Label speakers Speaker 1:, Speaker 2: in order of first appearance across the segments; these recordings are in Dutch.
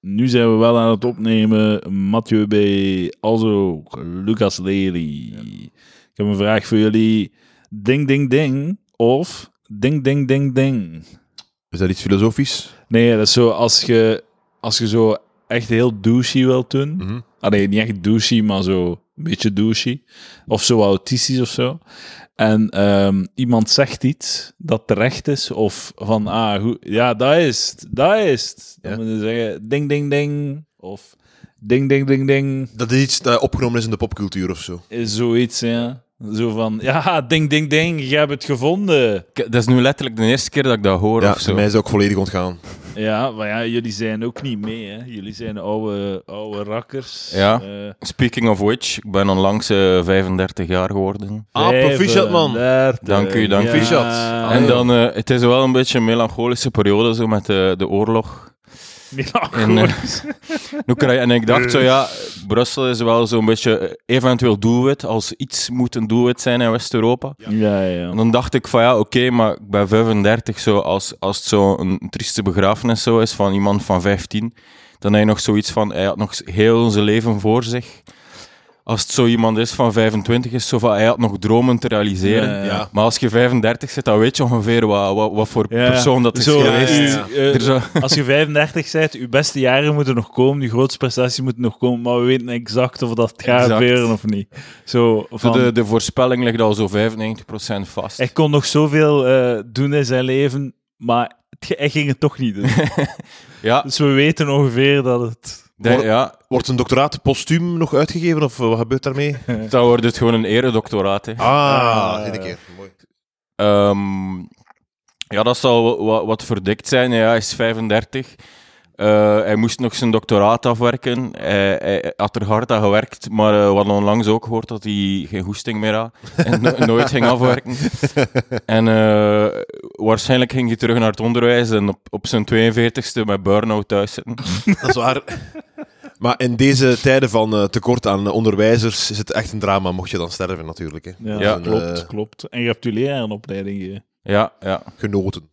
Speaker 1: Nu zijn we wel aan het opnemen. Mathieu B. Also, Lucas Lely. Ik heb een vraag voor jullie. Ding, ding, ding. Of ding, ding, ding, ding.
Speaker 2: Is dat iets filosofisch?
Speaker 1: Nee, dat is zo als je, als je zo echt heel douchey wilt doen.
Speaker 2: Mhm.
Speaker 1: Ah, nee, niet echt douchey, maar zo een beetje douchey. Of zo autistisch of zo. En ehm, iemand zegt iets dat terecht is. Of van, ah, goed, ja, dat is het. Dat is het. Dan
Speaker 2: Ja.
Speaker 1: moet je zeggen, ding, ding, ding. Of ding, ding, ding, ding.
Speaker 2: Dat is iets dat opgenomen is in de popcultuur of zo.
Speaker 1: Is zoiets, ja. Zo van, ja, ding, ding, ding. Je hebt het gevonden.
Speaker 3: Ik- Dat is nu letterlijk de eerste keer dat ik dat hoor
Speaker 2: ja,
Speaker 3: of zo.
Speaker 2: mij is dat ook volledig ontgaan.
Speaker 1: Ja, maar ja, jullie zijn ook niet mee, hè. Jullie zijn oude, oude rakkers.
Speaker 3: Ja.
Speaker 1: Eh,
Speaker 3: Speaking of which, ik ben onlangs eh, 35 jaar geworden.
Speaker 2: Ah, proficiat, man.
Speaker 1: 35,
Speaker 3: Dank u, dank u.
Speaker 2: Proficiat. Ah,
Speaker 3: en
Speaker 2: ja.
Speaker 3: dan, eh, het is wel een beetje een melancholische periode zo met de, de oorlog. En, eh, in Oekraïne. en ik dacht zo, ja, Brussel is wel zo'n beetje eh, eventueel doelwit, als iets moet een doelwit zijn in West-Europa.
Speaker 1: Ja, ja.
Speaker 3: En dan dacht ik van ja, oké, maar ik ben 35, zo, als, als het zo'n trieste begrafenis zo is van iemand van 15, dan heb je nog zoiets van, hij had nog heel zijn leven voor zich. Als het zo iemand is van 25, is het zo van, hij had nog dromen te realiseren.
Speaker 1: Ja, ja.
Speaker 2: Ja.
Speaker 3: Maar als je 35 zit, dan weet je ongeveer wat, wat, wat voor
Speaker 1: Ja.
Speaker 3: persoon dat is
Speaker 1: Zo,
Speaker 3: geweest.
Speaker 1: u,
Speaker 2: Ja.
Speaker 1: eh,
Speaker 3: Er zo-
Speaker 1: als je 35 bent, uw beste jaren moeten nog komen, uw grootste prestaties moeten nog komen, maar we weten exact of dat gaat
Speaker 3: Exact.
Speaker 1: gebeuren of niet. Zo,
Speaker 3: zo
Speaker 1: van,
Speaker 3: de, de voorspelling ligt al zo 95% vast.
Speaker 1: Hij kon nog zoveel eh, doen in zijn leven, maar het, ge- hij ging het toch niet doen.
Speaker 3: Ja,
Speaker 1: dus we weten ongeveer dat het...
Speaker 3: de- ja,
Speaker 2: Wordt een doctoraat postuum nog uitgegeven of eh, wat gebeurt daarmee?
Speaker 3: dan wordt het gewoon een eredoctoraat. Hè.
Speaker 2: Ah, dit een keer. Mooi.
Speaker 3: Ehm, ja, dat zal wat, wat verdikt zijn. Ja, hij is 35. Eh, hij moest nog zijn doctoraat afwerken. Hij, hij had er hard aan gewerkt, maar eh, we hadden onlangs ook gehoord dat hij geen goesting meer had en no- nooit ging afwerken. En eh, waarschijnlijk ging hij terug naar het onderwijs en op, op zijn 42ste met burn-out thuis zitten.
Speaker 2: Dat is waar. Maar in deze tijden van eh, tekort aan eh, onderwijzers is het echt een drama, mocht je dan sterven natuurlijk. Hè.
Speaker 1: Ja,
Speaker 2: Dat is een,
Speaker 1: klopt,
Speaker 2: eh,
Speaker 1: klopt. En je hebt je lerarenopleiding eh. hier.
Speaker 3: Ja, ja.
Speaker 2: genoten.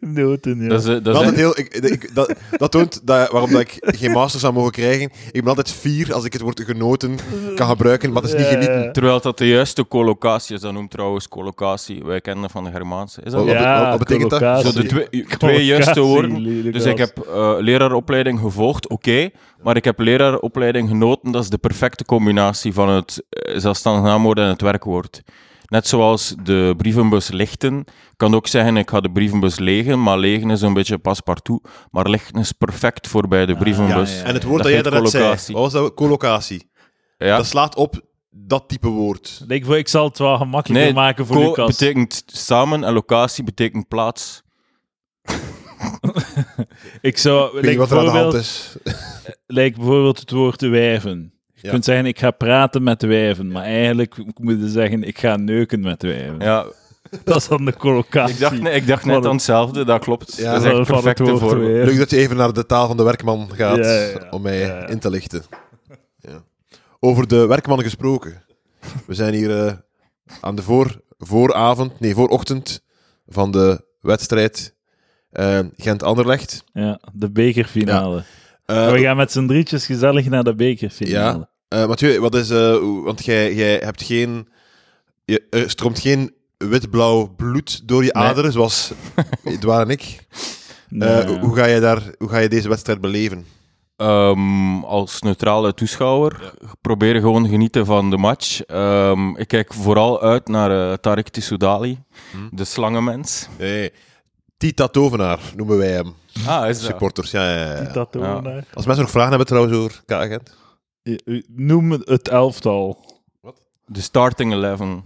Speaker 1: Genoten, ja.
Speaker 3: Dat is, eh, dat
Speaker 2: Dat,
Speaker 3: is
Speaker 2: altijd heel, ik, ik- dat, dat toont dat, waarom dat ik geen masters zou mogen krijgen. Ik ben altijd fier als ik het woord genoten kan gebruiken, maar het is niet
Speaker 1: Ja, ja.
Speaker 2: genieten.
Speaker 3: Terwijl dat de juiste collocatie is, dat noemt trouwens collocatie. Wij kennen dat van de Germaanse. Is dat
Speaker 2: Wat- wat-
Speaker 1: Ja,
Speaker 2: wat betekent Ah, dat?
Speaker 1: collocatie.
Speaker 3: Zo de twee, twee juiste
Speaker 1: Collocatie,
Speaker 3: woorden.
Speaker 1: Lucas.
Speaker 3: Dus ik heb eh, leraaropleiding gevolgd, oké. maar ik heb leraaropleiding genoten. Dat is de perfecte combinatie van het eh, zelfstandig naamwoord en het werkwoord. Net zoals de brievenbus lichten. Ik kan ook zeggen, ik ga de brievenbus legen. Maar legen is een beetje paspartout. Maar lichten is perfect voor bij de brievenbus.
Speaker 1: ja.
Speaker 2: En het woord dat,
Speaker 3: Dat
Speaker 2: jij daarnet
Speaker 3: heet
Speaker 2: zei, wat
Speaker 3: collocatie.
Speaker 2: was dat? Collocatie.
Speaker 3: Ja.
Speaker 2: Dat slaat op dat type woord.
Speaker 1: Ik, wil- ik zal het wel gemakkelijker
Speaker 3: Nee,
Speaker 1: maken voor
Speaker 3: co
Speaker 1: Lucas.
Speaker 3: betekent samen en locatie betekent plaats.
Speaker 1: Ik zou,
Speaker 2: Ik weet
Speaker 1: like
Speaker 2: niet wat er aan de hand
Speaker 1: bijvoorbeeld,
Speaker 2: is.
Speaker 1: like bijvoorbeeld het woord wijven. Je
Speaker 2: Ja.
Speaker 1: kunt zeggen, ik ga praten met de wijven, maar eigenlijk moet je zeggen, ik ga neuken met de wijven.
Speaker 3: Ja,
Speaker 1: Dat is dan de collocatie.
Speaker 3: ik, dacht, ne- ik dacht
Speaker 1: Wat
Speaker 3: net
Speaker 1: een-
Speaker 3: aan hetzelfde, dat klopt.
Speaker 2: Ja,
Speaker 3: dat is
Speaker 1: Van-
Speaker 3: echt
Speaker 1: van het
Speaker 3: perfecte
Speaker 1: woord
Speaker 3: voor.
Speaker 1: wijven.
Speaker 2: Leuk dat je even naar de taal van de werkman gaat
Speaker 1: Ja, ja, ja.
Speaker 2: om mij
Speaker 1: Ja, ja.
Speaker 2: in te lichten. Ja. Over de werkman gesproken. We zijn hier eh, aan de voor, vooravond, nee, voorochtend van de wedstrijd eh, Gent-Anderlecht.
Speaker 1: Ja, de bekerfinale.
Speaker 2: Eh,
Speaker 1: We gaan met z'n drietjes gezellig naar de bekerfinale.
Speaker 2: eh, Mathieu, wat is, eh, hoe- want jij, jij hebt geen, je, er stroomt geen wit-blauw bloed door je
Speaker 3: Nee.
Speaker 2: aderen, zoals Edouard en ik. Eh,
Speaker 1: Nee.
Speaker 2: hoe, ga je daar, hoe ga je deze wedstrijd beleven?
Speaker 3: Ehm, als neutrale toeschouwer probeer gewoon genieten van de match. Ehm, ik kijk vooral uit naar eh, Tarek Tissoudali,
Speaker 2: Hm.
Speaker 3: de slangenmens.
Speaker 2: Nee, Eh, Tita Tovenaar noemen wij hem.
Speaker 3: Ah, is dat?
Speaker 2: Supporters, ja, ja, ja.
Speaker 1: Dat doen we
Speaker 3: Ja.
Speaker 1: naar.
Speaker 2: Als mensen nog vragen hebben trouwens over K-agent.
Speaker 1: Eh, Noem het elftal.
Speaker 3: De starting eleven.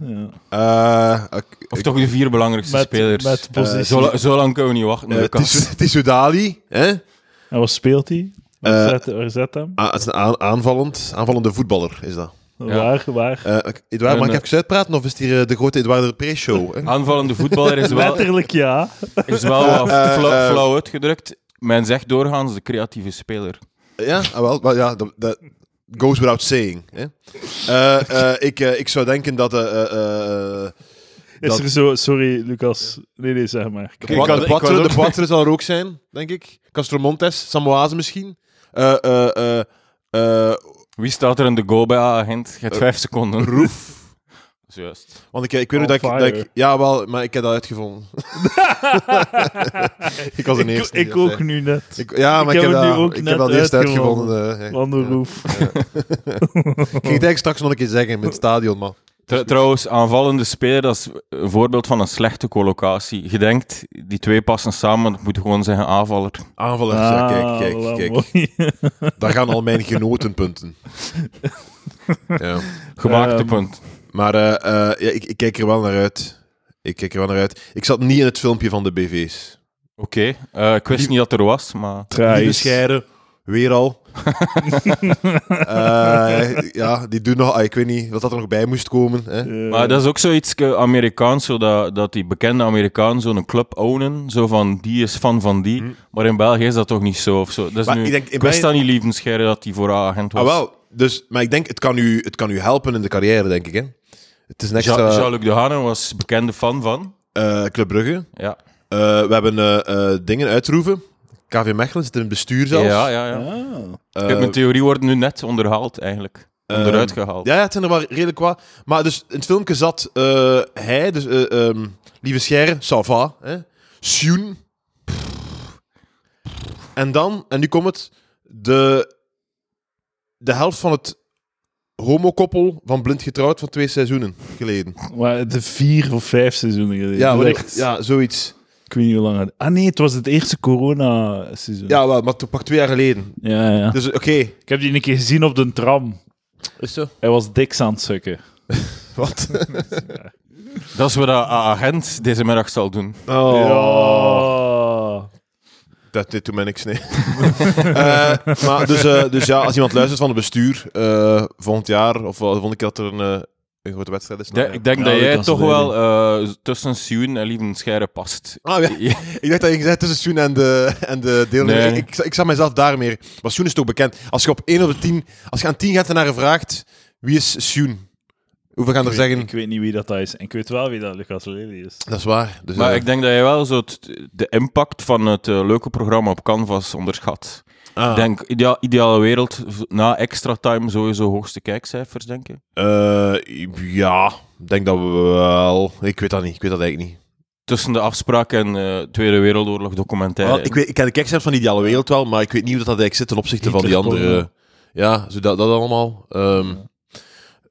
Speaker 1: Ja.
Speaker 2: Eh, ik-
Speaker 3: Of
Speaker 2: ik-
Speaker 3: toch de vier belangrijkste
Speaker 1: Met,
Speaker 3: spelers.
Speaker 1: met positie.
Speaker 2: Eh,
Speaker 3: zo, la- zo lang kunnen we niet wachten,
Speaker 2: eh,
Speaker 3: Lucas.
Speaker 2: Tis- Tissoudali, hè?
Speaker 1: En wat speelt hij?
Speaker 2: Eh,
Speaker 1: Waar, zet, waar zet hem?
Speaker 2: Ah, het is een aan- aanvallend, aanvallende voetballer, is dat.
Speaker 1: Waar, waar?
Speaker 2: Eh ik- Edouard, mag ik
Speaker 3: Een-
Speaker 2: even uitpraten? Of is het hier eh, de grote Edouard de Pre-show? hè?
Speaker 3: Aanvallende voetballer is wel,
Speaker 1: Letterlijk ja.
Speaker 3: is wel wat
Speaker 2: Eh, eh,
Speaker 3: flau-
Speaker 2: eh.
Speaker 3: flauw uitgedrukt. Men zegt doorgaans de creatieve speler.
Speaker 2: Ja, ah, wel, wel, ja, dat, dat goes without saying. Hè? Eh, eh, ik, eh, ik zou denken dat... eh, eh, eh,
Speaker 1: Is
Speaker 2: dat-
Speaker 1: er zo... Sorry, Lucas. Nee, nee, zeg maar.
Speaker 2: De,
Speaker 3: Ik
Speaker 2: pwa-
Speaker 3: had-
Speaker 2: eh, de
Speaker 3: ik had
Speaker 2: Poitre-
Speaker 3: ook-
Speaker 2: de Poitre zal er ook zijn, denk ik. Castromontes, Samoise misschien. Eh eh eh eh
Speaker 3: Wie staat er in de goal bij agent? Je hebt vijf seconden.
Speaker 2: Roef.
Speaker 3: Juist.
Speaker 2: Want ik, ik weet nog
Speaker 1: On
Speaker 2: dat ik, dat ik...
Speaker 1: fire.
Speaker 2: Ja, wel, maar ik heb dat uitgevonden. ik was een
Speaker 1: Ik,
Speaker 2: eerste. dus,
Speaker 1: ik
Speaker 2: die
Speaker 1: ook
Speaker 2: dat zei.
Speaker 1: nu net.
Speaker 2: Ik- ja, maar ik,
Speaker 1: heb
Speaker 2: heb,
Speaker 1: het nu
Speaker 2: dat,
Speaker 1: ook
Speaker 2: ik
Speaker 1: net
Speaker 2: heb dat eerst
Speaker 1: uitgevonden. Oh.
Speaker 2: uitgevonden. eh, ja.
Speaker 1: Wandelroef.
Speaker 2: Ik ging het eigenlijk straks nog een keer zeggen met het stadion, man.
Speaker 3: Tr- Trouwens, aanvallende speler, dat is een voorbeeld van een slechte collocatie. Je denkt, die twee passen samen, dat moet gewoon zeggen aanvaller.
Speaker 2: Aanvallers, ja,
Speaker 1: Ah,
Speaker 2: kijk,
Speaker 1: voilà,
Speaker 2: kijk, kijk.
Speaker 1: mooi.
Speaker 2: Daar gaan al mijn genotenpunten. ja.
Speaker 3: Gemaakte
Speaker 1: Ehm,
Speaker 3: punt.
Speaker 2: Maar eh, eh, ja, ik, ik kijk er wel naar uit. Ik kijk er wel naar uit. Ik zat niet in het filmpje van de BV's.
Speaker 3: Oké, eh, ik wist niet dat er was, maar...
Speaker 2: Die
Speaker 1: Traais.
Speaker 2: bescheiden, weer al. Eh, ja, die doen nog... ah, ik weet niet wat dat er nog bij moest komen. Hè.
Speaker 1: Eh,
Speaker 3: Maar dat is ook zoiets eh, Amerikaans, zo dat, dat die bekende Amerikaan zo'n club ownen. Zo van, die is fan van die. Maar in België is dat toch niet zo? Of zo. Dat is
Speaker 2: Hmm. Maar
Speaker 3: nu,
Speaker 2: ik
Speaker 3: ik,
Speaker 2: denk, in
Speaker 3: wist
Speaker 2: België-
Speaker 3: dat niet, Lievenscheire, dat die voor agent was.
Speaker 2: Ah, wel. Dus, maar ik denk, het kan, u, het kan u helpen in de carrière, denk ik. Hè. Het is een
Speaker 3: Ja,
Speaker 2: extra...
Speaker 3: Jean-Luc Dehane was bekende fan van.
Speaker 2: eh, Club Brugge.
Speaker 3: Ja,
Speaker 2: Eh, we hebben eh, eh, dingen uitroeven. KV Mechelen zit in het bestuur zelfs.
Speaker 3: ja, ja. ja.
Speaker 1: Ah.
Speaker 2: Eh,
Speaker 3: Ik heb mijn theorie wordt nu net onderhaald, eigenlijk. Onderuit
Speaker 2: eh,
Speaker 3: gehaald.
Speaker 2: Ja, ja, het zijn er maar redelijk wat. Maar dus in het filmpje zat eh, hij, dus eh, ehm, Lieve Scher, Sava, hè? Sjoen. En dan, en nu komt het, de, de helft van het homokoppel van Blind Getrouwd van twee seizoenen geleden.
Speaker 1: Maar de vier of vijf seizoenen geleden.
Speaker 2: Ja,
Speaker 1: Dat
Speaker 2: wel-
Speaker 1: is echt-
Speaker 2: ja zoiets.
Speaker 1: Ik weet niet hoe lang. het- Ah nee, het was het eerste corona-seizoen.
Speaker 2: Ja, wel, maar to- pak twee jaar geleden.
Speaker 1: Ja, ja.
Speaker 2: Dus oké.
Speaker 1: Ik heb die een keer gezien op de tram.
Speaker 2: Is zo?
Speaker 1: Hij was diks aan het sukken.
Speaker 2: Wat?
Speaker 3: Dat is wat dat agent deze middag zal doen.
Speaker 2: Oh.
Speaker 1: Oh. Ja.
Speaker 2: Dat, dit doet mij niks, nee. Eh, maar dus, eh, dus ja, als iemand luistert van het bestuur, eh volgend jaar, of wel, vond ik dat er een, eh, een grote wedstrijd is.
Speaker 3: De-
Speaker 2: Nou, ja.
Speaker 3: ik denk
Speaker 1: Ja,
Speaker 3: dat jij
Speaker 1: Lucas
Speaker 3: toch
Speaker 1: Lely.
Speaker 3: wel eh, tussen Sioen en Lievenscheire past.
Speaker 2: Ah, ja. Ik dacht dat je gezegd tussen Sjoen en de, en de deelnemer.
Speaker 3: Nee.
Speaker 2: Ik, ik, ik zag mezelf daar meer. Maar Sjoen is toch bekend. Als je op 1 op de 10, als je aan 10 gaat en naar vraagt, wie is Sjoen? Hoeveel gaan er
Speaker 1: Ik weet-
Speaker 2: zeggen?
Speaker 1: Ik weet niet wie dat is. En ik weet wel wie dat Lucas Lely is.
Speaker 2: Dat is waar. Dus,
Speaker 3: Maar
Speaker 2: eh,
Speaker 3: ik denk dat je wel zo het- de impact van het eh, leuke programma op Canvas onderschat.
Speaker 2: ah,
Speaker 3: Ik denk, idea- ideale wereld, v- na extra time sowieso hoogste kijkcijfers, denk ik.
Speaker 2: eh, ja, ik denk dat we wel... Ik weet dat niet. Ik weet dat eigenlijk niet.
Speaker 3: Tussen de afspraak en eh, Tweede Wereldoorlog documentaire.
Speaker 2: Wel, ik, weet, ik ken de kijkcijfers van Ideale Wereld wel, maar ik weet niet hoe dat, dat eigenlijk zit ten opzichte van die
Speaker 1: Hitler-porno.
Speaker 2: andere. eh, Ja, zo dat, dat allemaal. Ehm,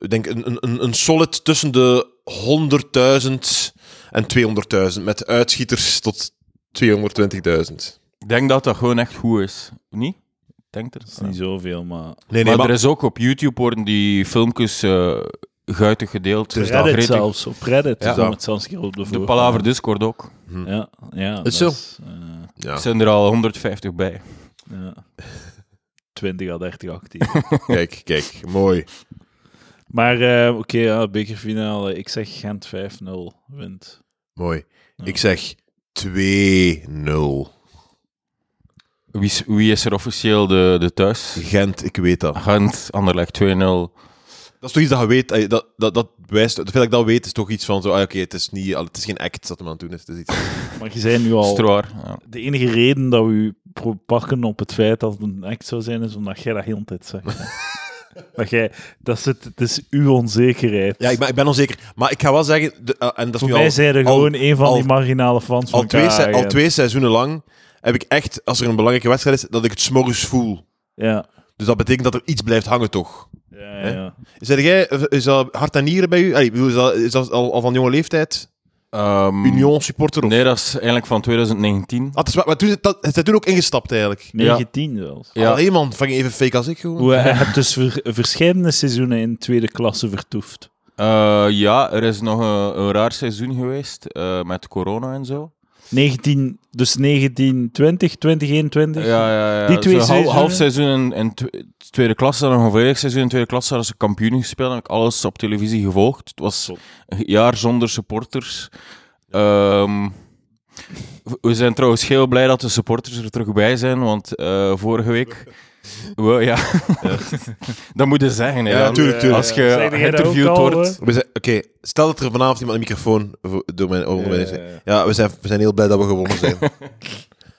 Speaker 2: Ik denk een, een- een, een solid tussen de 100.000 en 200.000, met uitschieters tot 220.000.
Speaker 3: Ik denk dat dat gewoon echt goed is. Niet? Ik Denk er.
Speaker 1: Dat is niet zoveel, maar...
Speaker 2: Nee,
Speaker 3: maar, er is ook op YouTube worden die filmpjes eh, guitig gedeeld.
Speaker 2: Dus
Speaker 3: dat
Speaker 1: Reddit
Speaker 3: gretig-
Speaker 1: zelfs. Op Reddit
Speaker 2: Ja.
Speaker 1: kwam het zelfs een keer op de
Speaker 3: De
Speaker 1: voor.
Speaker 3: Palaver Discord ook.
Speaker 1: Ja, ja. dat
Speaker 2: Is zo.
Speaker 1: Is, eh,
Speaker 2: ja,
Speaker 3: zijn er al 150 bij.
Speaker 1: ja. 20 à 30 actief.
Speaker 2: kijk, kijk, mooi.
Speaker 1: maar eh, oké, ja, bekerfinale. Ik zeg Gent 5-0 wint.
Speaker 2: mooi. Ik zeg 2-0.
Speaker 3: Wie is, wie is er officieel de, de thuis?
Speaker 2: Gent, ik weet dat.
Speaker 3: Gent, Anderlecht 2-0.
Speaker 2: Dat is toch iets dat je weet, eh, dat, dat, dat wijst, het feit dat ik dat weet is toch iets van zo, ah, oké, het is niet, het is geen act dat hem aan het doen is, het is iets...
Speaker 1: Maar je zei nu al...
Speaker 3: Stroar. Ja.
Speaker 1: De enige reden dat we u pro- pakken op het feit dat het een act zou zijn, is omdat jij dat heel de tijd zegt. hè. dat jij, dat is het, het is uw onzekerheid.
Speaker 2: Ja, ik ben, ik ben onzeker. Maar ik ga wel zeggen, de, eh, en dat is
Speaker 1: Voor
Speaker 2: nu
Speaker 1: mij
Speaker 2: al,
Speaker 1: zijn er
Speaker 2: al-
Speaker 1: gewoon een van
Speaker 2: al-
Speaker 1: die marginale fans
Speaker 2: al,
Speaker 1: van
Speaker 2: twee, se-
Speaker 1: KRN.
Speaker 2: al twee seizoenen lang, heb ik echt, als er een belangrijke wedstrijd is, dat ik het s'morgens voel.
Speaker 1: Ja.
Speaker 2: Dus dat betekent dat er iets blijft hangen, toch?
Speaker 1: Ja, ja,
Speaker 2: Hè?
Speaker 1: ja.
Speaker 2: Zeg jij, is dat hart en nieren bij u? Allee, ik bedoel, is dat, is dat al, al van jonge leeftijd?
Speaker 3: Ehm,
Speaker 2: Union supporter? Of?
Speaker 3: Nee, dat is eigenlijk van 2019.
Speaker 2: Ah, het is waar, maar toen, dat, het is toen ook ingestapt, eigenlijk.
Speaker 1: 19 zelfs.
Speaker 3: Ja.
Speaker 2: Allee, man, vang je even fake als ik gewoon.
Speaker 1: Hoe hij heeft dus ver- verschillende seizoenen in tweede klasse vertoefd.
Speaker 3: Eh, ja, er is nog een, een raar seizoen geweest eh, met corona en zo.
Speaker 1: 19, dus 19, 20, 2021.
Speaker 3: Ja, ja, ja.
Speaker 1: Die twee
Speaker 3: Zo'n hal-
Speaker 1: seizoenen?
Speaker 3: half seizoen in, in tw- tweede klasse, dan een volledig seizoen in tweede klasse, hadden ze kampioen gespeeld. Heb ik alles op televisie gevolgd. Het was
Speaker 1: Top.
Speaker 3: een jaar zonder supporters. Ehm, we zijn trouwens heel blij dat de supporters er terug bij zijn, want eh, vorige week Wel, ja. dat moet je zeggen. hè.
Speaker 2: Ja, tuurlijk, tuurlijk.
Speaker 3: Als
Speaker 1: Ja, ja.
Speaker 3: je
Speaker 1: Zeg jij dat
Speaker 3: geïnterviewd
Speaker 1: ook al,
Speaker 3: wordt.
Speaker 2: We zijn- Oké, stel dat er vanavond iemand een microfoon voor- door mijn ogen
Speaker 1: Ja,
Speaker 2: ja,
Speaker 1: ja, ja.
Speaker 2: we, zijn, we zijn heel blij dat we gewonnen zijn.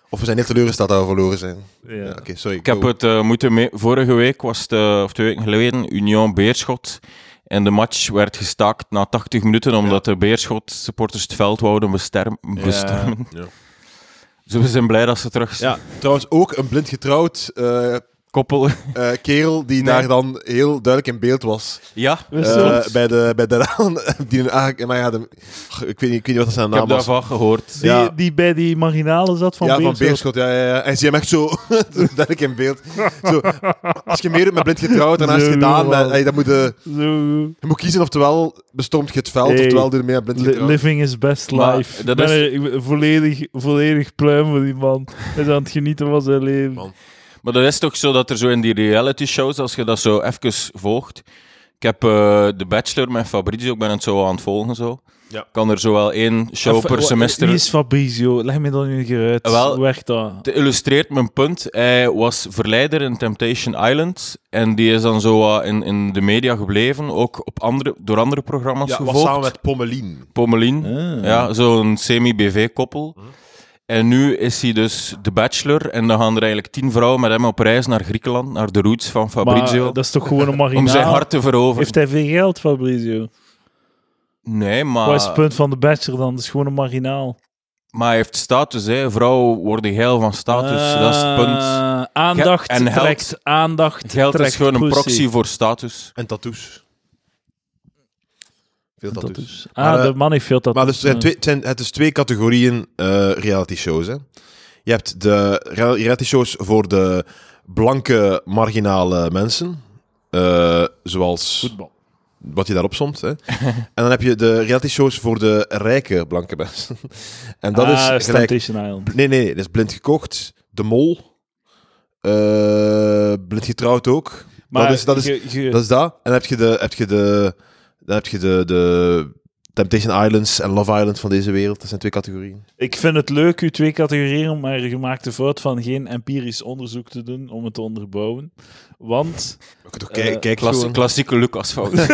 Speaker 2: of we zijn heel teleurgesteld dat we verloren zijn.
Speaker 1: hè?
Speaker 2: Ja,
Speaker 1: Ja.
Speaker 2: Oké, sorry.
Speaker 3: Ik heb
Speaker 2: go.
Speaker 3: het eh, moeten mee. Vorige week was het, eh, of twee weken geleden, Union Beerschot. En de match werd gestaakt na 80 minuten, omdat de Beerschot supporters het veld wouden besterm- bestormen.
Speaker 2: Ja.
Speaker 3: Dus we zijn blij dat ze terug zijn.
Speaker 2: Ja, trouwens ook een blind getrouwd eh,
Speaker 3: Koppel.
Speaker 2: eh, kerel die
Speaker 3: Nee.
Speaker 2: daar dan heel duidelijk in beeld was.
Speaker 3: Ja,
Speaker 1: Wist
Speaker 2: Eh,
Speaker 1: je dat?
Speaker 2: bij de bij de Raan, die een aange- maar ja, de- Goh, ik, weet niet, ik weet niet wat dat zijn
Speaker 3: ik heb
Speaker 2: naam was.
Speaker 3: daarvan gehoord.
Speaker 1: die,
Speaker 2: ja.
Speaker 1: die bij die marginale zat van
Speaker 2: ja, van
Speaker 1: Beerschot.
Speaker 2: Beerschot, ja, ja, ja. En zie hem echt zo duidelijk in beeld. Zo, als je meer doet met blind getrouwd en als
Speaker 1: Zo,
Speaker 2: je gedaan,
Speaker 1: man.
Speaker 2: dan, hey, dan moet je,
Speaker 1: Zo,
Speaker 2: je moet kiezen oftewel bestormt je het veld,
Speaker 1: Hey,
Speaker 2: oftewel doe je mee met blind
Speaker 1: li-
Speaker 2: getrouwd.
Speaker 1: living is best
Speaker 3: Maar
Speaker 1: life. Ik
Speaker 3: dat
Speaker 1: ben
Speaker 3: is-
Speaker 1: er- ik ben volledig, volledig pluim voor die man. Hij is aan het genieten van zijn leven.
Speaker 2: Man.
Speaker 3: Maar dat is toch zo dat er zo in die reality shows, als je dat zo even volgt. Ik heb eh The Bachelor met Fabrizio, ik ben het zo aan het volgen. Zo.
Speaker 2: Ja.
Speaker 3: Kan er zo wel één show
Speaker 1: Even,
Speaker 3: per
Speaker 1: wa-
Speaker 3: semester.
Speaker 1: Wie is Fabrizio? Leg me dan nu een keer uit.
Speaker 3: Wel,
Speaker 1: Hoe werkt dat?
Speaker 3: Het illustreert mijn punt. Hij was verleider in Temptation Island. En die is dan zo wat in, in de media gebleven. Ook op andere, door andere programma's
Speaker 2: Ja, was
Speaker 3: gevolgd.
Speaker 2: samen met Pommelien.
Speaker 3: Pommelien.
Speaker 1: Ah.
Speaker 3: Ja, zo'n semi-BV-koppel.
Speaker 1: Mhm.
Speaker 3: En nu is hij dus de bachelor. En dan gaan er eigenlijk tien vrouwen met hem op reis naar Griekenland. Naar de roots van Fabrizio.
Speaker 1: Maar eh, dat is toch gewoon een
Speaker 3: om zijn
Speaker 1: marginaal?
Speaker 3: hart te veroveren.
Speaker 1: Heeft hij veel geld, Fabrizio?
Speaker 3: Nee,
Speaker 1: Wat is het
Speaker 3: maar,
Speaker 1: punt van de bachelor dan? Dat is gewoon een marginaal.
Speaker 3: maar hij heeft status. Hè. Vrouwen worden geil van status. dat is het punt.
Speaker 1: Ah, Aandacht
Speaker 3: Ge- en geld-
Speaker 1: trekt aandacht.
Speaker 3: Geld
Speaker 1: trekt
Speaker 3: is gewoon een
Speaker 1: pussy.
Speaker 3: proxy voor status.
Speaker 2: En tattoos. Veel
Speaker 1: Dat
Speaker 2: tattoos.
Speaker 1: dus. Ah,
Speaker 2: Maar, eh,
Speaker 1: de man heeft veel tattoos.
Speaker 2: Maar dus er zijn
Speaker 1: Ja.
Speaker 2: twee, het zijn, het is twee categorieën eh, reality shows. Hè. Je hebt de rea- reality shows voor de blanke marginale mensen. eh, zoals
Speaker 1: Voetbal.
Speaker 2: wat je daarop somt. Hè. en dan heb je de reality shows voor de rijke blanke mensen. en dat
Speaker 1: Ah,
Speaker 2: is gelijk.
Speaker 1: Temptation Island.
Speaker 2: Nee, nee, dat is blind gekocht. De mol. eh, blind getrouwd ook.
Speaker 1: Maar
Speaker 2: dat is, dat is
Speaker 1: je- je-
Speaker 2: dat is dat. En dan heb je de, heb je de, dan heb je de, de Temptation Islands en Love Island van deze wereld. Dat zijn twee categorieën.
Speaker 1: Ik vind het leuk, uw twee categorieën, maar je maakt de fout van geen empirisch onderzoek te doen om het te onderbouwen. Want
Speaker 2: Ik, toch
Speaker 1: Eh,
Speaker 2: kijk, kijk
Speaker 3: Klassie-
Speaker 2: gewoon.
Speaker 3: klassieke Lucas fout.
Speaker 2: ik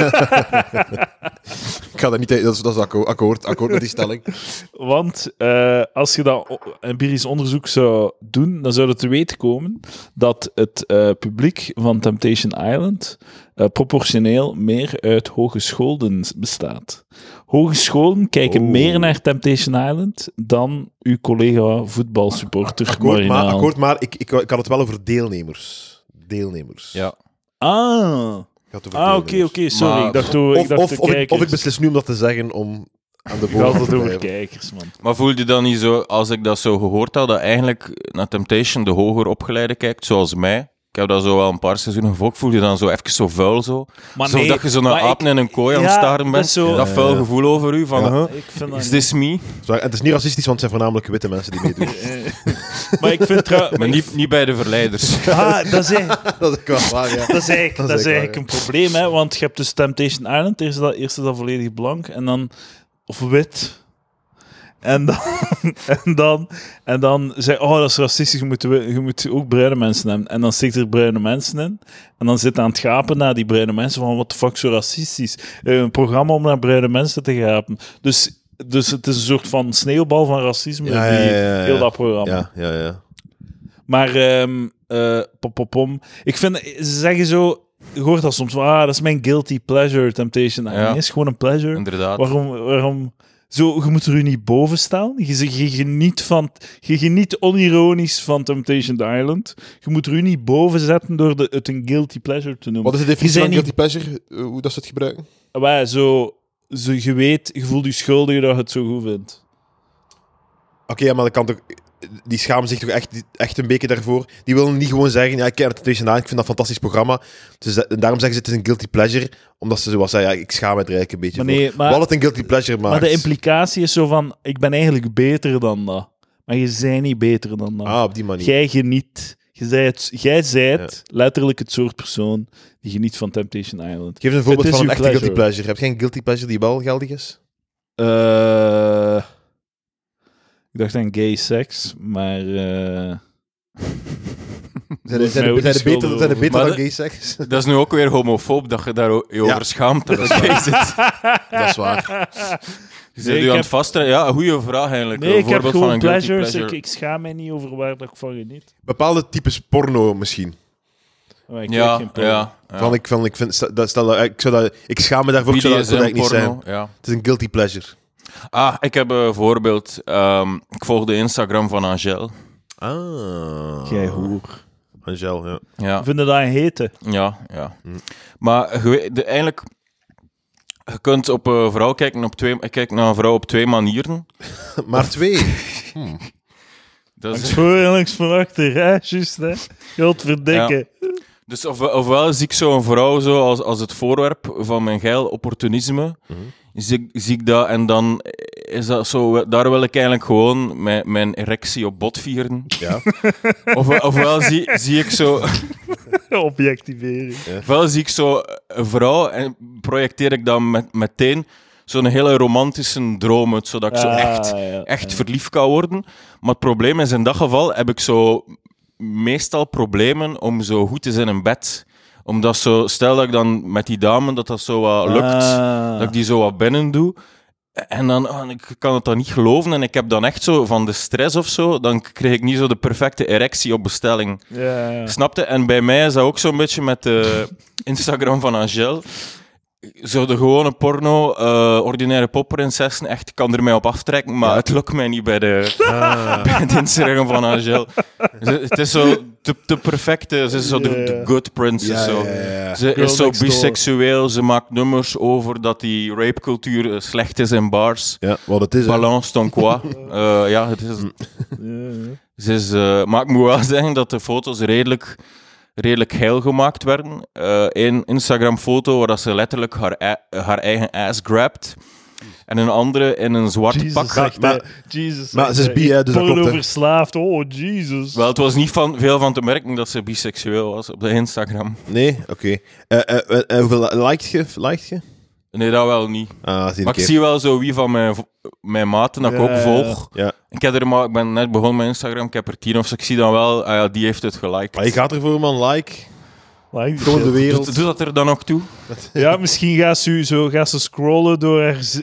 Speaker 2: ga dat niet... Dat is, dat is akko- akkoord, akkoord met die stelling.
Speaker 1: Want eh, als je dat o- empirisch onderzoek zou doen, dan zou het te weten komen dat het eh, publiek van Temptation Island eh, proportioneel meer uit hogeschoolden s- bestaat. Hogescholen kijken
Speaker 2: Oh.
Speaker 1: meer naar Temptation Island dan uw collega voetbalsupporter
Speaker 2: Akkoord, maar,
Speaker 1: Marinaal.
Speaker 2: akkoord, maar ik, ik, ik had het wel over deelnemers. Deelnemers.
Speaker 3: ja.
Speaker 1: Ah,
Speaker 2: Ik had het over
Speaker 1: ah oké, oké,
Speaker 2: deelnemers.
Speaker 1: sorry.
Speaker 3: Maar-
Speaker 1: ik dacht, over- ik
Speaker 2: Of,
Speaker 1: dacht
Speaker 2: of,
Speaker 1: de
Speaker 2: of, ik,
Speaker 1: kijkers.
Speaker 2: of ik beslis nu om dat te zeggen om aan de
Speaker 1: Ik had
Speaker 2: boven
Speaker 1: het
Speaker 2: te
Speaker 1: over
Speaker 2: blijven.
Speaker 1: kijkers, man.
Speaker 3: Maar voel je dan niet zo, als ik dat zo gehoord had, dat eigenlijk naar Temptation de hoger opgeleide kijkt, zoals mij? Ik heb dat zo wel een paar seizoenen gevolgd. Voel je dan zo even zo vuil zo?
Speaker 1: Maar
Speaker 3: zo dat je zo naar
Speaker 1: maar
Speaker 3: apen
Speaker 1: ik-
Speaker 3: in een kooi aan het
Speaker 1: Ja,
Speaker 3: staren
Speaker 1: dat
Speaker 3: bent.
Speaker 1: is zo-
Speaker 3: Dat vuil
Speaker 2: Ja.
Speaker 3: gevoel over u van,
Speaker 2: Ja.
Speaker 3: huh,
Speaker 1: Ik vind dat
Speaker 3: is
Speaker 1: niet.
Speaker 3: this me?
Speaker 2: Zwaar, En het is niet racistisch, want het zijn voornamelijk witte mensen die meedoen.
Speaker 1: Maar ik vind trouw-
Speaker 3: Maar niet, niet bij de verleiders.
Speaker 1: Ah, dat is echt-
Speaker 2: dat is wel waar, ja.
Speaker 1: dat is eigenlijk, dat
Speaker 2: Dat
Speaker 1: is
Speaker 2: is eigenlijk
Speaker 1: eigenlijk een probleem, hè? want je hebt dus Temptation Island, eerst is dat, eerst is dat volledig blank, en dan, of wit. En dan, en dan, en dan zeg oh, dat is racistisch, je moet, wi- je moet ook bruine mensen hebben. En dan stikt er bruine mensen in, en dan zit aan het gapen naar die bruine mensen, van wat de fuck, zo racistisch. Eh, Een programma om naar bruine mensen te gapen. Dus, dus het is een soort van sneeuwbal van racisme,
Speaker 2: Ja, ja,
Speaker 1: die-
Speaker 2: ja, ja, ja.
Speaker 1: heel dat programma.
Speaker 2: Ja, ja, ja.
Speaker 1: Maar ehm eh, pom, pom, pom. ik vind, ze zeggen zo, je hoort dat soms, van, ah, dat is mijn guilty pleasure temptation.
Speaker 3: Ja.
Speaker 1: Ja. Nee, is gewoon een pleasure.
Speaker 3: Inderdaad.
Speaker 1: Waarom, waarom, zo, je moet er u niet boven staan. Je, ze- je, geniet van, je geniet onironisch van Temptation Island. Je moet er u niet boven zetten door de, het een guilty pleasure te noemen.
Speaker 2: Wat is de definitie
Speaker 1: zijn
Speaker 2: van
Speaker 1: niet-
Speaker 2: guilty pleasure? Eh, Hoe dat ze het gebruiken?
Speaker 1: Wij, zo, zo, je weet, je voelt je schuldig dat je het zo goed vindt.
Speaker 2: Oké, ja, maar dat kan toch... Die schamen zich toch echt, echt een beetje daarvoor. Die willen niet gewoon zeggen, ja, ik ken het Temptation Island, ik vind dat een fantastisch programma. Dus da- en daarom zeggen ze, het is een guilty pleasure. Omdat ze zoals zeiden, ja, ik schaam me er eigenlijk een beetje
Speaker 1: Maar nee,
Speaker 2: voor.
Speaker 1: maar-
Speaker 2: Wat het een guilty pleasure maakt.
Speaker 1: Maar de implicatie is zo van, ik ben eigenlijk beter dan dat. Maar je bent niet beter dan dat.
Speaker 2: Ah, op die manier.
Speaker 1: Jij geniet. Jij zijt, jij zijt letterlijk het soort persoon die geniet van Temptation Island.
Speaker 2: Geef eens een voorbeeld
Speaker 1: Het is
Speaker 2: van een
Speaker 1: uw
Speaker 2: echte
Speaker 1: pleasure.
Speaker 2: guilty pleasure. Heb jij een guilty pleasure die wel geldig is?
Speaker 1: Eh, ik dacht aan gay seks, maar eh,
Speaker 2: Zijn er- zijn er-
Speaker 1: mij ook
Speaker 2: zijn er
Speaker 1: niet
Speaker 2: beter,
Speaker 1: schuldig
Speaker 2: zijn er
Speaker 1: over.
Speaker 2: beter
Speaker 3: Maar
Speaker 2: dan
Speaker 3: de-
Speaker 2: gay seks?
Speaker 3: Dat is nu ook weer homofoob dat je daar o- je
Speaker 2: Ja.
Speaker 3: over schaamt. Dat dat gay zit.
Speaker 2: Dat is waar.
Speaker 3: Je
Speaker 1: Nee,
Speaker 3: zit
Speaker 1: ik
Speaker 3: u aan
Speaker 1: heb-
Speaker 3: het vasten. Ja, een goede vraag eigenlijk.
Speaker 1: Nee,
Speaker 3: Een
Speaker 1: ik heb
Speaker 3: voorbeeld
Speaker 1: gewoon
Speaker 3: van een guilty
Speaker 1: pleasures. Ik,
Speaker 3: pleasure.
Speaker 1: ik schaam mij niet over waar dat ik van geniet.
Speaker 2: Bepaalde types porno misschien.
Speaker 1: Maar ik kijk
Speaker 3: Ja,
Speaker 1: geen porno.
Speaker 3: ja. ja.
Speaker 2: Van, ik, van, ik, vind, stel, dat- stel dat, ik, zou dat, ik schaam me daarvoor, ik zou dat, ik zou dat
Speaker 3: BDSM,
Speaker 2: eigenlijk niet
Speaker 3: porno.
Speaker 2: zijn.
Speaker 3: Ja.
Speaker 2: Het is een guilty pleasure.
Speaker 3: Ah, ik heb een voorbeeld. Ehm, ik volg de Instagram van Angel.
Speaker 2: Ah.
Speaker 1: Jij hoer.
Speaker 2: Angel, ja.
Speaker 3: Ja.
Speaker 1: Ik vind dat een hete.
Speaker 3: Ja, ja. Maar je weet- de- eigenlijk, je kunt op een vrouw kijken op twee... Ik kijk naar een vrouw op twee manieren.
Speaker 2: Maar twee.
Speaker 3: Dat
Speaker 1: Langs
Speaker 3: is,
Speaker 1: voor en langs van achter, hè? Juist, hè? Godverdikke.
Speaker 3: dus of, ofwel zie ik zo'n vrouw zo als, als het voorwerp van mijn geil opportunisme. Zie, ik- zie ik dat en dan eh, is dat zo... Daar wil ik eigenlijk gewoon mijn, mijn erectie op bot vieren.
Speaker 2: Ja.
Speaker 3: Of, ofwel zie, zie ik zo...
Speaker 1: Objectivering.
Speaker 3: Wel zie ik zo een vrouw en projecteer ik dan met, meteen zo'n hele romantische droom uit, zodat ik zo
Speaker 1: Ah,
Speaker 3: echt,
Speaker 1: ja.
Speaker 3: echt verliefd kan worden. Maar het probleem is, in dat geval heb ik zo meestal problemen om zo goed te zijn in bed. Omdat zo, stel dat ik dan met die dame, dat dat zo wat lukt,
Speaker 1: Ah.
Speaker 3: dat ik die zo wat binnen doe. En dan, ah, ik kan het dan niet geloven en ik heb dan echt zo van de stress of zo, dan kreeg ik niet zo de perfecte erectie op bestelling.
Speaker 1: Ja, ja.
Speaker 3: Snapte? En bij mij is dat ook zo'n beetje met de Instagram van Angel. Zo de gewone porno, eh, ordinaire popprinsessen, echt kan er mij op aftrekken, maar het lukt mij niet bij de,
Speaker 1: Ah.
Speaker 3: bij het Instagram van Angel. Ze- het is zo de, de perfecte, ze is zo de, de
Speaker 1: Ja.
Speaker 3: good princess. zo. Ze
Speaker 1: Girl
Speaker 3: is zo
Speaker 1: next door.
Speaker 3: biseksueel, ze maakt nummers over dat die rapecultuur eh, slecht is in bars.
Speaker 2: Ja, wat het is. hè.
Speaker 3: Balance ton quoi. Eh, ja, het is,
Speaker 1: Ja,
Speaker 3: ze is, eh, maar ik moet wel zeggen dat de foto's redelijk, redelijk heil gemaakt werden. Eh, Eén Instagram-foto waar dat ze letterlijk haar, ei- haar eigen ass grabt. En een andere in een zwart
Speaker 1: Jesus
Speaker 3: pak.
Speaker 1: zegt
Speaker 2: maar-
Speaker 1: hij. Jesus
Speaker 2: maar
Speaker 1: zegt
Speaker 2: ze is
Speaker 1: hij.
Speaker 2: bi, hè, dus dat
Speaker 1: Porno
Speaker 2: klopt, hè.
Speaker 1: verslaafd. Oh, Jesus.
Speaker 3: Wel, het was niet van, veel van te merken dat ze biseksueel was op de Instagram.
Speaker 2: Nee, oké. Eh, eh, eh, eh, hoeveel liked je? Liked je?
Speaker 3: Nee, dat wel niet.
Speaker 2: Ah, zie
Speaker 3: Maar ik
Speaker 2: ik
Speaker 3: zie wel zo wie van mijn, v- mijn maten dat ik
Speaker 1: Ja,
Speaker 3: ook
Speaker 1: ja,
Speaker 3: volg.
Speaker 2: ja.
Speaker 3: Ik, heb er maar, ik ben net begonnen met Instagram, ik heb er tien of zo. Ik zie dan wel, ah ja, die heeft het geliked.
Speaker 2: Maar je gaat ervoor, man. Like.
Speaker 1: Like the
Speaker 2: Gewoon de
Speaker 1: shit.
Speaker 2: wereld.
Speaker 3: Doet, doet dat er dan nog toe?
Speaker 1: Ja, misschien gaat ze, zo, gaat ze scrollen door haar z-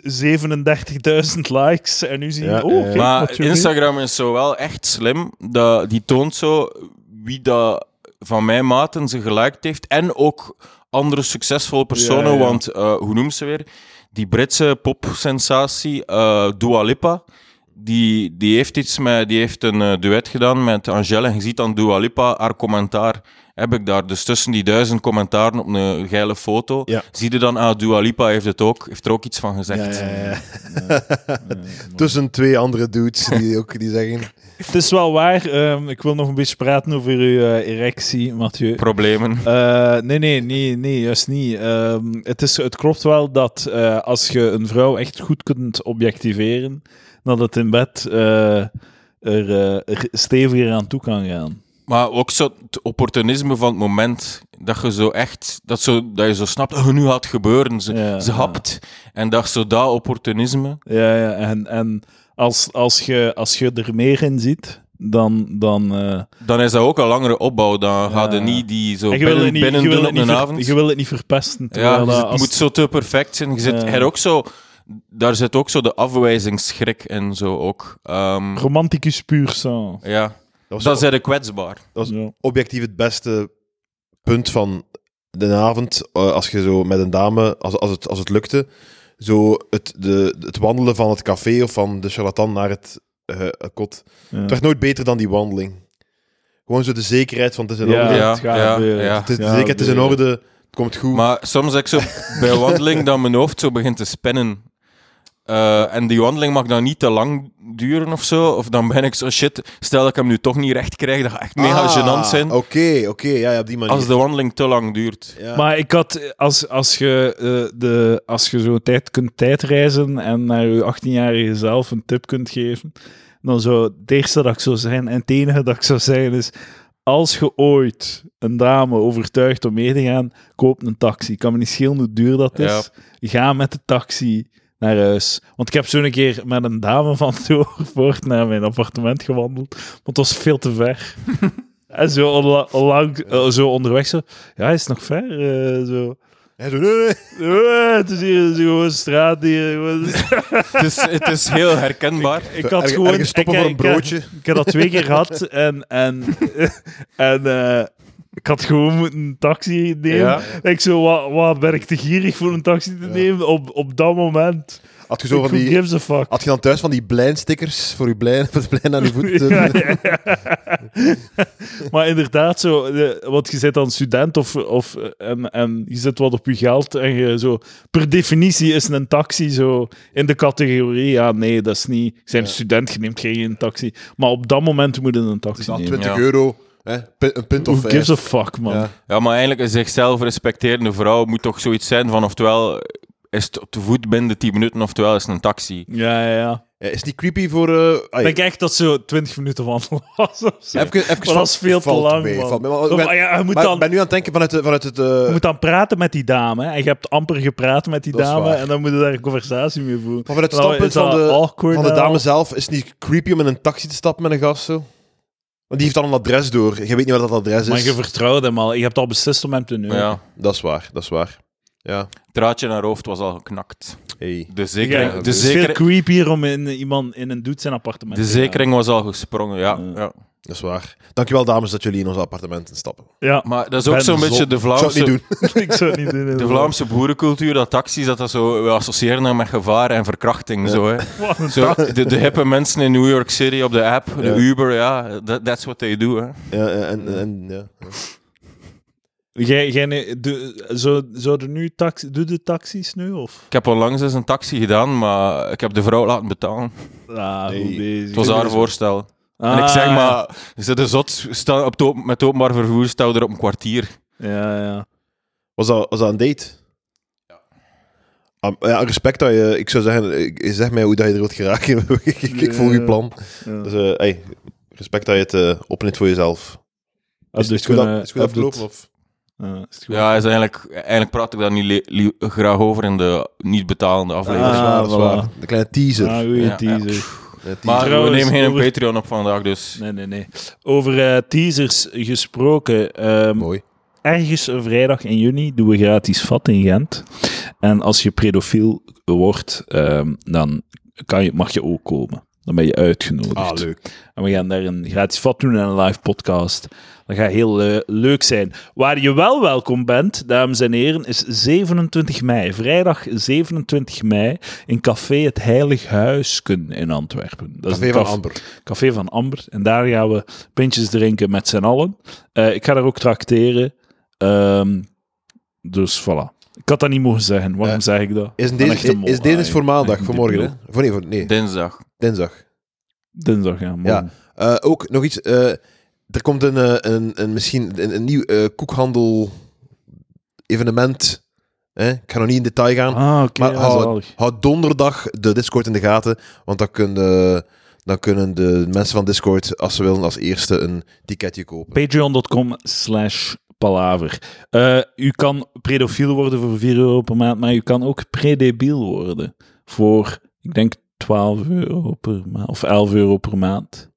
Speaker 1: 37.000 likes. En nu zie je,
Speaker 2: Ja,
Speaker 1: oh,
Speaker 2: eh,
Speaker 1: kijk, wat
Speaker 3: Maar
Speaker 1: je weet.
Speaker 3: Instagram is zo wel echt slim. Dat, die toont zo wie dat van mijn maten ze geliked heeft. En ook andere succesvolle personen.
Speaker 1: Ja, ja.
Speaker 3: Want eh, hoe noemt ze weer? Die Britse popsensatie eh Dua Lipa. Die, die heeft iets met, die heeft een eh, duet gedaan met Angèle. En je ziet dan Dua Lipa, haar commentaar heb ik daar. Dus tussen die duizend commentaren op een geile foto,
Speaker 2: Ja.
Speaker 3: zie je dan, ah, Dua Lipa heeft het ook, heeft er ook iets van gezegd.
Speaker 2: Ja, ja, ja. Tussen twee andere dudes die ook die zeggen...
Speaker 1: Het is wel waar. ehm, ik wil nog een beetje praten over uw eh, erectie, Mathieu.
Speaker 3: Problemen.
Speaker 1: Eh, nee, nee, nee, nee, juist niet. Ehm, het, is, het klopt wel dat eh, als je een vrouw echt goed kunt objectiveren, dat het in bed eh, er, eh, er steviger aan toe kan gaan.
Speaker 3: Maar ook zo het opportunisme van het moment. Dat je zo echt, dat, zo, dat je zo snapt, oh, nu gaat het gebeuren. Ze,
Speaker 1: Ja,
Speaker 3: ze
Speaker 1: ja.
Speaker 3: hapt. En dat zo dat opportunisme.
Speaker 1: Ja, ja en, en als, als, je, als je er meer in ziet, dan... dan eh,
Speaker 3: Dan is dat ook een langere opbouw. Dan ga je
Speaker 1: ja.
Speaker 3: niet die zo
Speaker 1: en je wil
Speaker 3: binnen,
Speaker 1: het niet,
Speaker 3: binnen
Speaker 1: je wil
Speaker 3: doen
Speaker 1: het
Speaker 3: op
Speaker 1: niet
Speaker 3: een
Speaker 1: ver-
Speaker 3: avond.
Speaker 1: Je wil het niet verpesten.
Speaker 3: ja,
Speaker 1: terwijl
Speaker 3: dus
Speaker 1: dat
Speaker 3: het
Speaker 1: als-
Speaker 3: moet zo te perfect zijn. Je zit,
Speaker 1: Ja.
Speaker 3: er ook zo, daar zit ook zo de afwijzingsschrik in. Zo ook. Ehm,
Speaker 1: Romanticus puur sang.
Speaker 3: ja.
Speaker 2: Dat was,
Speaker 3: Dan zijn de kwetsbaar.
Speaker 2: Dat
Speaker 1: Ja.
Speaker 2: objectief het beste punt van de avond. eh, als je zo met een dame, als, als, het, als het lukte, zo het, de, het wandelen van het café of van de charlatan naar het eh, kot.
Speaker 1: Ja.
Speaker 2: Het werd nooit beter dan die wandeling. Gewoon zo de zekerheid van het is in
Speaker 1: Ja,
Speaker 2: orde.
Speaker 3: Ja,
Speaker 1: het gaat
Speaker 3: ja,
Speaker 1: gebeuren.
Speaker 3: ja.
Speaker 2: Het is, de
Speaker 1: Ja,
Speaker 2: zekerheid, het is in
Speaker 1: de-
Speaker 2: orde, het komt goed.
Speaker 3: Maar soms heb ik zo bij wandeling dat mijn hoofd zo begint te spinnen. Eh, en die wandeling mag dan niet te lang duren of zo. Of dan ben ik zo, shit, stel dat ik hem nu toch niet recht krijg, dat gaat echt mega
Speaker 2: Ah,
Speaker 3: gênant zijn.
Speaker 2: Oké, oké, ja, ja, op die manier.
Speaker 3: Als de wandeling te lang duurt.
Speaker 2: Ja.
Speaker 1: Maar ik had, als, als, je, eh, de, als je zo tijd kunt tijdreizen en naar je 18-jarige zelf een tip kunt geven, dan zou het eerste dat ik zou zijn en het enige dat ik zou zeggen is, als je ooit een dame overtuigt om mee te gaan, koop een taxi. Ik kan me niet schelen hoe duur dat is. Ga met de taxi naar huis. Want ik heb zo'n keer met een dame van Toorvoort naar mijn appartement gewandeld, want het was veel te ver. En zo, onla- onlang, eh, zo onderweg zo... Ja, is het nog ver? eh, zo.
Speaker 2: Hij zo, nee, nee.
Speaker 1: Eh, het is hier het is hier gewoon een straat hier. gewoon-
Speaker 3: Het is, het is heel herkenbaar.
Speaker 1: Ik had
Speaker 2: Erg-
Speaker 1: gewoon...
Speaker 2: ergens stoppen
Speaker 1: ik-
Speaker 2: voor een
Speaker 1: ik- ik-
Speaker 2: broodje.
Speaker 1: Ik heb dat twee keer gehad en, en, en eh, ik had gewoon moeten een taxi nemen.
Speaker 3: Ja.
Speaker 1: Ik zo, wat, wat ben ik te gierig voor een taxi te nemen op, op dat moment?
Speaker 2: Had je, zo
Speaker 1: Who
Speaker 2: van die,
Speaker 1: gives a fuck?
Speaker 2: had je dan thuis van die blijn-stickers voor je blijn, voor het blijn aan je voeten?
Speaker 1: Ja, ja, ja. maar inderdaad, zo, de- want je bent dan student of, of, eh, en, en je zit wat op je geld en je zo, per definitie is een taxi zo in de categorie, ja nee, dat is niet, je bent student, je neemt geen taxi. Maar op dat moment moet je een taxi
Speaker 2: Dan
Speaker 1: nemen.
Speaker 2: 20
Speaker 3: Ja.
Speaker 2: euro, hè, pi- een pint
Speaker 1: Who
Speaker 2: of vijf.
Speaker 1: gives a fuck, man.
Speaker 2: Ja.
Speaker 3: Ja, maar eigenlijk een zichzelf respecterende vrouw moet toch zoiets zijn van oftewel is het te voet binnen 10 minuten, oftewel is het een taxi.
Speaker 1: Ja, ja, ja.
Speaker 2: Ja, is het niet creepy voor... eh ai,
Speaker 1: Ik denk echt dat zo 20 minuten wandelen was. Of zo.
Speaker 2: even, even
Speaker 1: Maar dat is veel te
Speaker 2: valt
Speaker 1: lang,
Speaker 2: mee,
Speaker 1: man.
Speaker 2: valt mee. Maar,
Speaker 1: Of,
Speaker 2: ik ben,
Speaker 1: ah ja, je, moet
Speaker 2: maar ik
Speaker 1: dan,
Speaker 2: ben nu aan het denken vanuit, het- vanuit het... eh,
Speaker 1: je moet dan praten met die dame. hè. En je hebt amper gepraat met die
Speaker 2: Dat is
Speaker 1: dame.
Speaker 2: waar.
Speaker 1: En dan moet je daar een conversatie mee voeren.
Speaker 2: maar vanuit het
Speaker 1: Nou,
Speaker 2: standpunt
Speaker 1: is dat
Speaker 2: van de,
Speaker 1: awkward
Speaker 2: van de
Speaker 1: nou?
Speaker 2: dame zelf, is het niet creepy om in een taxi te stappen met een gast zo? Want die heeft dan een adres door. Je weet niet wat dat adres
Speaker 1: Nou, Maar
Speaker 2: is.
Speaker 1: je vertrouwt hem al. Je hebt al beslist om hem te nemen.
Speaker 3: Maar ja,
Speaker 2: Dat is waar, dat is waar. Ja,
Speaker 3: het raadje naar hoofd was al geknakt.
Speaker 2: hey.
Speaker 3: De
Speaker 1: Ja,
Speaker 3: zekering,
Speaker 1: het
Speaker 3: de
Speaker 1: is veel
Speaker 3: zekering,
Speaker 1: creepier om in, iemand in een doet zijn appartement
Speaker 3: de
Speaker 1: te gaan.
Speaker 3: zekering was al gesprongen, ja.
Speaker 1: Ja.
Speaker 3: ja.
Speaker 2: dat is waar. Dankjewel dames dat jullie in ons appartementen stappen.
Speaker 1: Ja,
Speaker 3: Maar dat is
Speaker 1: Ben
Speaker 3: ook zo'n
Speaker 1: zot.
Speaker 3: beetje de
Speaker 2: Ik zou het
Speaker 3: Vlaamse,
Speaker 2: niet doen.
Speaker 1: ik zou het niet doen.
Speaker 3: de
Speaker 1: inderdaad.
Speaker 3: Vlaamse boerencultuur, dat taxis, dat, dat zo, we associëren dat met gevaar en verkrachting. Zo, hè.
Speaker 1: Wat een
Speaker 3: Zo, de, de hippe mensen in New York City op de app, de
Speaker 2: Ja.
Speaker 3: Uber, ja, that- that's what they do. Hè.
Speaker 2: Ja, eh, en, en- en, ja.
Speaker 1: Jij, jij, ne- doe- zou, zouden nu taxi, doe de taxis nu? Of?
Speaker 3: Ik heb onlangs eens een taxi gedaan, maar ik heb de vrouw laten betalen.
Speaker 1: Ah,
Speaker 2: Nee.
Speaker 1: goed bezig.
Speaker 3: Het was haar voorstel. En
Speaker 2: Ah.
Speaker 3: ik
Speaker 1: Ah,
Speaker 3: zeg maar, ze de zot, sta op het open- met het openbaar vervoer, stel er op een kwartier.
Speaker 1: Ja, ja.
Speaker 2: Was, dat, was dat een date? Am- ja, respect dat je... Ik zou zeggen, ik- zeg mij hoe dat je er wilt geraken. ik, ik, ik volg je plan.
Speaker 1: ja.
Speaker 2: Dus, eh, hey, respect dat je het eh opneemt voor jezelf.
Speaker 1: Is
Speaker 2: het goed, af- is het goed afgelopen? Of?
Speaker 3: Ja, is eigenlijk, eigenlijk praat ik daar niet li- li- graag over in de niet betalende
Speaker 2: dat
Speaker 3: aflevering.
Speaker 2: is
Speaker 1: Ah,
Speaker 2: waar, dat is
Speaker 1: voilà.
Speaker 2: waar. De kleine teaser.
Speaker 1: Ah, goeie
Speaker 3: Ja, ja.
Speaker 1: teaser.
Speaker 2: Een teaser.
Speaker 3: maar
Speaker 1: Trouwens,
Speaker 3: we nemen geen
Speaker 1: over-
Speaker 3: Patreon op vandaag, dus...
Speaker 1: Nee, nee, nee. Over eh, teasers gesproken. ehm,
Speaker 2: Mooi.
Speaker 1: ergens een vrijdag in juni doen we gratis vat in Gent. En als je pedofiel wordt, ehm, dan kan je, mag je ook komen. Dan ben je uitgenodigd.
Speaker 2: Ah, leuk.
Speaker 1: En we gaan daar een gratis vat doen en een live podcast. Dat gaat heel eh, leuk zijn. Waar je wel welkom bent, dames en heren, is 27 mei. Vrijdag 27 mei in Café Het Heilig Huisken in Antwerpen. Dat is
Speaker 2: Café
Speaker 1: een
Speaker 2: van
Speaker 1: caf-
Speaker 2: Amber.
Speaker 1: Café van Amber. En daar gaan we pintjes drinken met z'n allen. Eh, ik ga daar ook tracteren. Ehm, dus voilà. Ik had dat niet mogen zeggen. Waarom
Speaker 2: Eh,
Speaker 1: zeg ik dat? Ik
Speaker 2: Is deze
Speaker 1: ben
Speaker 2: is,
Speaker 1: echt een mol.
Speaker 2: is, deze
Speaker 1: Ah,
Speaker 2: voor maandag,
Speaker 1: echt
Speaker 2: voor
Speaker 1: een
Speaker 2: morgen,
Speaker 1: diplo.
Speaker 2: hè? Voor, nee, voor, nee,
Speaker 3: Dinsdag.
Speaker 2: dinsdag.
Speaker 1: Dinsdag, ja. Morgen.
Speaker 2: Ja. Eh, ook nog iets. eh, er komt een, eh, een, een, misschien een, een nieuw eh, koekhandel-evenement. Eh, ik ga nog niet in detail gaan.
Speaker 1: Ah, oké.
Speaker 2: Maar oh,
Speaker 1: ja,
Speaker 2: hou-
Speaker 1: zalig.
Speaker 2: Houd donderdag de Discord in de gaten. Want dan kunnen, dan kunnen de mensen van Discord, als ze willen, als eerste een ticketje kopen.
Speaker 1: Patreon.com slash palaver. Eh, u kan predofiel worden voor 4 euro per maand, maar u kan ook predebiel worden voor, ik denk, 12 euro per maand of 11 euro per maand.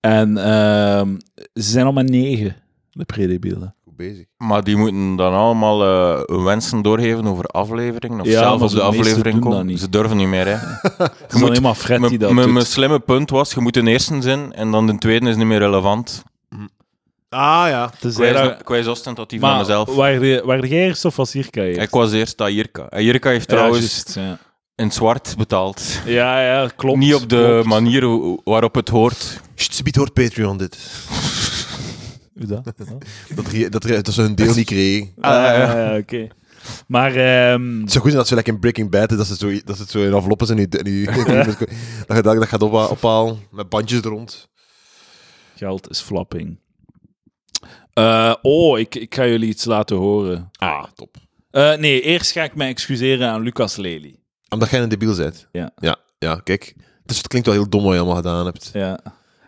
Speaker 1: En ehm, ze zijn allemaal 9, de predebielen.
Speaker 2: Goed bezig.
Speaker 3: Maar die moeten dan allemaal eh, hun wensen doorgeven over afleveringen. Of
Speaker 1: Ja,
Speaker 3: zelf
Speaker 1: maar
Speaker 3: op
Speaker 1: ze-
Speaker 3: de
Speaker 1: meesten
Speaker 3: aflevering
Speaker 1: doen dat
Speaker 3: komen.
Speaker 1: niet.
Speaker 3: Ze durven niet meer, hè.
Speaker 1: Het is alleen maar Fred die dat
Speaker 3: Mijn
Speaker 1: doet.
Speaker 3: slimme punt was, je moet de eerste zijn en dan de tweede is niet meer relevant.
Speaker 2: Ah ja.
Speaker 1: Het is
Speaker 3: Ik was-
Speaker 1: eigenlijk-
Speaker 3: Ik was ostentatief aan
Speaker 1: Maar
Speaker 3: mezelf.
Speaker 1: waar de- waar de jij eerst of was Jirka eerst?
Speaker 3: Ik was eerst aan Jirka. En Jirka heeft
Speaker 1: Ja,
Speaker 3: trouwens
Speaker 1: juist, ja.
Speaker 3: in het zwart betaald.
Speaker 1: Ja, ja, klopt.
Speaker 3: Niet op de
Speaker 1: klopt.
Speaker 3: manier hoe- waarop het hoort.
Speaker 2: Sbiet hoort Patreon dit.
Speaker 1: Hoe dat?
Speaker 3: Ah,
Speaker 1: Hoe dat?
Speaker 2: Dat, re- dat, re- dat ze hun deel niet kregen.
Speaker 1: Ah, ja, ja, oké. Maar... ehm,
Speaker 2: Het zou goed zijn dat ze lekker in Breaking Bad, dat ze het zo, dat ze het zo in enveloppes en nu, en nu dat je dat, dat gaat op, ophalen met bandjes er rond.
Speaker 1: Geld is flapping. Eh, oh, ik, ik ga jullie iets laten horen.
Speaker 2: Ah, top.
Speaker 1: Eh, nee, eerst ga ik mij excuseren aan Lucas Lely.
Speaker 2: Omdat jij een debiel bent.
Speaker 1: Ja.
Speaker 2: Ja, ja kijk. Dus het klinkt wel heel dom wat je allemaal gedaan hebt.
Speaker 1: Ja.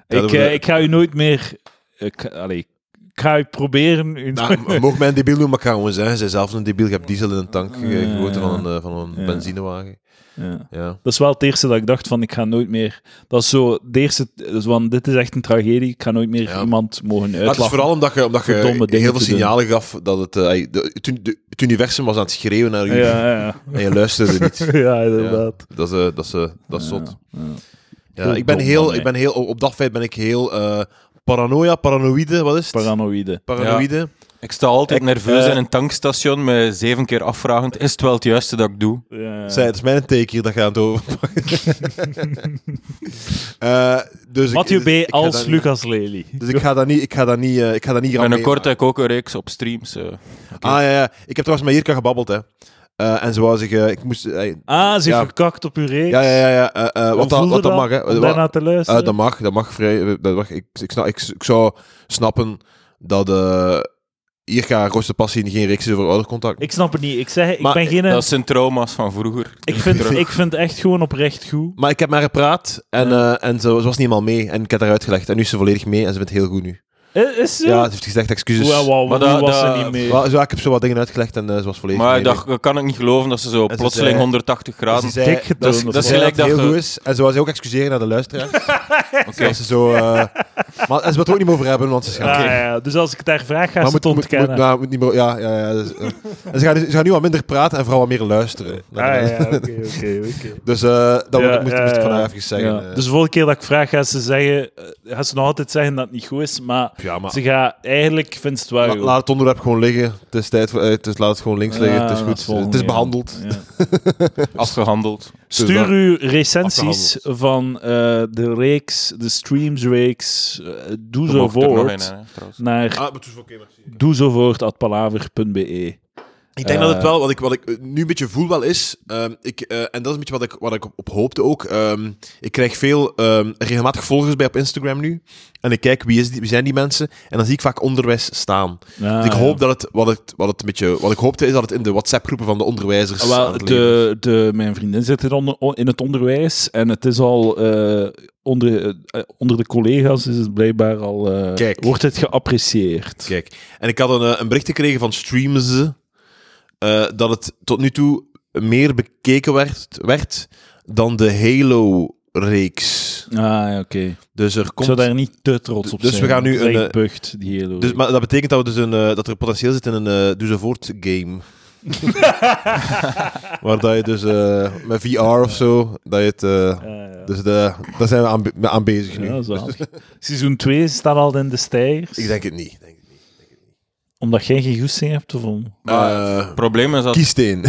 Speaker 2: dat
Speaker 1: ik,
Speaker 2: we-
Speaker 1: eh, ik ga u nooit meer... Ik, allee, ik ga u proberen... U
Speaker 2: Nou, m- mogen mij een debiel noemen, maar ik ga gewoon zeggen, zij zelf een debiel. Je hebt diesel in een tank ge-
Speaker 1: Eh,
Speaker 2: gegoten van een, eh, van een
Speaker 1: ja.
Speaker 2: benzinewagen.
Speaker 1: Ja.
Speaker 2: Ja.
Speaker 1: Dat is wel het eerste dat ik dacht van, ik ga nooit meer... Dat is zo, het eerste... dus, Want dit is echt een tragedie, ik ga nooit meer
Speaker 2: Ja.
Speaker 1: iemand mogen
Speaker 2: Maar het is
Speaker 1: uitlachen.
Speaker 2: vooral omdat je, omdat je
Speaker 1: Verdomme dingen
Speaker 2: heel veel
Speaker 1: te doen.
Speaker 2: signalen gaf dat het, eh, de- het uni- de- het universum was aan het schreeuwen naar u
Speaker 1: Ja, ja,
Speaker 2: en je luisterde niet.
Speaker 1: ja. ja, inderdaad.
Speaker 2: Ja, dat is, eh, dat is, eh, dat is zot.
Speaker 1: Ja, ja.
Speaker 2: Ja,
Speaker 1: Heel
Speaker 2: ik ben
Speaker 1: dom
Speaker 2: heel,
Speaker 1: van
Speaker 2: ik ben heel, op dat feit ben ik heel eh, paranoia, paranoïde, wat is het?
Speaker 1: Paranoïde.
Speaker 2: paranoïde.
Speaker 3: Ik sta altijd
Speaker 1: Ik,
Speaker 3: nerveus
Speaker 1: eh,
Speaker 3: in een tankstation me zeven keer afvragend, is het wel het juiste dat ik doe?
Speaker 1: Ja.
Speaker 2: Eh. Zij, dus het is mijn take hier dat je aan het overpakken. Eh, dus
Speaker 1: Mathieu
Speaker 2: ik, dus
Speaker 1: B.
Speaker 2: ik ga
Speaker 1: als
Speaker 2: daar niet-
Speaker 1: Lucas Lely.
Speaker 2: Dus ik ga dat niet, ik ga dat niet, eh, ik ga dat niet gaan
Speaker 3: Binnenkort
Speaker 2: meemaken.
Speaker 3: heb ik ook een reeks op streams. eh.
Speaker 2: Ah ja, ja, ik heb trouwens met Jirka gebabbeld, hè. Eh, en ze wou zich, eh, ik moest, eh,
Speaker 1: Ah, ze heeft
Speaker 2: Ja.
Speaker 1: verkakt op uw reeks.
Speaker 2: ja, ja, ja, ja, eh, eh,
Speaker 1: Hoe
Speaker 2: wat, dat,
Speaker 1: voelde
Speaker 2: wat dat mag, hè.
Speaker 1: om
Speaker 2: Wat-
Speaker 1: daarna te
Speaker 2: Eh,
Speaker 1: luisteren.
Speaker 2: dat mag, dat mag vrij. eh, Dat mag. Ik, ik, snap, ik, ik zou snappen dat eh hier gaat Roste Passie geen reeks is over oudercontact.
Speaker 1: Ik snap het niet. Ik zeg, ik
Speaker 2: Maar
Speaker 1: ben geen...
Speaker 3: Dat zijn trauma's van vroeger.
Speaker 1: Ik vind, ik vind echt gewoon oprecht goed.
Speaker 2: Maar ik heb maar gepraat en, eh, en ze, ze was niet helemaal mee. En ik heb haar uitgelegd. En nu is ze volledig mee en ze vindt het heel goed nu.
Speaker 1: Eh, Is, is zo? Ah,
Speaker 2: Ja, ze heeft gezegd excuses.
Speaker 1: Hoe- hoe-
Speaker 3: Maar
Speaker 1: hoe
Speaker 3: dat-
Speaker 1: was
Speaker 3: dat-
Speaker 1: ze niet mee?
Speaker 2: Wel, zo, ik heb zo wat dingen uitgelegd en eh, ze was volledig
Speaker 3: Maar
Speaker 2: mee.
Speaker 3: ik dacht, kan ik niet geloven dat ze zo
Speaker 2: ze
Speaker 3: plotseling
Speaker 2: zei-
Speaker 3: 180
Speaker 2: Dus
Speaker 3: graden...
Speaker 2: ze zei-
Speaker 1: dik getoond
Speaker 2: dat is-
Speaker 1: of
Speaker 2: dat
Speaker 1: zo.
Speaker 2: is zei dat
Speaker 3: Gelijk
Speaker 2: het heel
Speaker 3: dat
Speaker 2: goed is.
Speaker 3: ge-
Speaker 2: En ze was ook excuseren naar de luisteraars.
Speaker 3: Oké.
Speaker 2: Dat ze zo... eh, maar en ze wil het ook niet meer over hebben, want ze is gaan
Speaker 1: Ah, ja, dus als ik daar vraag, ga ze het
Speaker 2: Maar moet, moet, moet,
Speaker 1: ontkennen.
Speaker 2: nou, moet niet meer, ja, ja, ja. dus, eh. En ze, gaan, nu- ze gaan nu wat minder praten en vooral wat meer luisteren.
Speaker 1: Ah, ja, oké, oké, oké.
Speaker 2: Dus eh, dat
Speaker 1: Ja,
Speaker 2: moet, moest,
Speaker 1: ja,
Speaker 2: moest ik
Speaker 1: ja.
Speaker 2: van haar even zeggen.
Speaker 1: Ja.
Speaker 2: eh.
Speaker 1: Dus de volgende keer dat ik vraag, gaat ze, zeggen, eh, gaat ze nog altijd zeggen dat het niet goed is, maar
Speaker 2: ja, maar
Speaker 1: ze gaat eigenlijk, vindt ze het wel
Speaker 2: la-
Speaker 1: goed.
Speaker 2: laat het onderwerp gewoon liggen. Het is tijd voor, eh, het is, laat het gewoon links liggen.
Speaker 1: Ja,
Speaker 2: het is
Speaker 1: dat
Speaker 2: goed.
Speaker 1: volgende
Speaker 2: het is
Speaker 1: keer.
Speaker 2: behandeld.
Speaker 1: Ja.
Speaker 2: eh,
Speaker 3: Afgehandeld.
Speaker 1: Stuur
Speaker 2: dat-
Speaker 1: uw recensies van eh, de reeks, de streams reeks, eh, doe
Speaker 3: Er
Speaker 1: zo
Speaker 3: mocht er nog een,
Speaker 1: voort,
Speaker 3: hè, trouwens.
Speaker 1: naar
Speaker 2: Ah, maar het is oké, merci.
Speaker 1: doe zo voort at palaver.be.
Speaker 2: Ik denk
Speaker 1: Eh,
Speaker 2: dat het wel, wat ik, wat ik eh, nu een beetje voel wel is, ehm, ik, eh, en dat is een beetje wat ik, wat ik op, op hoopte ook, ehm, ik krijg veel ehm, regelmatig volgers bij op Instagram nu, en ik kijk wie, is die, wie zijn die mensen, en dan zie ik vaak onderwijs staan.
Speaker 1: Ja,
Speaker 2: dus ik
Speaker 1: Ah, ja.
Speaker 2: hoop dat het, wat het, wat het een beetje, wat ik hoopte is dat het in de WhatsApp-groepen van de onderwijzers aan
Speaker 1: Ah, Wel, eh,
Speaker 2: het leven
Speaker 1: de, de, mijn vriendin zit in, onder, on- in het onderwijs en het is al eh, onder, eh, onder de collega's is het blijkbaar al eh,
Speaker 2: Kijk.
Speaker 1: wordt het geapprecieerd.
Speaker 2: Kijk, en ik had een, eh, een bericht gekregen van Streams eh, dat het tot nu toe meer bekeken werd, werd dan de Halo-reeks.
Speaker 1: Ah, ja, oké.
Speaker 2: Dus er
Speaker 1: Ik
Speaker 2: komt...
Speaker 1: zou daar niet te trots op
Speaker 2: Dus we
Speaker 1: zijn.
Speaker 2: gaan nu
Speaker 1: Het is
Speaker 2: een,
Speaker 1: echt
Speaker 2: eh,
Speaker 1: bucht, die hele
Speaker 2: Dus, maar dat betekent dat, we dus een, eh, dat er potentieel zit in een eh Doe Ze Voort game. Waar dat je dus eh, met VR of zo, dat je het... eh,
Speaker 1: Ja, ja.
Speaker 2: dus de, daar zijn we aan, be- aan bezig nu.
Speaker 1: Ja, zalig. Seizoen 2 staat al in de stijgers.
Speaker 2: Ik denk het niet. Ik denk het niet.
Speaker 1: Omdat jij geen goesting hebt of om...
Speaker 3: Maar
Speaker 2: Eh,
Speaker 3: Het probleem is dat
Speaker 2: kiesteen.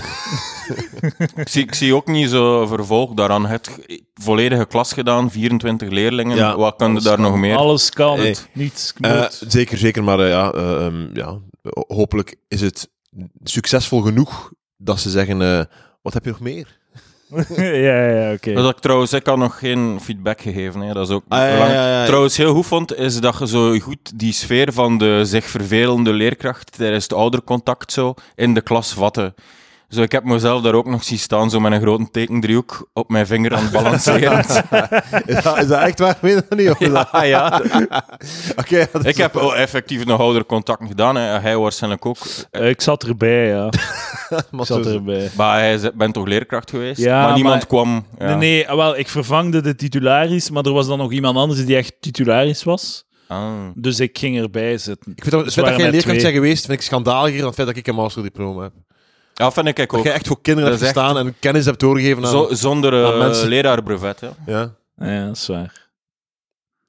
Speaker 3: ik zie, ik zie ook niet zo vervolg daaraan. Het g- volledige klas gedaan, 24 leerlingen.
Speaker 2: Ja,
Speaker 3: Wat kan er daar nog meer?
Speaker 1: Alles kan,
Speaker 2: Hey.
Speaker 1: niets moet.
Speaker 2: Eh, zeker, zeker. Maar eh, ja, eh, ehm, ja, ho- hopelijk is het succesvol genoeg dat ze zeggen... eh, wat heb je nog meer?
Speaker 1: ja, ja, oké.
Speaker 3: Dus Dat ik trouwens, ik had nog geen feedback gegeven. Hè. Dat is ook
Speaker 2: Ah, ja, ja,
Speaker 3: belangrijk.
Speaker 2: ja, ja.
Speaker 3: Trouwens, heel goed vond, is dat je zo goed die sfeer van de zich vervelende leerkracht tijdens het oudercontact zo in de klas vatte. Zo, ik heb mezelf daar ook nog zien staan, zo met een grote tekendriehoek op mijn vinger aan het balanceren.
Speaker 2: Is dat, is dat echt waar? Weet je dat niet? of is dat-
Speaker 3: ja, Ah, ja.
Speaker 2: Oké, ja, dat is
Speaker 3: Ik heb wel effectief nog oudercontact gedaan, hè. hij waarschijnlijk ook.
Speaker 1: Eh, ik zat erbij, ja.
Speaker 2: allemaal
Speaker 1: Ik zat
Speaker 2: zo-
Speaker 1: erbij.
Speaker 3: Maar hij is- bent toch leerkracht geweest?
Speaker 1: Ja,
Speaker 3: maar niemand
Speaker 1: maar-
Speaker 3: kwam. Ja.
Speaker 1: Nee, nee, ah, wel, ik vervangde de titularis, maar er was dan nog iemand anders die echt titularis was.
Speaker 3: Ah.
Speaker 1: Dus ik ging erbij zitten.
Speaker 2: Ik vind dat,
Speaker 1: Ze
Speaker 2: het feit dat
Speaker 1: waren
Speaker 2: jij
Speaker 1: met
Speaker 2: leerkracht
Speaker 1: twee.
Speaker 2: bent geweest, vind ik schandaliger dan het feit dat ik een masterdiploma heb.
Speaker 3: Ja, vind ik
Speaker 2: Dat
Speaker 3: ook.
Speaker 2: jij echt voor kinderen
Speaker 3: Dat
Speaker 2: hebt
Speaker 3: is echt-
Speaker 2: gestaan en kennis hebt doorgegeven aan...
Speaker 3: Zo, zonder
Speaker 2: aan
Speaker 3: eh
Speaker 2: mensen.
Speaker 3: leraarbrevet. Hè.
Speaker 2: Ja.
Speaker 1: Ah Ja, dat is waar.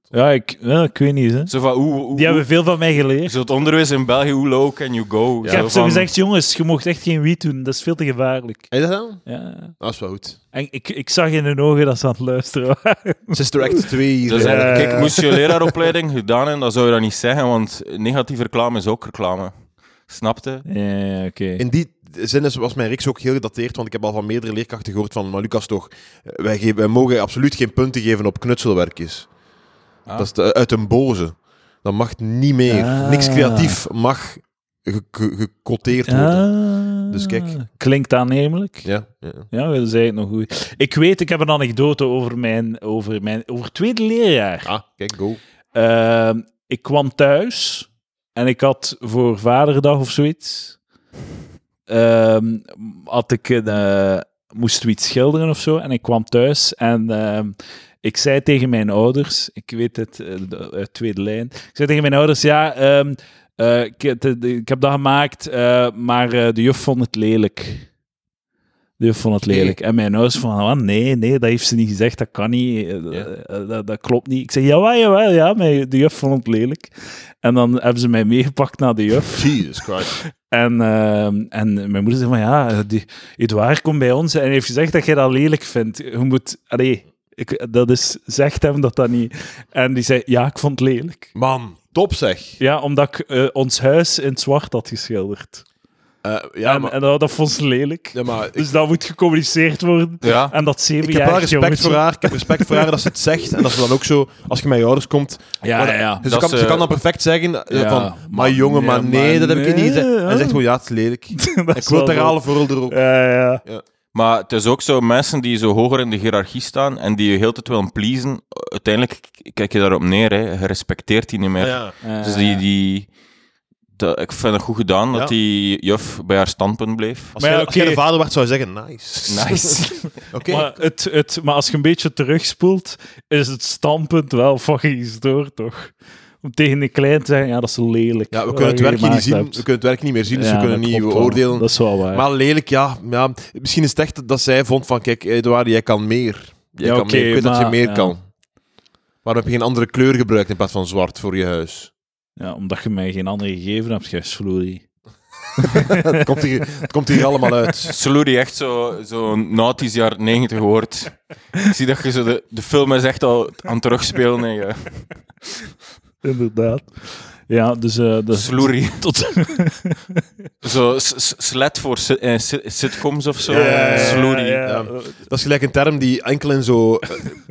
Speaker 1: Ja, ik, ja, ik weet niet, hè.
Speaker 3: Zo van, hoe, hoe,
Speaker 1: Die hebben veel van mij
Speaker 3: hoe-
Speaker 1: geleerd.
Speaker 3: zo het onderwijs in België, hoe low can you go?
Speaker 2: Ja.
Speaker 1: ik
Speaker 3: Zo
Speaker 1: heb zo
Speaker 3: van-
Speaker 1: gezegd, jongens, je mocht echt geen wiet doen, dat is veel te gevaarlijk.
Speaker 2: Heb je dat dan?
Speaker 1: Ja.
Speaker 2: Dat is wel goed.
Speaker 1: En ik, ik zag in hun ogen dat ze aan het luisteren waren.
Speaker 2: Sister Act 2 hier. eh,
Speaker 3: Dus
Speaker 1: Ja, ja,
Speaker 3: eigenlijk,
Speaker 1: ja.
Speaker 3: kijk, moest je leraaropleiding gedaan hebben, dan zou je dat niet zeggen, want negatieve reclame is ook reclame. Snapte?
Speaker 1: Ja, ja, oké.
Speaker 2: In die zin is, was mijn reeks ook heel gedateerd, want ik heb al van meerdere leerkrachten gehoord van, maar Lucas toch, eh, wij, geven, wij mogen absoluut geen punten geven op knutselwerkjes.
Speaker 3: Ah.
Speaker 2: Dat is de- uit een boze. Dat mag niet meer.
Speaker 1: Ah.
Speaker 2: Niks creatief mag ge- ge- gecoteerd worden.
Speaker 1: Ah,
Speaker 2: Dus kijk.
Speaker 1: Klinkt aannemelijk. Ja,
Speaker 2: Ja, ja.
Speaker 1: dat is eigenlijk nog goed. Ik weet, ik heb een anekdote over mijn, over mijn over tweede leerjaar.
Speaker 2: Ah, kijk, go.
Speaker 1: Ehm, ik kwam thuis en ik had voor Vaderdag of zoiets. ehm, had ik een, eh, moesten we iets schilderen of zo. En ik kwam thuis en ehm, ik zei tegen mijn ouders, ik weet het eh, de- uit tweede lijn, ik zei tegen mijn ouders, ja, ehm, eh, ik, het- de- ik heb dat gemaakt, eh, maar eh, de juf vond het lelijk. De juf vond het lelijk. En mijn ouders van, ah, nee, nee, dat heeft ze niet gezegd, dat kan niet, eh,
Speaker 2: Ja.
Speaker 1: eh, dat, dat klopt niet. Ik zei, jawel, jawel, ja, maar de juf vond het lelijk. En dan hebben ze mij meegepakt naar de juf.
Speaker 2: Jesus Christ.
Speaker 1: En, ehm, en mijn moeder zei van, ja, die, Edouard komt bij ons en heeft gezegd dat jij dat lelijk vindt. Je moet, allee, ik, dat is, zegt hem dat dat niet. En die zei, ja, ik vond het lelijk.
Speaker 2: Man, top zeg.
Speaker 1: Ja, omdat ik eh, ons huis in het zwart had geschilderd.
Speaker 2: Eh, ja,
Speaker 1: en
Speaker 2: maar,
Speaker 1: en dat, dat vond ze lelijk.
Speaker 2: ja, maar ik,
Speaker 1: dus dat moet gecommuniceerd worden.
Speaker 3: Ja.
Speaker 1: En dat zeven
Speaker 2: ik heb wel respect voor haar. Ik heb respect voor haar dat ze het zegt. En dat ze dan ook zo, als je met je ouders komt...
Speaker 1: Ja,
Speaker 2: maar
Speaker 1: ja,
Speaker 2: dat-
Speaker 1: ja.
Speaker 2: Ze,
Speaker 3: Dat
Speaker 2: kan,
Speaker 3: ze-
Speaker 2: ze kan dan perfect zeggen eh,
Speaker 1: Ja,
Speaker 2: van... Maar
Speaker 1: maar
Speaker 2: jongen,
Speaker 1: nee,
Speaker 2: maar nee,
Speaker 1: maar
Speaker 2: dat heb ik niet
Speaker 1: nee,
Speaker 2: gezegd.
Speaker 1: ja.
Speaker 2: En ze zegt gewoon, ja, het is lelijk.
Speaker 1: Dat
Speaker 2: Ik
Speaker 1: is
Speaker 2: wil het
Speaker 1: wel zo.
Speaker 2: herhalen voor er ook.
Speaker 1: Ja, ja, ja.
Speaker 3: Maar het is ook zo, mensen die zo hoger in de hiërarchie staan en die je heel de tijd willen pleasen, uiteindelijk k- kijk je daarop neer, hè. je respecteert die niet meer.
Speaker 2: Ja.
Speaker 1: Eh,
Speaker 3: Dus die, die, dat, ik vind het goed gedaan
Speaker 2: Ja.
Speaker 3: dat die juf bij haar standpunt bleef.
Speaker 2: Als,
Speaker 1: Maar ja,
Speaker 2: jij, als jij
Speaker 1: oké.
Speaker 2: de vader werd, zou je zeggen, nice.
Speaker 3: Nice.
Speaker 2: Oké.
Speaker 1: Maar, het, het, maar als je een beetje terugspoelt, is het standpunt wel fucking gestoord, toch? Om tegen een klein te zeggen, ja, dat is lelijk.
Speaker 2: Ja, we
Speaker 1: wat
Speaker 2: kunnen het
Speaker 1: je
Speaker 2: werk hier
Speaker 1: gemaakt
Speaker 2: niet zien. We
Speaker 1: hebt.
Speaker 2: kunnen het werk niet meer zien, dus
Speaker 1: Ja,
Speaker 2: we kunnen
Speaker 1: dat
Speaker 2: niet
Speaker 1: klopt wel.
Speaker 2: beoordelen.
Speaker 1: Dat is wel waar.
Speaker 2: Maar lelijk, ja, ja. Misschien is het echt dat zij vond van, kijk, Edouard, jij kan meer. Jij
Speaker 1: Ja,
Speaker 2: kan
Speaker 1: oké,
Speaker 2: meer. Ik weet dat je
Speaker 1: maar-
Speaker 2: meer
Speaker 1: ja.
Speaker 2: kan. Waarom heb je geen andere kleur gebruikt in plaats van zwart voor je huis?
Speaker 1: ja, omdat je mij geen andere gegeven hebt, gij Flory.
Speaker 2: Het komt hier, het komt hier allemaal uit.
Speaker 3: Slurry, echt zo'n zo nautisch jaar 90 woord. Ik zie dat je zo de, de film is echt al aan het terugspelen. en je-
Speaker 1: Inderdaad. Ja, dus... eh dat is
Speaker 3: Slurry.
Speaker 1: Tot...
Speaker 3: Zo s- s- slet voor si- eh, si- sitcoms of zo.
Speaker 2: Ja, ja, ja, ja.
Speaker 3: Slurry.
Speaker 2: Ja.
Speaker 1: eh,
Speaker 2: Dat is gelijk een term die enkel in zo eh,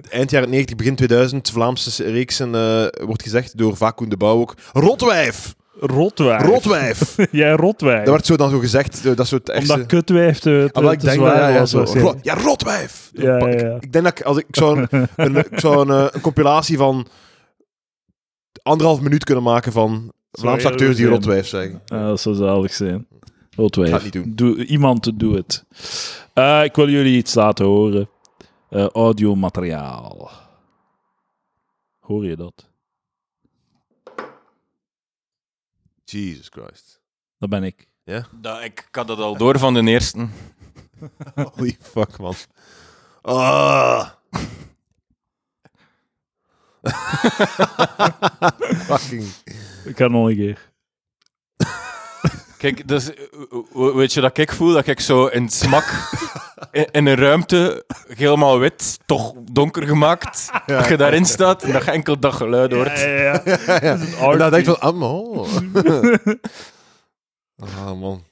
Speaker 2: eind jaren 90, begin 2000 Vlaamse reeksen eh, wordt gezegd door vaak Koen de Bouw ook. Rotwijf!
Speaker 1: Rotwijf.
Speaker 2: Rotwijf!
Speaker 1: Jij rotwijf.
Speaker 2: Dat werd zo dan zo gezegd. eh, Dat soort echte...
Speaker 1: Omdat kutwijf te, te,
Speaker 2: Ah, wel, ik
Speaker 1: te
Speaker 2: denk dat
Speaker 1: zwaar
Speaker 2: ja, ja,
Speaker 1: was.
Speaker 2: zo.
Speaker 1: waarschijnlijk.
Speaker 2: Ro- ja, rotwijf!
Speaker 1: Ja, ja, ja.
Speaker 2: Ik denk dat ik, als ik, ik zou, een, een, ik zou een, eh, een compilatie van anderhalf minuut kunnen maken van Vlaamse
Speaker 1: heel
Speaker 2: acteurs die
Speaker 1: goed zijn.
Speaker 2: rotwijf zeggen.
Speaker 1: Ja, dat zou zalig zijn. Rotwijf.
Speaker 2: Ik ga het niet doen.
Speaker 1: Doe, iemand doet het. Eh, ik wil jullie iets laten horen. Eh audiomateriaal. Hoor je dat?
Speaker 2: Jesus Christ.
Speaker 1: Dat ben ik.
Speaker 3: Dat, ik had dat al door van de eerste.
Speaker 2: Holy fuck, man. Ah. Fucking.
Speaker 1: Ik kan nog een keer.
Speaker 3: Kijk, dus, eh, eh, weet je dat ik voel? Dat ik zo in het smak, in, in een ruimte, helemaal wit, toch donker gemaakt, dat je daarin staat en dat je enkel dat geluid hoort.
Speaker 1: Ja, ja, ja.
Speaker 2: Ja, ja. En dan denk ik van, ah, man. Ah, man.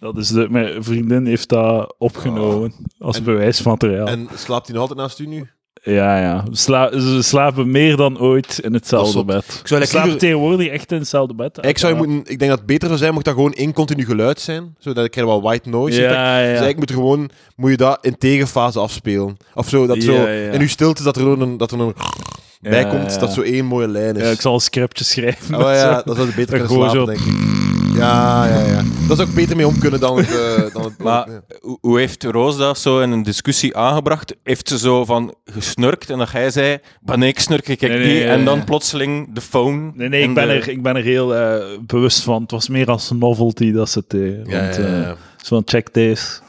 Speaker 1: Dat is de, mijn vriendin heeft dat opgenomen als
Speaker 2: Oh. En-
Speaker 1: bewijsmateriaal.
Speaker 2: En slaapt hij nog altijd naast u nu?
Speaker 1: ja, ja. Sla- ze slapen meer dan ooit in hetzelfde
Speaker 2: Dat
Speaker 1: bed.
Speaker 2: Ik zou
Speaker 1: Ze slapen
Speaker 2: liever-
Speaker 1: tegenwoordig echt in hetzelfde bed.
Speaker 2: Ik zou je moeten, ik denk dat het beter zou zijn mocht dat gewoon één continu geluid zijn, zodat ik er wat white noise effect.
Speaker 1: Ja,
Speaker 2: Dus
Speaker 1: ja.
Speaker 2: eigenlijk moet er gewoon moet je dat in tegenfase afspelen. Of zo, dat
Speaker 1: Ja,
Speaker 2: zo
Speaker 1: ja.
Speaker 2: in uw stilte dat er gewoon een, dat er een bij komt,
Speaker 1: ja.
Speaker 2: dat zo één mooie lijn is.
Speaker 1: Ja, ik zal een scriptje schrijven.
Speaker 2: Oh ja, dat zou je beter
Speaker 1: En
Speaker 2: kunnen
Speaker 1: gewoon
Speaker 2: slapen, denk ik. Ja, ja, ja. Dat zou ik beter mee om kunnen dan het... eh, dan het
Speaker 3: Maar
Speaker 2: ja.
Speaker 3: hoe- hoe heeft Roos dat zo in een discussie aangebracht? Heeft ze zo van gesnurkt en dat jij zei, ben ik snurk, ik kijk
Speaker 1: Nee,
Speaker 3: die,
Speaker 1: nee, nee,
Speaker 3: en
Speaker 1: nee.
Speaker 3: dan plotseling de phone.
Speaker 1: Nee, nee,
Speaker 3: en
Speaker 1: ik ben,
Speaker 3: de-
Speaker 1: er, ik ben er heel eh, bewust van. Het was meer als novelty dat ze het eh,
Speaker 2: Ja,
Speaker 1: want,
Speaker 2: ja, ja,
Speaker 1: eh,
Speaker 2: ja.
Speaker 1: zo van check this.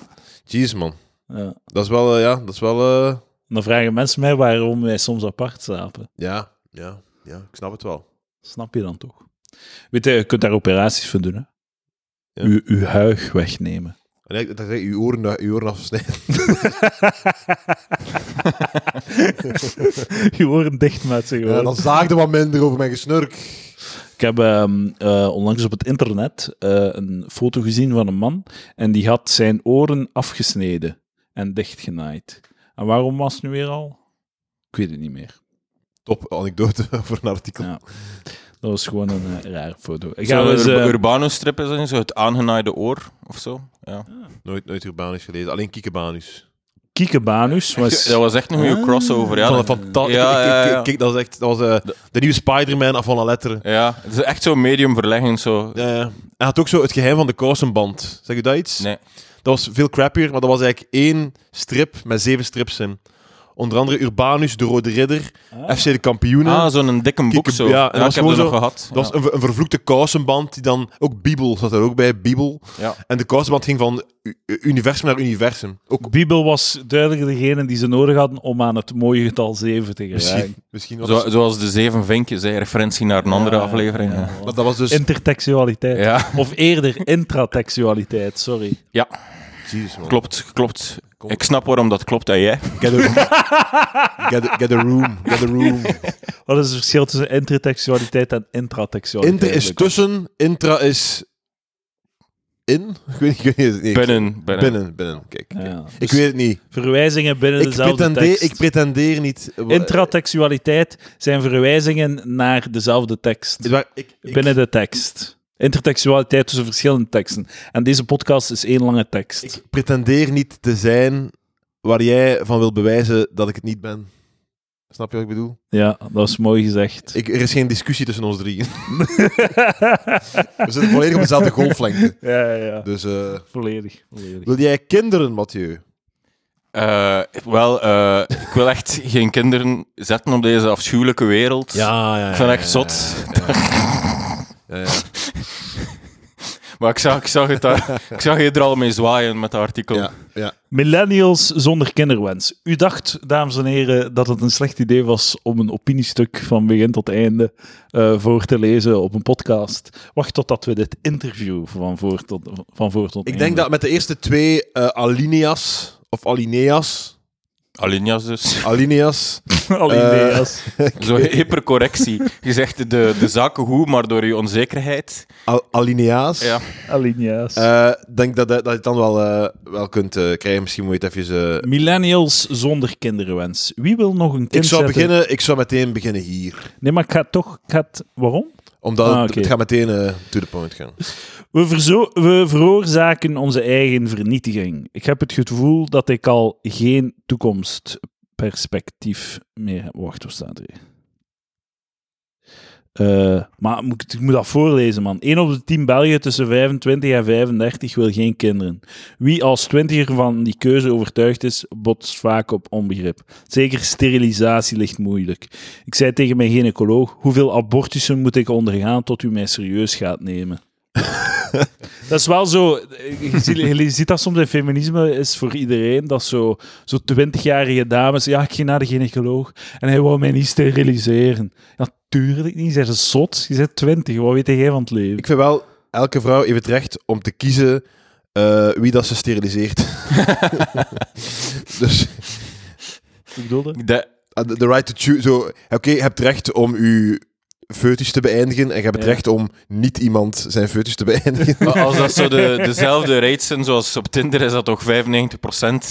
Speaker 2: Jeez, man.
Speaker 1: Ja.
Speaker 2: Dat is wel... eh, ja, dat is wel... eh,
Speaker 1: En dan vragen mensen mij waarom wij soms apart slapen.
Speaker 2: ja, ja, ja. Ik snap het wel.
Speaker 1: Snap je dan toch? Weet je, je kunt daar operaties voor doen, hè?
Speaker 2: Ja.
Speaker 1: Uw, uw huig wegnemen.
Speaker 2: En eigenlijk, dat je uw oren, uw oren afsnijden.
Speaker 1: je oren dicht met zich.
Speaker 2: Ja, dan zaagde wat minder over mijn gesnurk.
Speaker 1: Ik heb ehm, eh, onlangs op het internet eh, een foto gezien van een man en die had zijn oren afgesneden en dichtgenaaid. En waarom was het nu weer al? Ik weet het niet meer.
Speaker 2: Top anekdote voor een artikel.
Speaker 1: Ja. Dat was gewoon een eh, rare foto. Ik ga
Speaker 3: Zo'n
Speaker 1: eens,
Speaker 3: Ur-
Speaker 1: eh,
Speaker 3: Urbano-strip is dat niet zo, het aangenaaide oor of zo. Ja.
Speaker 2: Nooit, nooit Urbanus gelezen, alleen Kiekebanus.
Speaker 1: Kieke Banus was...
Speaker 3: Dat was echt een goede
Speaker 1: Ah.
Speaker 3: crossover.
Speaker 2: Ja,
Speaker 3: Ja,
Speaker 2: van
Speaker 3: dat-
Speaker 2: een fantastisch.
Speaker 3: Ja, ja, ja.
Speaker 2: Kijk, dat was echt dat was, eh,
Speaker 3: Dat-
Speaker 2: de nieuwe Spider-Man af van alle letteren.
Speaker 3: Ja, het is echt zo'n medium verleggend zo.
Speaker 2: Ja, ja. Hij had ook zo het geheim van de kousenband. Zeg je dat iets?
Speaker 3: Nee.
Speaker 2: Dat was veel crappier, maar dat was eigenlijk één strip met zeven strips in. Onder andere Urbanus, De Rode Ridder, FC De Kampioenen.
Speaker 3: Ah, zo'n dikke boek
Speaker 2: Kikke-
Speaker 3: zo.
Speaker 2: ja,
Speaker 3: Ja,
Speaker 2: dat was
Speaker 3: ik heb
Speaker 2: gewoon
Speaker 3: er nog
Speaker 2: zo-
Speaker 3: gehad.
Speaker 2: Dat
Speaker 3: Ja.
Speaker 2: was een, ver- een vervloekte kousenband die dan... Ook Bibel zat er ook bij, Bibel.
Speaker 3: Ja.
Speaker 2: En de kousenband ging van u- universum naar universum. Ook
Speaker 1: Bibel was duidelijk degene die ze nodig hadden om aan het mooie getal 7 te
Speaker 2: misschien,
Speaker 1: geraken.
Speaker 2: misschien was
Speaker 3: Zo- zoals de Zeven Vinkjes, hè, referentie naar een andere
Speaker 1: Ja,
Speaker 3: aflevering.
Speaker 1: ja,
Speaker 3: Ja.
Speaker 1: ja.
Speaker 2: Maar dat was dus...
Speaker 1: Intertextualiteit.
Speaker 3: Ja,
Speaker 1: Of eerder intratextualiteit, sorry.
Speaker 2: Jezus, man.
Speaker 3: klopt, klopt.
Speaker 2: Kom.
Speaker 3: Ik snap waarom dat klopt, en jij.
Speaker 2: Get a, get a- get a room. Get a room.
Speaker 1: Wat is het verschil tussen intertextualiteit en intratextualiteit?
Speaker 2: Inter is tussen, intra is... In? Ik weet niet. Ik weet niet nee, ik-
Speaker 3: Binnen, binnen.
Speaker 2: Binnen, binnen. Kijk. kijk.
Speaker 1: Ja,
Speaker 2: Ik
Speaker 1: dus
Speaker 2: weet het niet.
Speaker 1: Verwijzingen binnen
Speaker 2: Ik
Speaker 1: dezelfde
Speaker 2: pretendeer,
Speaker 1: tekst.
Speaker 2: ik pretendeer niet...
Speaker 1: Intratextualiteit zijn verwijzingen naar dezelfde tekst.
Speaker 2: Eh, maar ik, ik-
Speaker 1: binnen de tekst. Intertextualiteit tussen verschillende teksten. En deze podcast is één lange tekst.
Speaker 2: Ik pretendeer niet te zijn waar jij van wil bewijzen dat ik het niet ben. Snap je wat ik bedoel?
Speaker 1: Ja, dat is mooi gezegd.
Speaker 2: Ik, er is geen discussie tussen ons drieën. We zitten volledig op dezelfde golflengte.
Speaker 1: ja, ja, ja.
Speaker 2: Dus eh,
Speaker 1: Volledig. volledig.
Speaker 2: wil jij kinderen, Mathieu?
Speaker 3: Eh, wel, eh, ik wil echt geen kinderen zetten op deze afschuwelijke wereld.
Speaker 2: Ja, ja.
Speaker 3: Ik vind het echt zot. Maar ik zag, ik, zag het daar, ik zag je er al mee zwaaien met dat artikel.
Speaker 2: Ja, ja.
Speaker 1: Millennials zonder kinderwens. U dacht, dames en heren, dat het een slecht idee was om een opiniestuk van begin tot einde eh, voor te lezen op een podcast. Wacht totdat we dit interview van voor tot, van voor tot
Speaker 2: Ik
Speaker 1: einde-
Speaker 2: denk dat met de eerste twee eh, alinea's, of alinea's,
Speaker 3: Alinea's dus.
Speaker 2: alinea's,
Speaker 1: Alinea's.
Speaker 3: Zo'n hypercorrectie. Je zegt de, de zaken goed, maar door je onzekerheid.
Speaker 2: al- alinea's,
Speaker 3: Ja.
Speaker 1: Alinea's.
Speaker 2: eh, denk dat, dat dat je het dan wel, eh, wel kunt eh, krijgen. Misschien moet je het even... eh,
Speaker 1: Millennials zonder kinderwens. Wie wil nog een kind
Speaker 2: ik zou
Speaker 1: zetten?
Speaker 2: beginnen, ik zou meteen beginnen hier.
Speaker 1: Nee, maar ik ga toch... Ik ga het- waarom?
Speaker 2: Omdat
Speaker 1: Ah,
Speaker 2: het,
Speaker 1: oké.
Speaker 2: het gaat meteen eh, to the point gaan.
Speaker 1: We, verzo- we veroorzaken onze eigen vernietiging. Ik heb het gevoel dat ik al geen toekomstperspectief meer heb. Wacht, wat staat er? Eh, maar moet ik, ik moet dat voorlezen, man. 1 op de 10 Belgen tussen 25 en 35 wil geen kinderen. Wie als twintiger van die keuze overtuigd is, botst vaak op onbegrip. Zeker sterilisatie ligt moeilijk. Ik zei tegen mijn gynaecoloog: hoeveel abortussen moet ik ondergaan tot u mij serieus gaat nemen? dat is wel zo. eh, Je ziet, je ziet dat soms in feminisme is voor iedereen. Dat zo, zo 20-jarige dames. Ja, ik ging naar de gynaecoloog en hij wou mij niet steriliseren. Ja, tuurlijk niet. Zij is zot. Je bent 20. Wat weet jij van het leven?
Speaker 2: Ik vind wel elke vrouw heeft het recht om te kiezen eh, wie dat ze steriliseert. dus
Speaker 1: Ik bedoelde.
Speaker 3: De,
Speaker 2: eh, de right to choose. Zo, Oké, je hebt het recht om uw foetus te beëindigen en je hebt het
Speaker 1: Ja.
Speaker 2: recht om niet iemand zijn foetus te beëindigen.
Speaker 3: als dat zo de, dezelfde rates zijn zoals op Tinder, is dat toch 95%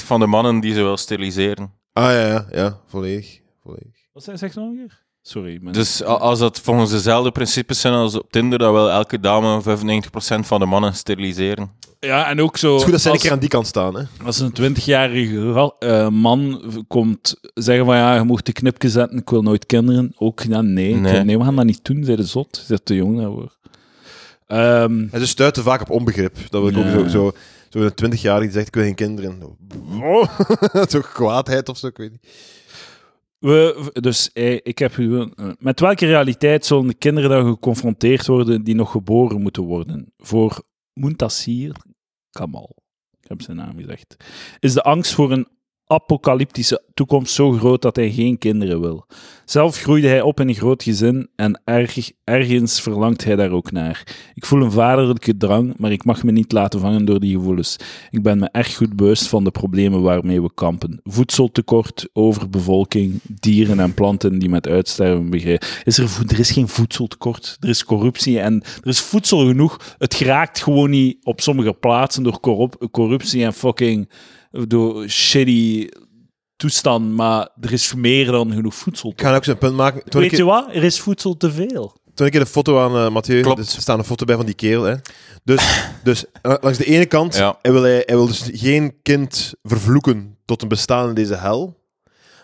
Speaker 3: van de mannen die ze wil steriliseren.
Speaker 2: ah ja, ja, ja, volledig. volledig.
Speaker 1: Wat zei zegt nog weer? Sorry. ik ben-
Speaker 3: Dus a- als dat volgens dezelfde principes zijn als op Tinder, dan wil elke dame 95% van de mannen steriliseren.
Speaker 1: ja, en ook zo.
Speaker 2: Het is goed dat zij een
Speaker 1: als-
Speaker 2: keer aan die kant staan. Hè?
Speaker 1: Als een 20-jarige ra- eh, man v- komt zeggen van ja, je mocht de knipje zetten, ik wil nooit kinderen. Ook ja, nee. Ik
Speaker 3: Nee.
Speaker 1: wil- nee, we gaan dat niet doen, zei de zot. Ze is te jong daarvoor. Ehm,
Speaker 2: En ze stuiten vaak op onbegrip. Dat wil ik
Speaker 1: Ja.
Speaker 2: ook zo. zo Zo'n twintigjarige die zegt, ik wil geen kinderen. Zo'n kwaadheid of zo, ik weet niet.
Speaker 1: we, v- dus eh, ik heb gewoon, eh, met welke realiteit zullen de kinderen dan geconfronteerd worden die nog geboren moeten worden? Voor Muntasir Kamal, ik heb zijn naam gezegd, is de angst voor een apocalyptische toekomst zo groot dat hij geen kinderen wil. Zelf groeide hij op in een groot gezin en erg, ergens verlangt hij daar ook naar. Ik voel een vaderlijke drang, maar ik mag me niet laten vangen door die gevoelens. Ik ben me erg goed bewust van de problemen waarmee we kampen. Voedseltekort, overbevolking, dieren en planten die met uitsterven begrijpen. Is er, vo- er is geen voedseltekort, er is corruptie en er is voedsel genoeg. Het geraakt gewoon niet op sommige plaatsen door corrup- corruptie en fucking door shitty toestand, maar er is meer dan genoeg voedsel.
Speaker 2: Ik ga ook zo'n punt maken. Toen ik-
Speaker 1: Weet je wat? Er is voedsel te veel.
Speaker 2: Toen ik in de foto aan eh, Mathieu,
Speaker 3: Klopt.
Speaker 2: dus er staat een foto bij van die kerel. Hè. Dus, dus eh, langs de ene kant,
Speaker 3: Ja.
Speaker 2: hij, wil, hij, hij wil dus geen kind vervloeken tot een bestaan in deze hel.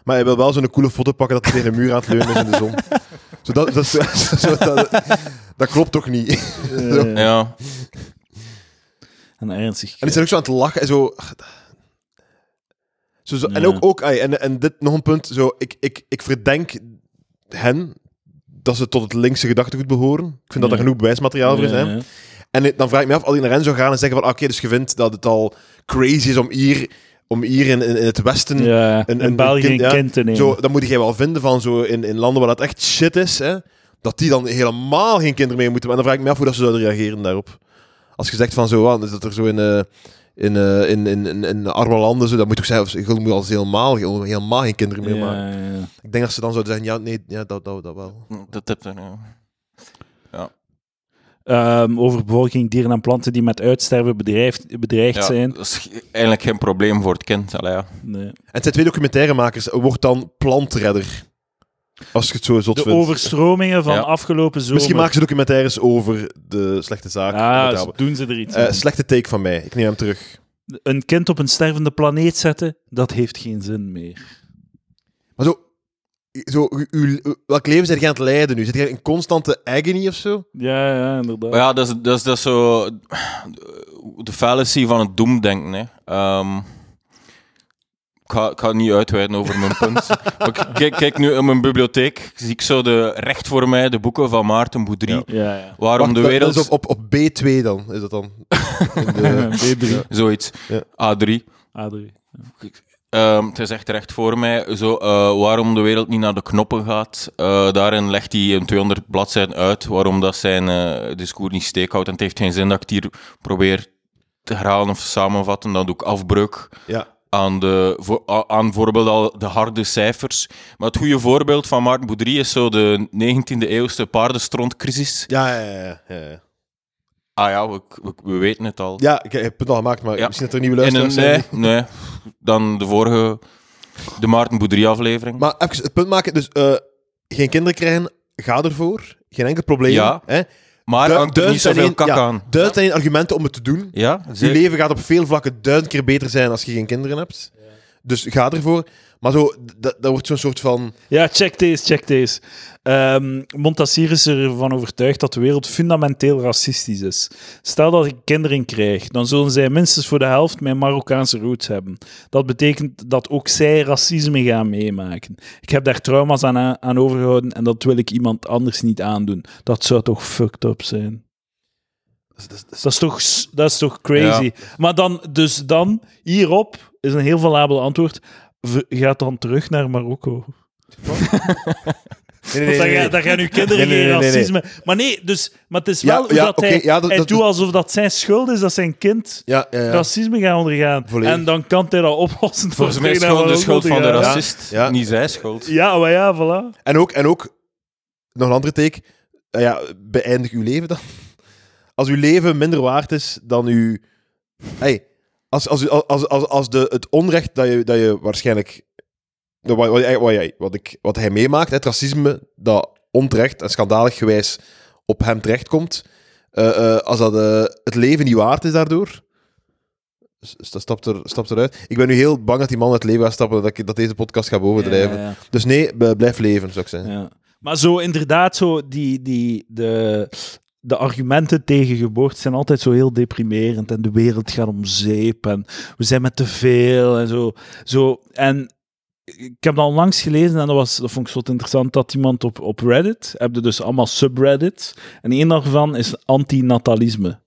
Speaker 2: Maar hij wil wel zo'n coole foto pakken dat hij tegen een muur aan het leunen is in de zon. Zo, dat, dat, is- zo, dat, dat klopt toch niet?
Speaker 3: Ja.
Speaker 1: en ernstig.
Speaker 2: En die zijn ook zo aan het lachen en zo... zo, zo- En
Speaker 1: Ja.
Speaker 2: ook, ook ai, en, en dit nog een punt, zo, ik, ik, ik verdenk hen dat ze tot het linkse gedachtegoed behoren. Ik vind
Speaker 1: Ja.
Speaker 2: dat er genoeg bewijsmateriaal voor is. hè.
Speaker 1: Ja, ja.
Speaker 2: En dan vraag ik me af, als ik naar hen zou gaan en zeggen van, oké, dus je vindt dat het al crazy is om hier, om hier in, in, in het Westen...
Speaker 1: Ja,
Speaker 2: een-
Speaker 1: in
Speaker 2: een
Speaker 1: België
Speaker 2: kind, ja.
Speaker 1: een kind te nemen.
Speaker 2: Zo, dan moet jij wel vinden van zo in, in landen waar dat echt shit is, hè, dat die dan helemaal geen kinderen meer moeten. Maar dan vraag ik me af hoe dat ze zouden reageren daarop. Als je zegt van zo, ah, dat er zo in, eh, in, eh, in, in, in, in arme landen, zo, dat moet je toch zeggen, je moet als helemaal, helemaal geen kinderen meer maken.
Speaker 1: ja, ja.
Speaker 2: Ik denk dat ze dan zouden zeggen, ja, nee, ja, dat, dat, dat wel.
Speaker 3: Dat heb je nou.
Speaker 1: Ehm, over bevolking, dieren en planten die met uitsterven bedreigd, bedreigd
Speaker 3: Ja,
Speaker 1: zijn.
Speaker 3: dat is eigenlijk geen probleem voor het kind. Allee, ja.
Speaker 1: Nee.
Speaker 2: En het zijn twee documentairemakers, wordt dan plantredder. Als je het zo zot
Speaker 1: De
Speaker 2: vindt.
Speaker 1: overstromingen van
Speaker 3: Ja.
Speaker 1: afgelopen zomer.
Speaker 2: Misschien maken ze documentaires over de slechte zaak.
Speaker 3: Ah,
Speaker 1: Ja,
Speaker 2: Wat
Speaker 1: Ah, ze
Speaker 2: hebben we?
Speaker 1: doen ze er iets
Speaker 2: Eh,
Speaker 1: aan.
Speaker 2: slechte take van mij. Ik neem hem terug.
Speaker 1: Een kind op een stervende planeet zetten, dat heeft geen zin meer.
Speaker 2: Maar zo, zo u, u- u- welk leven zit je aan het leiden nu? Zit je in constante agony of zo?
Speaker 1: Ja, ja, inderdaad.
Speaker 3: Maar ja, dat is, dat is, dat is zo eh, de fallacy van het doemdenken. Hè. Ehm, ik, ga, ik ga niet uitweiden over mijn punt. maar ik kijk, kijk nu in mijn bibliotheek, zie ik zo de, recht voor mij de boeken van Maarten Boudry.
Speaker 2: Ja.
Speaker 1: Ja, ja.
Speaker 3: Waarom
Speaker 2: Wacht,
Speaker 3: de
Speaker 2: dat-
Speaker 3: wereld...
Speaker 2: Dat is op, op, op B2 dan, is dat dan? In de-
Speaker 1: B3.
Speaker 3: Zoiets.
Speaker 2: Ja.
Speaker 3: A3.
Speaker 1: A3.
Speaker 3: Ehm, het is echt recht voor mij. Zo, eh, waarom de wereld niet naar de knoppen gaat. Eh, daarin legt hij een 200 bladzijden uit waarom dat zijn eh, discours niet steekhoudt. En het heeft geen zin dat ik het hier probeer te herhalen of samenvatten. Dan doe ik afbreuk
Speaker 2: ja.
Speaker 3: aan, de, voor, a- aan bijvoorbeeld al de harde cijfers. Maar het goede voorbeeld van Maarten Boudry is zo de 19e-eeuwse paardenstrontcrisis.
Speaker 2: Ja, ja, ja. ja, ja.
Speaker 3: Ah ja, we, we, we weten het al.
Speaker 2: ja ik heb het punt al gemaakt, maar
Speaker 3: Ja.
Speaker 2: misschien dat er nieuwe
Speaker 3: In een, eh,
Speaker 2: luisteraars zijn.
Speaker 3: nee, nee, dan de vorige, de Maarten Boudry-aflevering.
Speaker 2: Maar even het punt maken, dus eh, geen kinderen krijgen, ga ervoor. Geen enkel probleem.
Speaker 3: Ja.
Speaker 2: Hè?
Speaker 3: Maar
Speaker 2: Du-
Speaker 3: hangt er niet
Speaker 2: duizend en
Speaker 3: zoveel
Speaker 2: één-
Speaker 3: kak
Speaker 2: dus ja,
Speaker 3: aan.
Speaker 2: Duizend en één argumenten om het te doen.
Speaker 3: Ja,
Speaker 2: Je
Speaker 3: zeker.
Speaker 2: leven gaat op veel vlakken duizend keer beter zijn als je geen kinderen hebt. Dus ga ervoor. Maar zo, d- dat, dat wordt zo'n soort van...
Speaker 1: Ja, check deze, check deze. Ehm Montassier is ervan overtuigd dat de wereld fundamenteel racistisch is. Stel dat ik kinderen krijg, dan zullen zij minstens voor de helft mijn Marokkaanse roots hebben. Dat betekent dat ook zij racisme gaan meemaken. Ik heb daar trauma's aan, aan overgehouden en dat wil ik iemand anders niet aandoen. Dat zou toch fucked up zijn?
Speaker 2: Dat, dat- dat-
Speaker 1: Dat is toch, s- dat is toch crazy? Maar dan, dus dan, hierop, is een heel valabel antwoord. V- Gaat dan terug naar Marokko.
Speaker 2: nee,
Speaker 1: Want
Speaker 2: nee, nee,
Speaker 1: dan,
Speaker 2: nee,
Speaker 1: ga-
Speaker 2: nee.
Speaker 1: dan gaan uw kinderen
Speaker 2: Nee, nee,
Speaker 1: geen
Speaker 2: nee, nee, nee.
Speaker 1: racisme. Maar nee, dus, maar het is
Speaker 2: Ja,
Speaker 1: wel hoe
Speaker 2: ja,
Speaker 1: dat
Speaker 2: oké,
Speaker 1: hij,
Speaker 2: ja, dat-
Speaker 1: hij
Speaker 2: dat-
Speaker 1: doet alsof dat zijn schuld is dat zijn kind
Speaker 2: Ja, ja, ja.
Speaker 1: racisme gaat ondergaan.
Speaker 2: Volledig.
Speaker 1: En dan kan hij dat oplossen. door
Speaker 3: Volgens mij is het
Speaker 1: tegen
Speaker 3: gewoon de
Speaker 1: naar
Speaker 3: schuld van
Speaker 1: Marokko
Speaker 3: de
Speaker 1: te gaan.
Speaker 3: racist,
Speaker 2: Ja.
Speaker 3: niet zijn schuld.
Speaker 1: Ja, maar ja, voilà.
Speaker 2: En ook, en ook, nog een andere take. Eh, ja, beëindig uw leven dan. Als uw leven minder waard is dan uw... Hey, als, als, als, als, als, als de, het onrecht dat je, dat je waarschijnlijk... dat Wat, wat, jij- wat, jij- wat, ik, wat hij meemaakt, het racisme dat onterecht en schandalig gewijs op hem terechtkomt. eh, eh, als dat eh, het leven niet waard is daardoor... s- s- Stapt, er, stapt eruit. Ik ben nu heel bang dat die man uit het leven gaat stappen. Dat, ik, dat deze podcast gaat bovendrijven.
Speaker 1: Ja, ja,
Speaker 2: Dus nee, b- blijf leven, zou ik zeggen.
Speaker 1: ja. Maar zo inderdaad, zo die, die, de, de argumenten tegen geboorte zijn altijd zo heel deprimerend. En de wereld gaat om zeep. En we zijn met te veel en zo. zo. En ik heb dat onlangs gelezen en dat, was, dat vond ik zo interessant. Dat iemand op, op Reddit, heb je dus allemaal subreddits. En één daarvan is antinatalisme.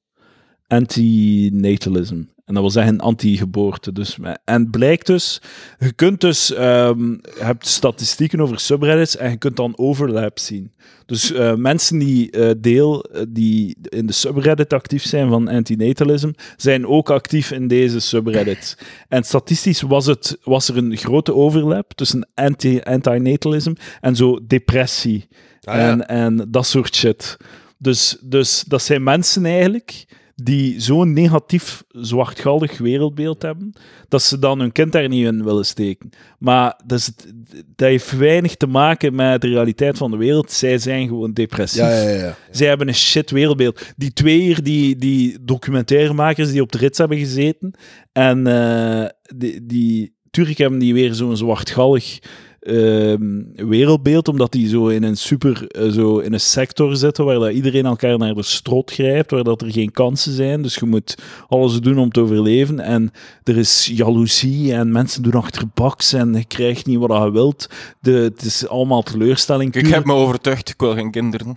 Speaker 1: Antinatalism. En dat wil zeggen anti-geboorte. Dus. En het blijkt dus, je kunt dus, ehm, je hebt statistieken over subreddits en je kunt dan overlap zien. Dus eh, mensen die eh, deel, eh, die in de subreddit actief zijn van antinatalism, zijn ook actief in deze subreddit. En statistisch was, het, was er een grote overlap tussen anti, antinatalism en zo depressie
Speaker 2: Ah, ja.
Speaker 1: en, en dat soort shit. Dus, dus dat zijn mensen eigenlijk die zo'n negatief, zwartgaldig wereldbeeld hebben, dat ze dan hun kind daar niet in willen steken. Maar dat, is het- dat heeft weinig te maken met de realiteit van de wereld. Zij zijn gewoon depressief.
Speaker 2: Ja, ja, ja, ja.
Speaker 1: Zij hebben een shit wereldbeeld. Die twee hier, die, die documentairemakers die op de rits hebben gezeten. En eh, die, die Turk hebben die weer zo'n zwartgallig ehm, wereldbeeld, omdat die zo in een super, eh, zo in een sector zitten waar dat iedereen elkaar naar de strot grijpt, waar dat er geen kansen zijn. Dus je moet alles doen om te overleven. En er is jaloezie en mensen doen achterbaks en je krijgt niet wat je wilt. De, het is allemaal teleurstelling.
Speaker 3: Ik heb me overtuigd, ik wil geen kinderen.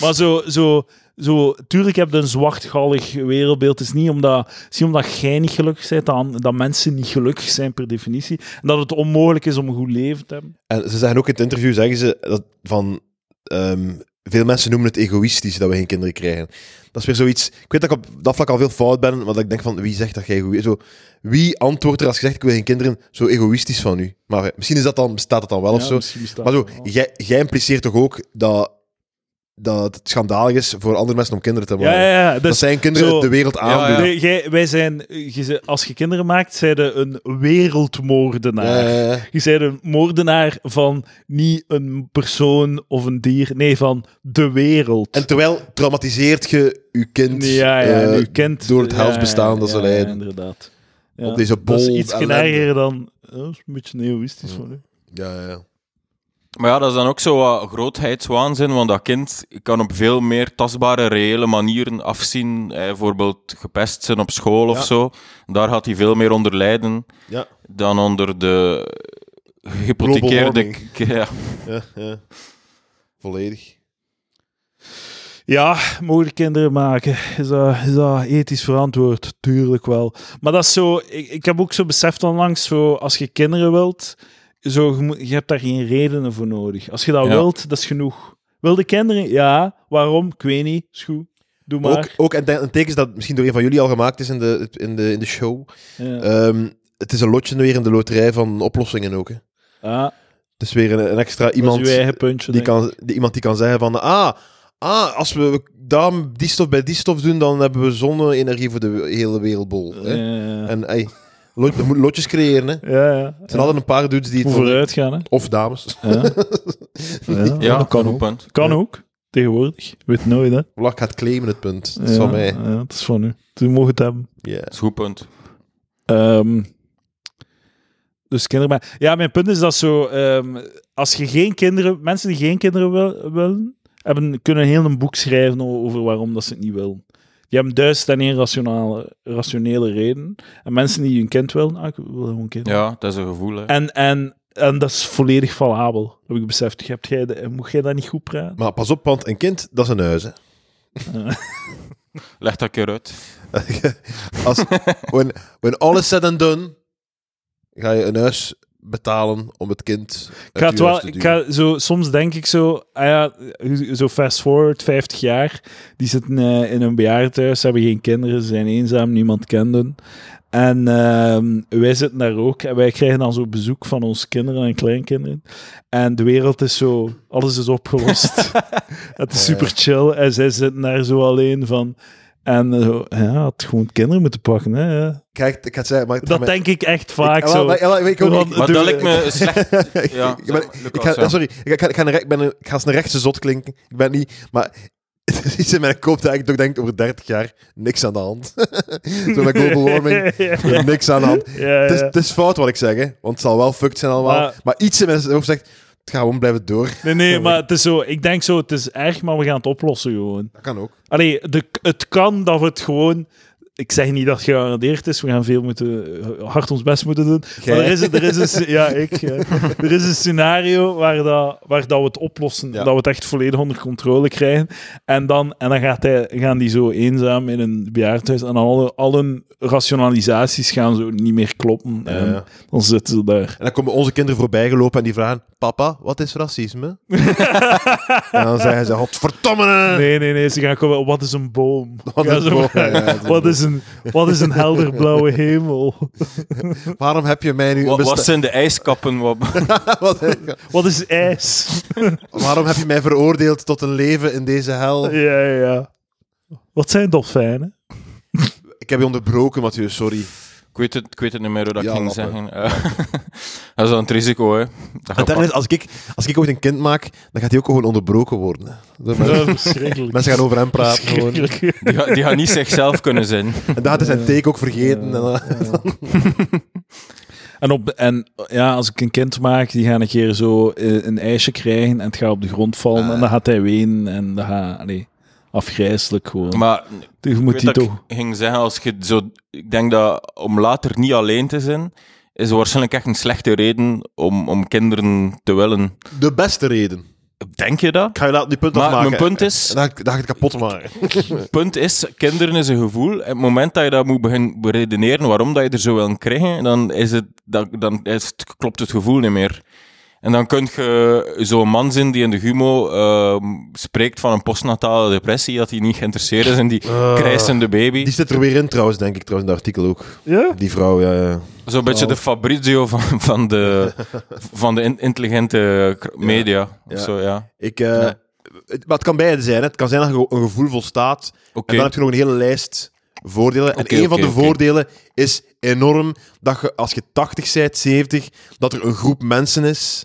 Speaker 1: Maar zo, zo, zo, tuurlijk heb je een zwartgallig wereldbeeld. Het is niet omdat, het is niet omdat jij niet gelukkig bent, dat, dat mensen niet gelukkig zijn per definitie. En dat het onmogelijk is om een goed leven te hebben.
Speaker 2: En ze zeggen ook in het interview, zeggen ze dat van... ehm, veel mensen noemen het egoïstisch dat we geen kinderen krijgen. Dat is weer zoiets... Ik weet dat ik op dat vlak al veel fout ben, want ik denk van, wie zegt dat jij egoïstisch... Zo, wie antwoordt er als je zegt, ik wil geen kinderen, zo egoïstisch van u? Maar eh, misschien is dat dan, bestaat dat dan wel of zo. Maar zo, jij, jij impliceert toch ook dat, dat het schandalig is voor andere mensen om kinderen te
Speaker 1: Ja,
Speaker 2: maken?
Speaker 1: ja, ja.
Speaker 2: Dat
Speaker 1: Dus,
Speaker 2: zijn kinderen
Speaker 1: zo-
Speaker 2: de wereld aandoen.
Speaker 3: ja.
Speaker 1: nee, jij- wij zijn, je ze- als je kinderen maakt, zijn je een wereldmoordenaar.
Speaker 2: Ja, ja, ja.
Speaker 1: Je bent een moordenaar van niet een persoon of een dier, nee, van de wereld.
Speaker 2: En terwijl traumatiseert je je kind
Speaker 1: ja, ja,
Speaker 2: eh,
Speaker 1: en uw kind-
Speaker 2: door het
Speaker 1: ja,
Speaker 2: huis bestaan dat
Speaker 1: ja,
Speaker 2: ze
Speaker 1: ja,
Speaker 2: leiden.
Speaker 1: inderdaad.
Speaker 2: Op deze
Speaker 1: Dat is
Speaker 2: bol
Speaker 1: iets
Speaker 2: ellende.
Speaker 1: erger dan... ja, Dat is een beetje egoïstisch van u.
Speaker 2: Ja, ja, ja.
Speaker 3: Maar ja, dat is dan ook zo wat grootheidswaanzin, want dat kind kan op veel meer tastbare, reële manieren afzien. Eh, bijvoorbeeld gepest zijn op school of
Speaker 2: Ja.
Speaker 3: zo. Daar gaat hij veel meer onder lijden
Speaker 2: Ja.
Speaker 3: dan onder de gehypothekeerde...
Speaker 2: warming.
Speaker 3: k- Ja.
Speaker 2: Ja, ja. Volledig.
Speaker 1: Ja, mogen de kinderen maken? Is dat, is dat ethisch verantwoord? Tuurlijk wel. Maar dat is zo... Ik, ik heb ook zo beseft onlangs, zo, als je kinderen wilt, zo, je, moet- je hebt daar geen redenen voor nodig. Als je dat
Speaker 3: Ja.
Speaker 1: wilt, dat is genoeg. Wilde kinderen? Ja. Waarom? Ik weet niet. Is goed. Doe maar.
Speaker 2: Ook, ook een, een teken is dat misschien door een van jullie al gemaakt is in de, in de, in de show.
Speaker 1: Ja.
Speaker 2: Ehm, het is een lotje weer in de loterij van oplossingen ook. Hè.
Speaker 1: Ah,
Speaker 2: Het is weer een, een extra
Speaker 1: iemand,
Speaker 2: iemand
Speaker 1: uw eigen puntje.
Speaker 2: die
Speaker 1: denk ik.
Speaker 2: kan, die, iemand die kan zeggen van... Ah, ah als we daar die stof bij die stof doen, dan hebben we zonne-energie voor de we- hele wereldbol. Hè.
Speaker 1: Ja,
Speaker 2: En ey, lot, je moet lotjes creëren. Hè.
Speaker 1: ja. ja, ja.
Speaker 2: Er zijn altijd een paar dudes die het...
Speaker 1: Moet vooruit gaan, hè.
Speaker 2: Of dames.
Speaker 1: Ja, ja,
Speaker 3: Ja,
Speaker 1: dat kan ook.
Speaker 3: punt.
Speaker 1: Kan ook. Tegenwoordig. Weet nooit, hè.
Speaker 2: Lak gaat claimen het punt. Dat is van mij.
Speaker 1: Ja, het is van u. Toen mogen het hebben.
Speaker 2: Ja.
Speaker 3: Dat is een goed punt.
Speaker 1: Ehm, dus kinderen. Maar ja, mijn punt is dat zo. ehm, als je geen kinderen. Mensen die geen kinderen wil- willen. Hebben, kunnen heel een boek schrijven o- over waarom dat ze het niet willen. Die hebben duizend en één rationale, rationele redenen. En mensen die een kind willen. Ah, ik wil gewoon kind.
Speaker 3: Ja, dat is een gevoel. Hè.
Speaker 1: En, en, en dat is volledig valabel. Heb ik beseft. Hebt jij de- moet jij dat niet goed praten?
Speaker 2: Maar pas op, want een kind, dat is een huis. Hè.
Speaker 3: Leg dat een keer uit.
Speaker 2: Als, when, when all is said and done, ga je een huis betalen om het kind uit
Speaker 1: Ik ga het
Speaker 2: je huis
Speaker 1: wel,
Speaker 2: te
Speaker 1: ik
Speaker 2: duwen.
Speaker 1: ga zo, soms denk ik zo, ah ja, zo fast forward, 50 jaar, die zitten eh, in een bejaardentehuis, ze hebben geen kinderen, ze zijn eenzaam, niemand kent hen. En ehm, wij zitten daar ook en wij krijgen dan zo bezoek van onze kinderen en kleinkinderen. En de wereld is zo, alles is opgelost. het is super chill en zij zitten daar zo alleen van. En eh, zo, ja, had gewoon kinderen moeten pakken. Hè? ja.
Speaker 2: Kijk, ik ga het zeggen, maar ik
Speaker 1: Dat denk ik echt vaak
Speaker 2: ik, ah,
Speaker 1: zo.
Speaker 2: wel, wel, wel, ik ook-
Speaker 1: Want-
Speaker 2: ik-
Speaker 3: Maar
Speaker 1: doe-
Speaker 3: dat lijkt me Eh, slecht.
Speaker 2: ik-
Speaker 3: Ja,
Speaker 2: ik
Speaker 3: zeg
Speaker 2: ben-
Speaker 3: maar,
Speaker 2: ik
Speaker 3: Lucas,
Speaker 2: ga-
Speaker 3: ja.
Speaker 2: Sorry, ik, ga, ik, ga een, rek- ik ben een, ik ga als een rechtse zot klinken. Ik ben niet, maar het is iets in mijn kop dat ik toch denk over 30 jaar niks aan de hand. Zo met global warming, niks aan de hand.
Speaker 1: Ja,
Speaker 2: Het is,
Speaker 1: ja.
Speaker 2: het is fout wat ik zeg, hè, want het zal wel fucked zijn allemaal.
Speaker 1: Eh. Maar-
Speaker 2: Maar, iets in mijn hoofd zegt, het gaat gewoon blijven door.
Speaker 1: Nee, nee, maar het is zo. Ik denk zo, het is erg, maar we gaan het oplossen gewoon.
Speaker 2: Dat kan ook.
Speaker 1: Allee, de, het kan dat we het gewoon. Ik zeg niet dat het gegarandeerd is. We gaan veel moeten, hard ons best moeten doen. Maar
Speaker 2: Jij.
Speaker 1: er is, een- er is een, sce- ja, ik, ja. er is een scenario waar, dat, waar dat we het oplossen.
Speaker 2: Ja.
Speaker 1: Dat we het echt volledig onder controle krijgen. En dan, en dan gaat hij, gaan die zo eenzaam in een bejaardhuis. En alle, alle rationalisaties gaan zo niet meer kloppen.
Speaker 2: Ja,
Speaker 1: En
Speaker 2: ja.
Speaker 1: dan zitten ze daar.
Speaker 2: En dan komen onze kinderen voorbij gelopen en die vragen: Papa, wat is racisme? en dan zeggen ze: Godverdomme!
Speaker 1: Nee, nee, nee. Ze gaan komen. Wat is een boom?
Speaker 2: Eh. Wat
Speaker 1: Ja,
Speaker 2: is
Speaker 1: ze
Speaker 2: een boom?
Speaker 1: vragen,
Speaker 2: Ja, ja, dat is een
Speaker 1: wat, is een,
Speaker 2: boom.
Speaker 1: wat is een helder blauwe hemel?
Speaker 2: Waarom heb je mij nu een
Speaker 3: Wat, wat
Speaker 2: besta-
Speaker 3: zijn de ijskappen? Wat...
Speaker 2: Wat-
Speaker 1: Wat is ijs?
Speaker 2: Waarom heb je mij veroordeeld tot een leven in deze hel?
Speaker 1: ja, ja, ja. Wat zijn dolfijnen?
Speaker 2: Ik heb je onderbroken, Mathieu, sorry.
Speaker 3: Ik weet het, ik weet het niet meer hoe dat
Speaker 2: Ja,
Speaker 3: ik ging
Speaker 2: lappen.
Speaker 3: zeggen. Eh, dat is wel het risico, hè. Dat gaat
Speaker 2: Uiteindelijk, als ik, als ik ooit een kind maak, dan gaat hij ook gewoon onderbroken worden. hè. Dat-
Speaker 1: Dat is verschrikkelijk.
Speaker 2: Mensen gaan over hem praten. Gewoon. En
Speaker 1: Verschrikkelijk.
Speaker 3: Die, ga- die gaan niet zichzelf kunnen zijn.
Speaker 2: dan gaat hij zijn take ook vergeten. En eh, dan-
Speaker 1: En, op, en ja, als ik een kind maak, die gaan een keer zo eh, een ijsje krijgen en het gaat op de grond vallen en dan gaat hij wenen en dan gaat... Allee, afgrijselijk gewoon.
Speaker 3: Maar
Speaker 1: je
Speaker 3: ik
Speaker 1: moet
Speaker 3: weet
Speaker 1: die
Speaker 3: dat
Speaker 1: toch...
Speaker 3: ik ging zeggen, als je zo, ik denk dat om later niet alleen te zijn, is waarschijnlijk echt een slechte reden om, om kinderen te willen.
Speaker 2: De beste reden.
Speaker 3: Denk je dat?
Speaker 2: Ik ga je laten die punt
Speaker 3: Maar
Speaker 2: afmaken.
Speaker 3: mijn punt is,
Speaker 2: En dan, dan ga ik het kapot maken.
Speaker 3: punt is, kinderen is een gevoel. En het moment dat je dat moet beginnen beredeneren waarom dat je er zo wil krijgen, dan, is het, dan, dan is het, klopt het gevoel niet meer. En dan kun je zo'n man zijn die in de humo ehm, spreekt van een postnatale depressie, dat hij niet geïnteresseerd is in die krijsende baby.
Speaker 2: Ah, Die zit er weer in trouwens, denk ik, trouwens, in dat artikel ook.
Speaker 1: Ja?
Speaker 2: Die vrouw, ja, ja.
Speaker 3: Zo'n beetje
Speaker 2: oh.
Speaker 3: de Fabrizio van, van de, van de in- intelligente kr- media.
Speaker 2: Ja.
Speaker 3: Of zo, ja.
Speaker 2: Ik, eh,
Speaker 3: Nee.
Speaker 2: het, maar het kan beide zijn. Hè. Het kan zijn dat je een gevoel volstaat.
Speaker 3: Oké.
Speaker 2: En dan heb je nog een hele lijst voordelen.
Speaker 3: Oké,
Speaker 2: en een
Speaker 3: oké,
Speaker 2: van de
Speaker 3: oké.
Speaker 2: voordelen is enorm dat je, als je 80 bent, 70, dat er een groep mensen is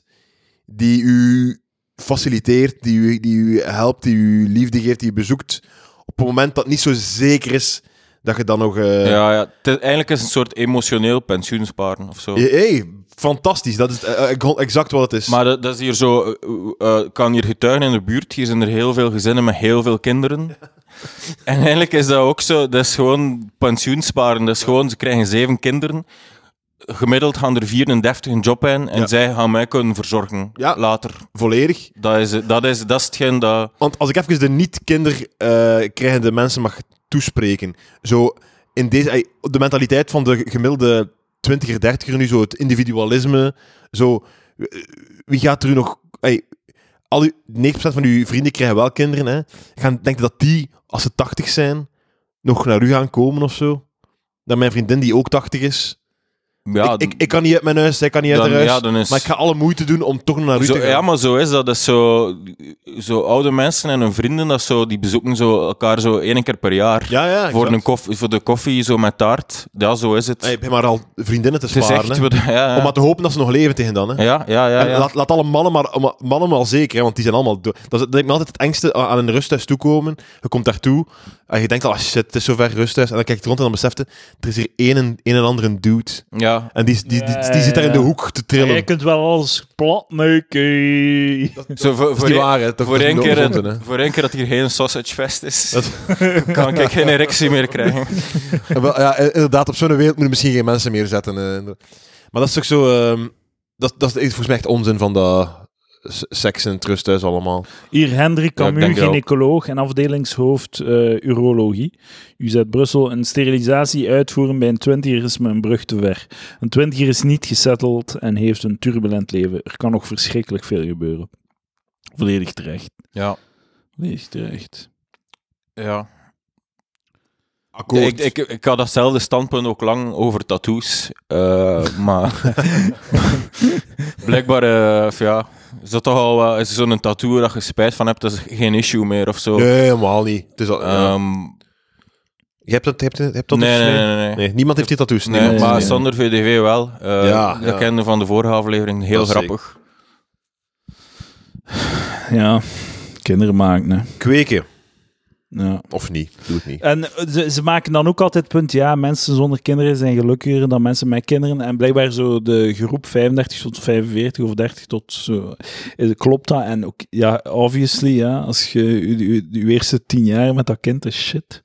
Speaker 2: die u faciliteert, die u, die u helpt, die u liefde geeft, die u bezoekt. Op het moment dat het niet zo zeker is dat je dan nog. eh,
Speaker 3: ja, ja. Het is- eigenlijk is het een soort emotioneel pensioensparen of zo.
Speaker 2: Hé, hé, fantastisch. Dat is eh, eh, exact wat het is.
Speaker 3: Maar dat, dat is hier zo... eh, eh, eh, kan hier getuigen in de buurt. Hier zijn er heel veel gezinnen met heel veel kinderen. En eigenlijk is dat ook zo. Dat is gewoon pensioensparen. Dat is gewoon, ze krijgen zeven kinderen. Gemiddeld gaan er 34 een job in. En
Speaker 2: Ja.
Speaker 3: zij gaan mij kunnen verzorgen
Speaker 2: Ja.
Speaker 3: later.
Speaker 2: Volledig.
Speaker 3: Dat is, dat is, dat is hetgeen dat...
Speaker 2: Want als ik even de niet-kinderkrijgende mensen mag toespreken. Zo, in deze, ey, de mentaliteit van de gemiddelde 20er, 30er nu, zo het individualisme. Zo, eh, wie gaat er u nog. ey, al uw, 90% van uw vrienden krijgen wel kinderen. Hè? Gaan denken dat die, als ze 80 zijn, nog naar u gaan komen of zo? Dat mijn vriendin, die ook 80 is.
Speaker 3: Ja,
Speaker 2: ik, ik, ik kan niet uit mijn huis, zij kan niet uit
Speaker 3: dan-
Speaker 2: haar huis.
Speaker 3: ja, dan is...
Speaker 2: Maar ik ga alle moeite doen om toch naar u
Speaker 3: Zo,
Speaker 2: te gaan.
Speaker 3: ja, maar zo is dat. dat is zo, zo oude mensen en hun vrienden, dat zo, die bezoeken zo elkaar zo één keer per jaar.
Speaker 2: ja, ja,
Speaker 3: voor,
Speaker 2: exact. Ah,
Speaker 3: een koffie, voor de koffie, zo met taart. Ja, zo is het.
Speaker 2: Hey, je hebt maar al vriendinnen te
Speaker 3: het is
Speaker 2: sparen.
Speaker 3: echt...
Speaker 2: hè.
Speaker 3: wat- Ja, ja.
Speaker 2: Om maar te hopen dat ze nog leven tegen dan. Hè.
Speaker 3: ja, ja, ja.
Speaker 2: En
Speaker 3: ja.
Speaker 2: Laat, laat alle mannen maar, maar- mannen maar zeker, hè, want die zijn allemaal dood. Dat, is- dat lijkt me altijd het engste eh, aan aan een rusthuis toekomen. Je komt daartoe en je denkt al, ah, shit, het is zover rusthuis. En dan kijk je rond en dan beseft je, er is hier een, en- een en ander een dude.
Speaker 3: ja.
Speaker 2: En die, die, die, die,
Speaker 1: Ja,
Speaker 2: zit daar in de
Speaker 1: ja.
Speaker 2: hoek te trillen.
Speaker 1: Jij kunt wel alles plat neuken.
Speaker 3: Zo, voor,
Speaker 2: dat is
Speaker 3: voor,
Speaker 2: niet
Speaker 3: één-
Speaker 2: waar, hè. Dat
Speaker 3: voor
Speaker 2: is
Speaker 3: één
Speaker 2: niet
Speaker 3: keer,
Speaker 2: ongezond, hè.
Speaker 3: voor één keer dat hier geen sausagefest is,
Speaker 2: Dat-
Speaker 3: kan ik geen erectie meer krijgen.
Speaker 2: Ja, wel, ja, eh, inderdaad, op zo'n wereld moet je misschien geen mensen meer zetten. eh. Maar dat is toch zo... ehm, dat, dat is volgens mij echt onzin van dat s- seks en het rusthuis allemaal.
Speaker 1: Hier Hendrik
Speaker 3: Ja, ik
Speaker 1: Camus,
Speaker 3: denk dat ook.
Speaker 1: gynaecoloog en afdelingshoofd eh, urologie. UZ Brussel, een sterilisatie uitvoeren bij een twintiger is me een brug te ver. Een twintiger is niet gesetteld en heeft een turbulent leven. Er kan nog verschrikkelijk veel gebeuren. Volledig terecht.
Speaker 3: Ja,
Speaker 1: Volledig terecht.
Speaker 3: ja.
Speaker 2: Akkoord.
Speaker 3: Ik, ik, ik had datzelfde standpunt ook lang over tattoos. eh, maar blijkbaar eh, of ja, is dat toch al wel- is zo'n tattoo dat je spijt van hebt, dat is geen issue meer of zo.
Speaker 2: Nee, helemaal niet. Het is al, ja.
Speaker 3: Ehm,
Speaker 2: Je hebt dat, je hebt, je hebt dat
Speaker 3: nee,
Speaker 2: dus,
Speaker 3: nee,
Speaker 2: nee?
Speaker 3: nee, nee, nee.
Speaker 2: Nee, niemand heeft die tattoos.
Speaker 3: Nee,
Speaker 2: niemand.
Speaker 1: nee,
Speaker 3: maar
Speaker 1: nee.
Speaker 3: Sander VDV wel. Eh,
Speaker 2: Ja,
Speaker 3: dat
Speaker 2: ja.
Speaker 3: kende van de vorige aflevering. Heel
Speaker 2: Dat is
Speaker 3: grappig.
Speaker 1: Ja, kinderen maken, hè.
Speaker 2: Kweken.
Speaker 1: Ja.
Speaker 2: Of niet. Doe het niet.
Speaker 1: En eh, ze, ze maken dan ook altijd het punt, ja, mensen zonder kinderen zijn gelukkiger dan mensen met kinderen. En blijkbaar zo de groep 35 tot 45 of 30 tot zo, is- klopt dat. En ook, ja, obviously, ja, als je je- je je eerste tien jaar met dat kind is shit,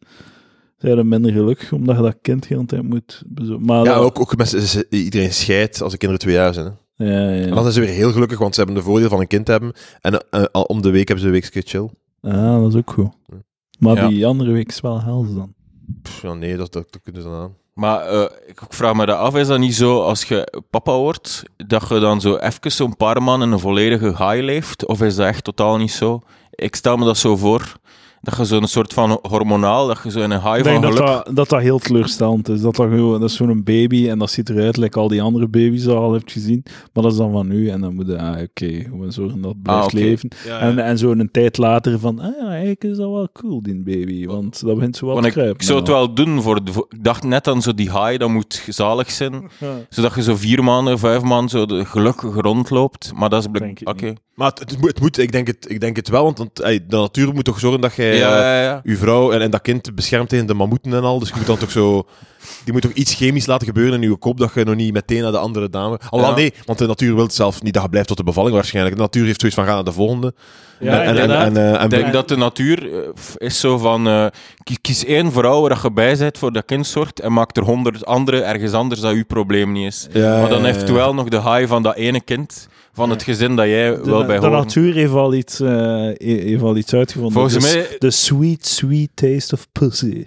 Speaker 1: zijn je minder gelukkig, omdat je dat kind de hele tijd moet bezo- Maar
Speaker 2: Ja,
Speaker 1: dat-
Speaker 2: ook, ook mensen, ze- ze- iedereen scheidt als de kinderen twee jaar zijn. Hè.
Speaker 1: Ja, ja.
Speaker 2: En dan zijn ze weer heel gelukkig, want ze hebben de voordeel van een kind te hebben. En eh, eh, om de week hebben ze een weekje chill.
Speaker 1: Ah, dat is ook goed. Maar
Speaker 3: Ja.
Speaker 1: die andere week is wel hels dan.
Speaker 2: Pff, ja, nee, dat, dat, dat kunnen ze dan aan.
Speaker 3: Maar eh, ik vraag me dat af, is dat niet zo als je papa wordt, dat je dan zo even zo'n paar maanden in een volledige high leeft? Of is dat echt totaal niet zo? Ik stel me dat zo voor. Dat je zo'n soort van hormonaal, dat je zo in een high
Speaker 1: Ik
Speaker 3: van
Speaker 1: denk dat
Speaker 3: geluk...
Speaker 1: dat, dat dat heel teleurstellend is. Dat, dat, gewoon, dat is zo'n baby en dat ziet eruit like al die andere baby's die je al hebt gezien. Maar dat is dan van nu en dan moet je, ah, oké, gewoon zorgen dat het blijft
Speaker 3: Ah, oké. Eh.
Speaker 1: leven.
Speaker 2: Ja,
Speaker 1: En, en zo een tijd later van, ah ja, eigenlijk is dat wel cool, die baby. Want dat begint zo wat
Speaker 3: Oh. Want
Speaker 1: te
Speaker 3: ik,
Speaker 1: kruipen.
Speaker 3: ik zou het wel doen voor, de, voor- Ik dacht net aan zo die high, dat moet zalig zijn.
Speaker 1: Ja.
Speaker 3: Zodat je zo vier maanden, vijf maanden zo de- gelukkig rondloopt. Maar dat is
Speaker 1: Denk
Speaker 3: blijk...
Speaker 1: ik
Speaker 3: Oké.
Speaker 1: niet.
Speaker 2: Maar het, het moet, het moet- ik, denk het, ik denk het wel, want, want, ey, de natuur moet toch zorgen dat jij
Speaker 3: Ja,
Speaker 2: eh,
Speaker 3: ja, ja.
Speaker 2: uw vrouw en, en dat kind beschermt tegen de mammoeten en al. Dus je moet dan toch zo... Die moet toch iets chemisch laten gebeuren in je kop, dat je nog niet meteen naar de andere dame... Alhoewel,
Speaker 3: Ja.
Speaker 2: nee, want de natuur wil zelf niet dat je blijft tot de bevalling waarschijnlijk. De natuur heeft zoiets van, ga naar de volgende.
Speaker 1: Ja,
Speaker 2: en, en, en,
Speaker 1: inderdaad.
Speaker 2: eh, en
Speaker 3: Ik denk dat de natuur eh, f- is zo van... eh, ki- kies één vrouw waar je bij bent voor dat kind zorgt en maak er honderd andere ergens anders dat uw probleem niet is.
Speaker 2: Ja,
Speaker 3: maar dan
Speaker 2: ja, ja,
Speaker 3: heeft
Speaker 2: ja.
Speaker 3: wel nog de high van dat ene kind, van het gezin dat jij
Speaker 1: De,
Speaker 3: wel bij
Speaker 1: de
Speaker 3: hoort.
Speaker 1: natuur heeft al iets, eh, he- heeft al iets uitgevonden.
Speaker 3: Volgens
Speaker 1: De s-
Speaker 3: mij-
Speaker 1: De sweet, sweet taste of pussy.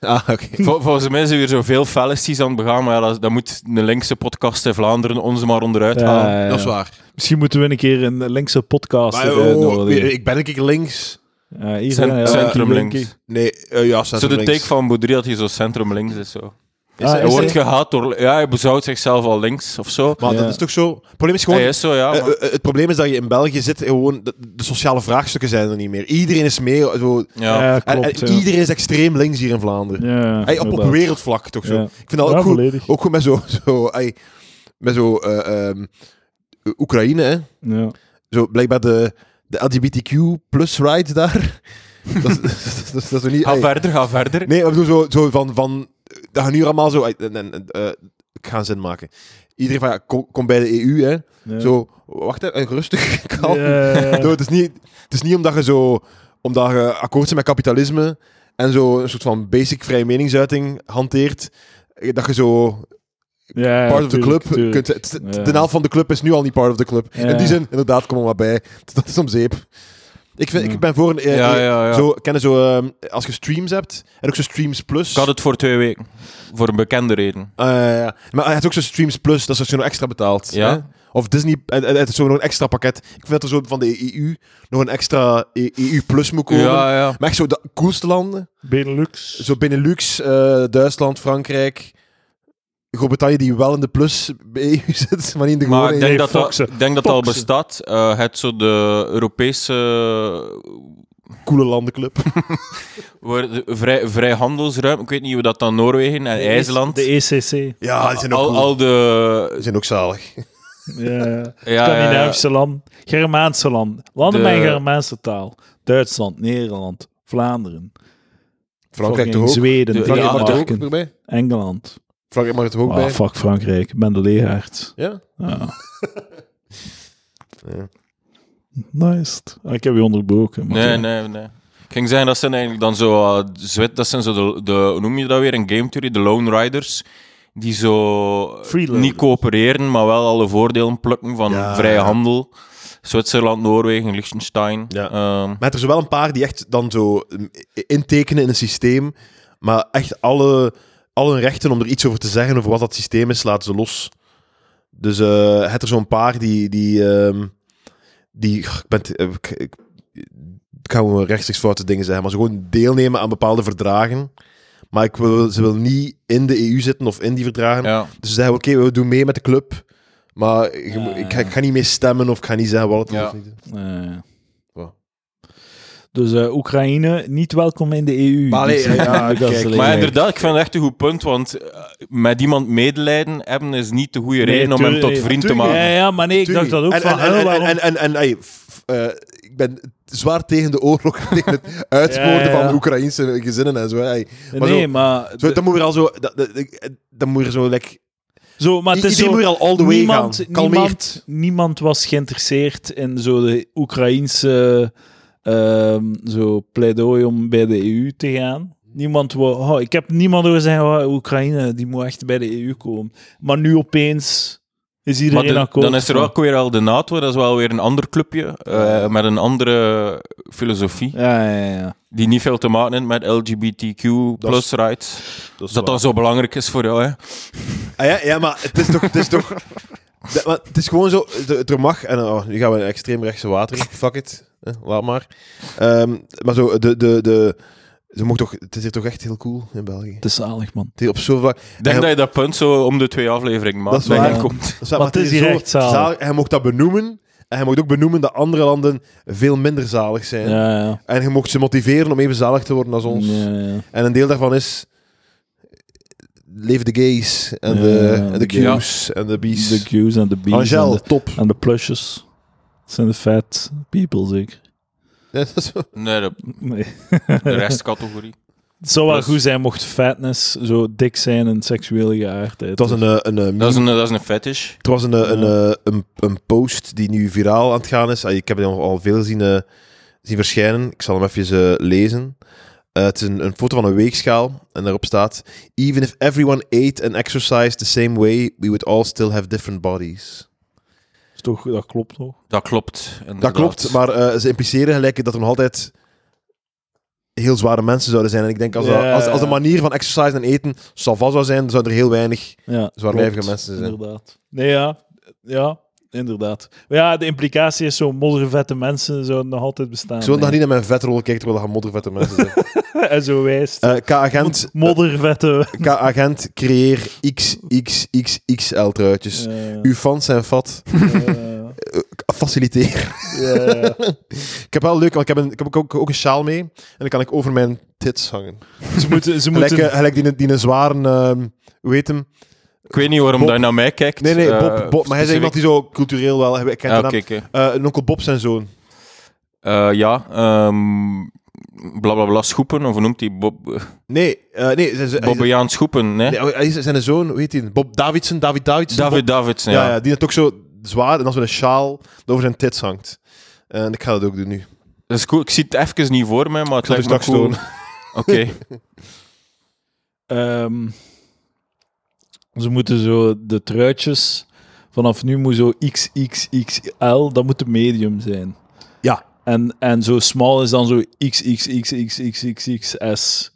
Speaker 2: Ah, oké.
Speaker 3: Vol- volgens mij zijn er zoveel fallacies aan het begaan, maar ja, dat, dat moet de linkse podcast in Vlaanderen ons maar onderuit halen.
Speaker 1: Ja, ja,
Speaker 2: Dat is
Speaker 1: ja.
Speaker 2: waar.
Speaker 1: Eh, Misschien moeten we een keer een linkse podcast
Speaker 2: Maar,
Speaker 1: eh,
Speaker 2: oh,
Speaker 1: nodig.
Speaker 2: ik ben ik links.
Speaker 1: Ja, hier
Speaker 3: eh, Cent-
Speaker 1: zijn we.
Speaker 3: centrum
Speaker 1: Ja,
Speaker 3: links.
Speaker 1: linkie.
Speaker 2: Nee, eh, ja,
Speaker 3: Zo
Speaker 2: centrum
Speaker 3: de
Speaker 2: links.
Speaker 3: take van Boudry dat hij zo centrum links is. Zo.
Speaker 2: Is-
Speaker 1: Ah,
Speaker 3: Hij
Speaker 1: is
Speaker 3: wordt
Speaker 1: hij?
Speaker 3: gehaat door... Ja, hij beschouwt zichzelf al links of zo.
Speaker 2: Maar
Speaker 1: Ja.
Speaker 2: dat is toch zo... Het probleem is gewoon...
Speaker 3: Hij is zo, ja. Ah, maar-
Speaker 2: Eh, eh, het probleem is dat je in België zit, eh, gewoon de, de sociale vraagstukken zijn er niet meer. Iedereen is meer. eh, Zo,
Speaker 3: ja.
Speaker 1: Ja,
Speaker 2: en,
Speaker 1: klopt.
Speaker 2: en
Speaker 1: ja.
Speaker 2: iedereen is extreem links hier in Vlaanderen.
Speaker 1: Ja,
Speaker 2: Hey, op, op
Speaker 1: inderdaad.
Speaker 2: wereldvlak toch zo.
Speaker 1: Ja.
Speaker 2: Ik vind dat ook
Speaker 1: Ja,
Speaker 2: goed.
Speaker 1: volledig.
Speaker 2: Ook goed met zo. zo hey, met zo. eh, ehm, Oekraïne, hè?
Speaker 1: Ja.
Speaker 2: Zo blijkbaar de, de LGBTQ plus rights daar. dat, is- dat, is- dat is- dat is toch niet.
Speaker 3: Ga
Speaker 2: hey.
Speaker 3: verder, ga verder.
Speaker 2: eh, Nee, maar ik bedoel zo, zo van, van. Dat gaan nu allemaal zo. hey, en, en, en, eh, ik ga een zin maken. Iedereen van ja, kom, kom bij de EU, hè?
Speaker 1: Ja.
Speaker 2: Zo, wacht even, rustig.
Speaker 1: Ja,
Speaker 2: Kalm.
Speaker 1: ja,
Speaker 2: Zo,
Speaker 1: ja.
Speaker 2: het, is niet, het is niet omdat je zo omdat je akkoord bent met kapitalisme en zo een soort van basic vrije meningsuiting hanteert, eh, dat je zo
Speaker 1: Ja,
Speaker 2: part of the
Speaker 1: tuurlijk,
Speaker 2: club
Speaker 1: tuurlijk.
Speaker 2: kunt... het- het-
Speaker 1: Ja.
Speaker 2: De helft van de club is nu al niet part of the club.
Speaker 1: Ja.
Speaker 2: In die zin, inderdaad, kom er maar bij. Dat is om zeep. Ik, vind,
Speaker 1: Ja.
Speaker 2: ik ben voor een... eh,
Speaker 3: Ja,
Speaker 2: eh,
Speaker 3: ja, ja.
Speaker 2: Zo, kennen zo, ehm, als je streams hebt, en ook zo streams plus.
Speaker 3: Ik had het voor twee weken. Voor een bekende reden.
Speaker 2: Eh, ja. maar hij had ook zo streams plus, dat is als je nog extra betaalt.
Speaker 3: Ja.
Speaker 2: hè? Of Disney, en- en het is zo nog een extra pakket. Ik vind dat er zo van de EU nog een extra E- EU plus moet komen.
Speaker 3: Ja, ja.
Speaker 2: Maar echt zo de coolste landen.
Speaker 1: Benelux.
Speaker 2: Zo Benelux, eh Duitsland, Frankrijk. Groot-Brittannië die wel in de plus bij EU zit, maar niet in de
Speaker 3: Maar
Speaker 2: gewone
Speaker 3: ik
Speaker 2: EU.
Speaker 3: denk dat dat,
Speaker 1: Foxen.
Speaker 3: ik denk dat, dat al
Speaker 1: Foxen.
Speaker 3: bestaat. Eh, het zo de Europese eh,
Speaker 2: E coole landenclub.
Speaker 3: waar de vrij, vrijhandelsruimte. Ik weet niet hoe dat dan Noorwegen en IJsland.
Speaker 1: De E ECC.
Speaker 2: Ja, die zijn ook,
Speaker 3: al,
Speaker 2: cool.
Speaker 3: al de.
Speaker 2: Die zijn ook zalig.
Speaker 1: Ja, ja.
Speaker 3: Ja, ja, ja.
Speaker 1: Scandinavische land, Germaanse land, landen
Speaker 3: De-
Speaker 1: met een Germaanse taal. Duitsland, Nederland, Vlaanderen,
Speaker 2: Frankrijk toch
Speaker 1: fucking
Speaker 2: ook?
Speaker 1: Zweden,
Speaker 3: De-
Speaker 2: Frankrijk
Speaker 3: Ja,
Speaker 2: mag er ook
Speaker 1: Denemarken,
Speaker 2: bij?
Speaker 1: Engeland.
Speaker 2: Frankrijk mag er toch ook
Speaker 1: Ah,
Speaker 2: bij?
Speaker 1: fuck Frankrijk, ik ben de leegaard.
Speaker 2: Ja?
Speaker 1: Ja.
Speaker 2: Ja.
Speaker 1: Nice. Ah, ik heb je onderbroken. maar
Speaker 3: Nee,
Speaker 1: ja.
Speaker 3: nee, nee. Ik ging zeggen, dat zijn eigenlijk dan zo. eh, Zwit, dat zijn zo de, de. Hoe noem je dat weer? Een game theory, de Lone Riders. Die zo.
Speaker 1: Freeloaders.
Speaker 3: Niet coöpereren, maar wel alle voordelen plukken van
Speaker 2: Ja.
Speaker 3: vrije handel. Zwitserland, Noorwegen, Liechtenstein.
Speaker 2: Ja.
Speaker 3: Ehm,
Speaker 2: Maar er zijn wel een paar die echt dan zo mm, intekenen in een systeem, maar echt alle, alle hun rechten om er iets over te zeggen, over wat dat systeem is, laten ze los. Dus eh het er zo'n paar die... die, ehm, die ik, ben, te- eh, ik, ik, ik ga gewoon rechtstreeks foute dingen zeggen, maar ze gewoon deelnemen aan bepaalde verdragen. Maar ik wil, ze wil niet in de EU zitten of in die verdragen.
Speaker 3: ja.
Speaker 2: Dus ze zeggen, oké, we doen mee met de club, maar ik,
Speaker 1: Ja,
Speaker 2: ik,
Speaker 1: ja.
Speaker 2: ga, ik ga niet mee stemmen of ik ga niet zeggen wat het is
Speaker 3: Ja.
Speaker 2: of niet.
Speaker 1: Nee.
Speaker 2: Wow.
Speaker 1: Eh. Dus eh, Oekraïne, niet welkom in de E EU.
Speaker 2: Maar allee,
Speaker 1: Niet-
Speaker 2: ja,
Speaker 1: dat is
Speaker 2: kijk,
Speaker 1: alleen-
Speaker 3: Maar inderdaad, ik vind het echt een goed punt, want eh, met iemand medelijden hebben is niet de goede
Speaker 1: Nee,
Speaker 3: reden om hem
Speaker 1: tuurlijk,
Speaker 3: tot
Speaker 1: nee,
Speaker 3: vriend te
Speaker 2: tuurlijk.
Speaker 3: maken.
Speaker 1: Ja, ja, maar nee, ik dacht
Speaker 2: Tuurlijk.
Speaker 1: dat ook
Speaker 2: en,
Speaker 1: van...
Speaker 2: en,
Speaker 1: hè,
Speaker 2: en, en,
Speaker 1: waarom-
Speaker 2: en, en, en, ey, f- eh, ik ben zwaar tegen de oorlog, tegen het
Speaker 1: Ja,
Speaker 2: uitsmoorden
Speaker 1: ja, ja.
Speaker 2: van Oekraïnse gezinnen en zo. ey. Maar
Speaker 1: nee,
Speaker 2: zo-
Speaker 1: maar...
Speaker 2: zo dan moet je er al zo, dat, dat- ik- dan moet je er zo like,
Speaker 1: Zo, maar het is
Speaker 2: iedereen
Speaker 1: zo...
Speaker 2: moet er al all the way
Speaker 1: niemand,
Speaker 2: gaan.
Speaker 1: niemand, niemand was geïnteresseerd in zo de Oekraïnse ehm, zo pleidooi om bij de EU te gaan. Niemand wou, oh, ik heb niemand horen zeggen, oh, Oekraïne die moet echt bij de EU komen. Maar nu opeens is
Speaker 3: Maar
Speaker 1: iedereen
Speaker 3: de-
Speaker 1: akkoord.
Speaker 3: dan is er
Speaker 1: van-
Speaker 3: ook weer al de NATO, dat is wel weer een ander clubje, eh, met een andere filosofie,
Speaker 1: Ja, ja, ja.
Speaker 3: die niet veel te maken heeft met LGBTQ
Speaker 2: Dat is-
Speaker 3: plus rights.
Speaker 2: Dat
Speaker 3: Dus dat dan zo belangrijk is voor jou, hè?
Speaker 2: Ah, ja, ja, maar het is toch... Het is toch Ja, maar het is gewoon zo, de- er mag, en oh, nu gaan we in extreemrechtse water, in, fuck it, hè, laat maar. Ehm, maar zo, de, de, de, ze mogen toch, het is hier toch echt heel cool in België. Het
Speaker 1: Het is zalig, man.
Speaker 2: is hier op zoveel vlak-
Speaker 3: Ik denk
Speaker 2: En-
Speaker 3: dat je dat punt zo om de twee afleveringen maakt.
Speaker 2: Dat is
Speaker 3: denk
Speaker 2: waar.
Speaker 3: ik, komt.
Speaker 2: dat staat-
Speaker 1: Maar het is hier
Speaker 2: zo
Speaker 1: echt zalig.
Speaker 2: zalig. En hij mocht dat benoemen, en hij mocht ook benoemen dat andere landen veel minder zalig zijn.
Speaker 1: Ja, ja.
Speaker 2: En je mocht ze motiveren om even zalig te worden als ons.
Speaker 1: Ja, ja.
Speaker 2: En een deel daarvan is... Leef de gays en
Speaker 1: Ja,
Speaker 2: de, en de
Speaker 1: ja.
Speaker 2: Q's en de B's.
Speaker 1: De Q's en de B's.
Speaker 2: Angel,
Speaker 1: En de,
Speaker 2: top.
Speaker 1: en de plusjes. Dat zijn de fat people, zeker.
Speaker 2: Ja, dat is wel-
Speaker 3: Nee, de,
Speaker 1: Nee.
Speaker 3: de restcategorie.
Speaker 1: Het zou wel
Speaker 3: Plus-
Speaker 1: goed zijn mocht fatness zo dik zijn en seksuele geaardheid.
Speaker 2: Het was een, eh, een, eh,
Speaker 3: Dat is een, dat is een fetish.
Speaker 2: Het was een, eh, een, eh, een, een post die nu viraal aan het gaan is. Ah, Ik heb hem al- al veel zien, eh, zien verschijnen. Ik zal hem even eh, lezen. Eh, het is een, een foto van een weegschaal en daarop staat: Even if everyone ate and exercised the same way, we would all still have different bodies.
Speaker 1: Is toch, dat klopt toch?
Speaker 3: Dat klopt.
Speaker 2: Dat
Speaker 3: inderdaad.
Speaker 2: klopt, maar eh, ze impliceren gelijk dat er nog altijd heel zware mensen zouden zijn. En ik denk als, dat-
Speaker 1: Ja.
Speaker 2: als, als de manier van exercise en eten salva zou zijn, zouden er heel weinig
Speaker 1: Ja,
Speaker 2: zwaarlijvige
Speaker 1: klopt,
Speaker 2: mensen zijn.
Speaker 1: Inderdaad. Nee, ja. Ja, inderdaad. Maar ja, de implicatie is zo moddervette mensen zouden nog altijd bestaan.
Speaker 2: Ik zou nog
Speaker 1: hè.
Speaker 2: niet naar mijn vetrol kijken terwijl er moddervette mensen zijn.
Speaker 1: en zo wijst.
Speaker 2: Eh K-agent
Speaker 1: moddervette...
Speaker 2: K-agent, creëer XXXXL truitjes.
Speaker 1: Eh,
Speaker 2: Uw fans zijn vat.
Speaker 1: eh,
Speaker 2: Faciliteer.
Speaker 1: ja.
Speaker 2: Ik heb wel leuk, want ik heb, een, ik heb ook, ook een sjaal mee. En dan kan ik over mijn tits hangen.
Speaker 1: Ze moeten... Ze
Speaker 2: Gelijk
Speaker 1: moeten
Speaker 2: eh, gelijk die, die een zware, ehm, hoe heet hem?
Speaker 3: Ik weet niet waarom
Speaker 2: Bob.
Speaker 3: dat je naar mij kijkt.
Speaker 2: Nee, nee,
Speaker 3: Eh,
Speaker 2: Bob. Bob maar hij is iemand die zo cultureel wel... Ik ken
Speaker 3: Ah,
Speaker 2: de
Speaker 3: oké,
Speaker 2: naam.
Speaker 3: oké.
Speaker 2: Eh, een onkel Bob zijn zoon.
Speaker 3: Eh, ja, ehm bla bla bla schoepen, of hoe noemt hij Bob, eh,
Speaker 2: Nee, eh, nee. Zijn, zijn,
Speaker 3: Bobbejaan schoepen, nee?
Speaker 2: nee, hij is- zijn zoon, hoe heet hij? Bob Davidson, David Davidson. Bob-
Speaker 3: David Davids, ja.
Speaker 2: ja, ja, die het ook zo zwaar en dan zo'n sjaal dat over zijn tits hangt. Eh, En ik ga dat ook doen nu.
Speaker 3: Dat is cool. Ik zie het even niet voor mij, maar het
Speaker 2: Ik zal u
Speaker 3: lijkt me
Speaker 2: straks
Speaker 3: cool.
Speaker 2: doen.
Speaker 3: Oké.
Speaker 1: Ehm, ze moeten zo de truitjes. Vanaf nu moet zo XXXL, dat moet de medium zijn.
Speaker 2: Ja.
Speaker 1: En, en zo small is dan zo XXXXXXXS.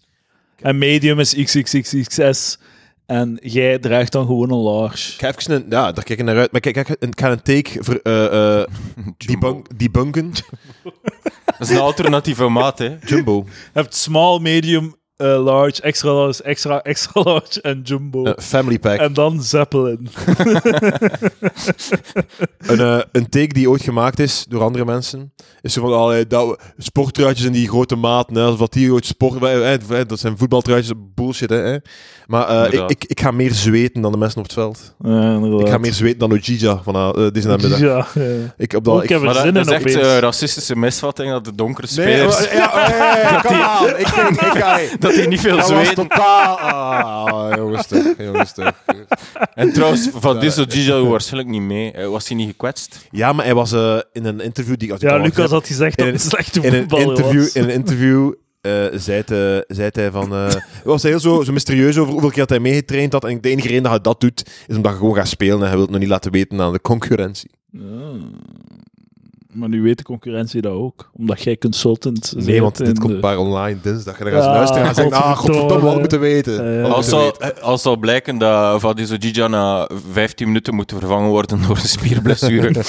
Speaker 1: En medium is XXXXS. En jij draagt dan gewoon een large.
Speaker 2: Ik ga even een, ja, daar kijk ik naar uit. Maar kijk, kijk, een- ik ga een take ver, eh, eh,
Speaker 3: Jumbo.
Speaker 2: debunk- debunken.
Speaker 3: Dat is een alternatieve maat, hè.
Speaker 2: Jumbo.
Speaker 1: Je hebt small, medium, eh, large, extra large, extra, extra large en jumbo.
Speaker 2: Eh, family pack.
Speaker 1: En dan Zeppelin.
Speaker 2: Een, eh, een take die ooit gemaakt is door andere mensen. Is zo van allerlei dat, sporttruitjes in die grote maat. Hè, alsof dat die ooit sport... eh, eh, eh, dat zijn voetbaltruitjes, bullshit. Hè, hè. Maar eh, ik,
Speaker 3: Inderdaad.
Speaker 2: ik, ik ga meer zweten dan de mensen op het veld.
Speaker 1: Ja, inderdaad.
Speaker 2: Ik ga meer zweten dan Ojija van eh, deze namiddag.
Speaker 1: Ja, ja.
Speaker 2: Ik, op dat,
Speaker 1: Ook
Speaker 2: ik,
Speaker 1: hebben
Speaker 3: Maar dat,
Speaker 1: zin
Speaker 3: dat is
Speaker 1: in
Speaker 3: echt
Speaker 1: opeens.
Speaker 3: een racistische misvatting dat de donkere spelers...
Speaker 2: maar- ja, oh, ja, ja, ja, come on. Ik ging- ik ga-
Speaker 3: dat die niet veel
Speaker 2: Dat was
Speaker 3: zweten.
Speaker 2: totaal... Ah, jongens toch, jongens toch.
Speaker 3: En trouwens, van Dizzo Gigi doet waarschijnlijk niet mee. Eh, Was hij niet gekwetst?
Speaker 2: Ja, maar hij was eh, in een interview die ik als ik
Speaker 1: Ja,
Speaker 2: al had
Speaker 1: Lucas
Speaker 2: gezegd,
Speaker 1: had gezegd dat
Speaker 2: in
Speaker 1: het een
Speaker 2: een-
Speaker 1: slechte
Speaker 2: in een
Speaker 1: voetballer
Speaker 2: interview,
Speaker 1: was.
Speaker 2: in een interview eh, zei, het, eh, zei het hij van... eh, was hij heel zo, zo mysterieus over hoeveel keer dat hij meegetraind had. En ik- de enige reden dat hij dat doet, is omdat hij gewoon gaat spelen. En hij wil het nog niet laten weten aan de concurrentie.
Speaker 1: Ah. Maar nu weet de concurrentie dat ook. Omdat jij consultant
Speaker 2: Nee, want
Speaker 1: in
Speaker 2: dit
Speaker 1: de-
Speaker 2: komt maar online dinsdag. En dan gaan ze
Speaker 1: Ah,
Speaker 2: luisteren en gaan ze zeggen... Ah,
Speaker 1: godverdomme.
Speaker 2: godverdomme, we hadden moeten weten.
Speaker 1: Eh,
Speaker 2: Hadden
Speaker 3: Als
Speaker 2: moeten
Speaker 3: zal,
Speaker 2: weten.
Speaker 3: als zal blijken dat Vadizo Gigi na 15 minuten moet vervangen worden door een spierblessure.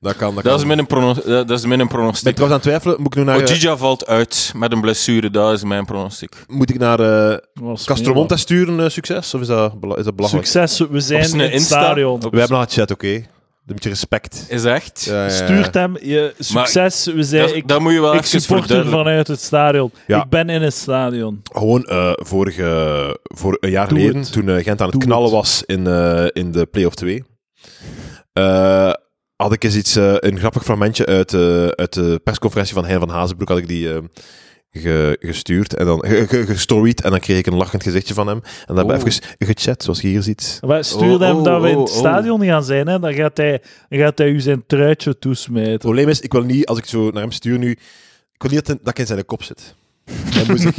Speaker 2: Dat kan, dat,
Speaker 3: dat,
Speaker 2: kan.
Speaker 3: is mijn Oh, prono- eh, dat dat is mijn
Speaker 2: Ben ik
Speaker 3: pronostiek.
Speaker 2: trouwens aan het twijfelen. Moet ik nu naar... eh,
Speaker 3: Ojija valt uit met een blessure, dat is mijn pronostiek.
Speaker 2: moet ik naar eh,
Speaker 1: Was
Speaker 2: Castromonte sturen, eh, succes? Of is dat, bela- is dat
Speaker 1: meer.
Speaker 2: belachelijk?
Speaker 1: Succes, we
Speaker 3: Op
Speaker 1: zijn in
Speaker 3: zijn
Speaker 1: het
Speaker 3: Insta-
Speaker 1: stadion.
Speaker 3: op-
Speaker 2: We hebben al chat, oké. Een beetje respect.
Speaker 3: Is echt?
Speaker 2: Ja, ja, ja.
Speaker 1: Stuurt hem. Je, succes, we zijn...
Speaker 3: Dat,
Speaker 1: ik
Speaker 3: dat moet je wel
Speaker 1: ik
Speaker 3: even
Speaker 1: support hem
Speaker 3: verduidelijken.
Speaker 1: vanuit het stadion.
Speaker 2: Ja.
Speaker 1: Ik ben in het stadion.
Speaker 2: Gewoon eh, vorige, voor een jaar
Speaker 1: Doe
Speaker 2: geleden,
Speaker 1: het.
Speaker 2: toen eh, Gent aan het
Speaker 1: Doe
Speaker 2: knallen
Speaker 1: het.
Speaker 2: was in, eh, in de play-off 2, eh, had ik eens iets, eh, een grappig fragmentje uit, eh, uit de persconferentie van Hein van Hazenbroek, had ik die eh, ge- gestuurd en dan ge- ge- gestoried en dan kreeg ik een lachend gezichtje van hem. En dan hebben we
Speaker 3: Oh.
Speaker 2: even gechat, zoals je hier ziet.
Speaker 1: Maar stuur
Speaker 3: Oh,
Speaker 1: hem
Speaker 3: oh,
Speaker 1: dat we in
Speaker 3: oh,
Speaker 1: het
Speaker 3: oh.
Speaker 1: stadion gaan zijn. Hè. Dan, gaat hij, dan gaat hij u zijn truitje
Speaker 2: Het
Speaker 1: toesmijten.
Speaker 2: probleem is, ik wil niet, als ik zo naar hem stuur nu, ik wil niet dat, dat ik in zijn kop zit. Hij moet zich,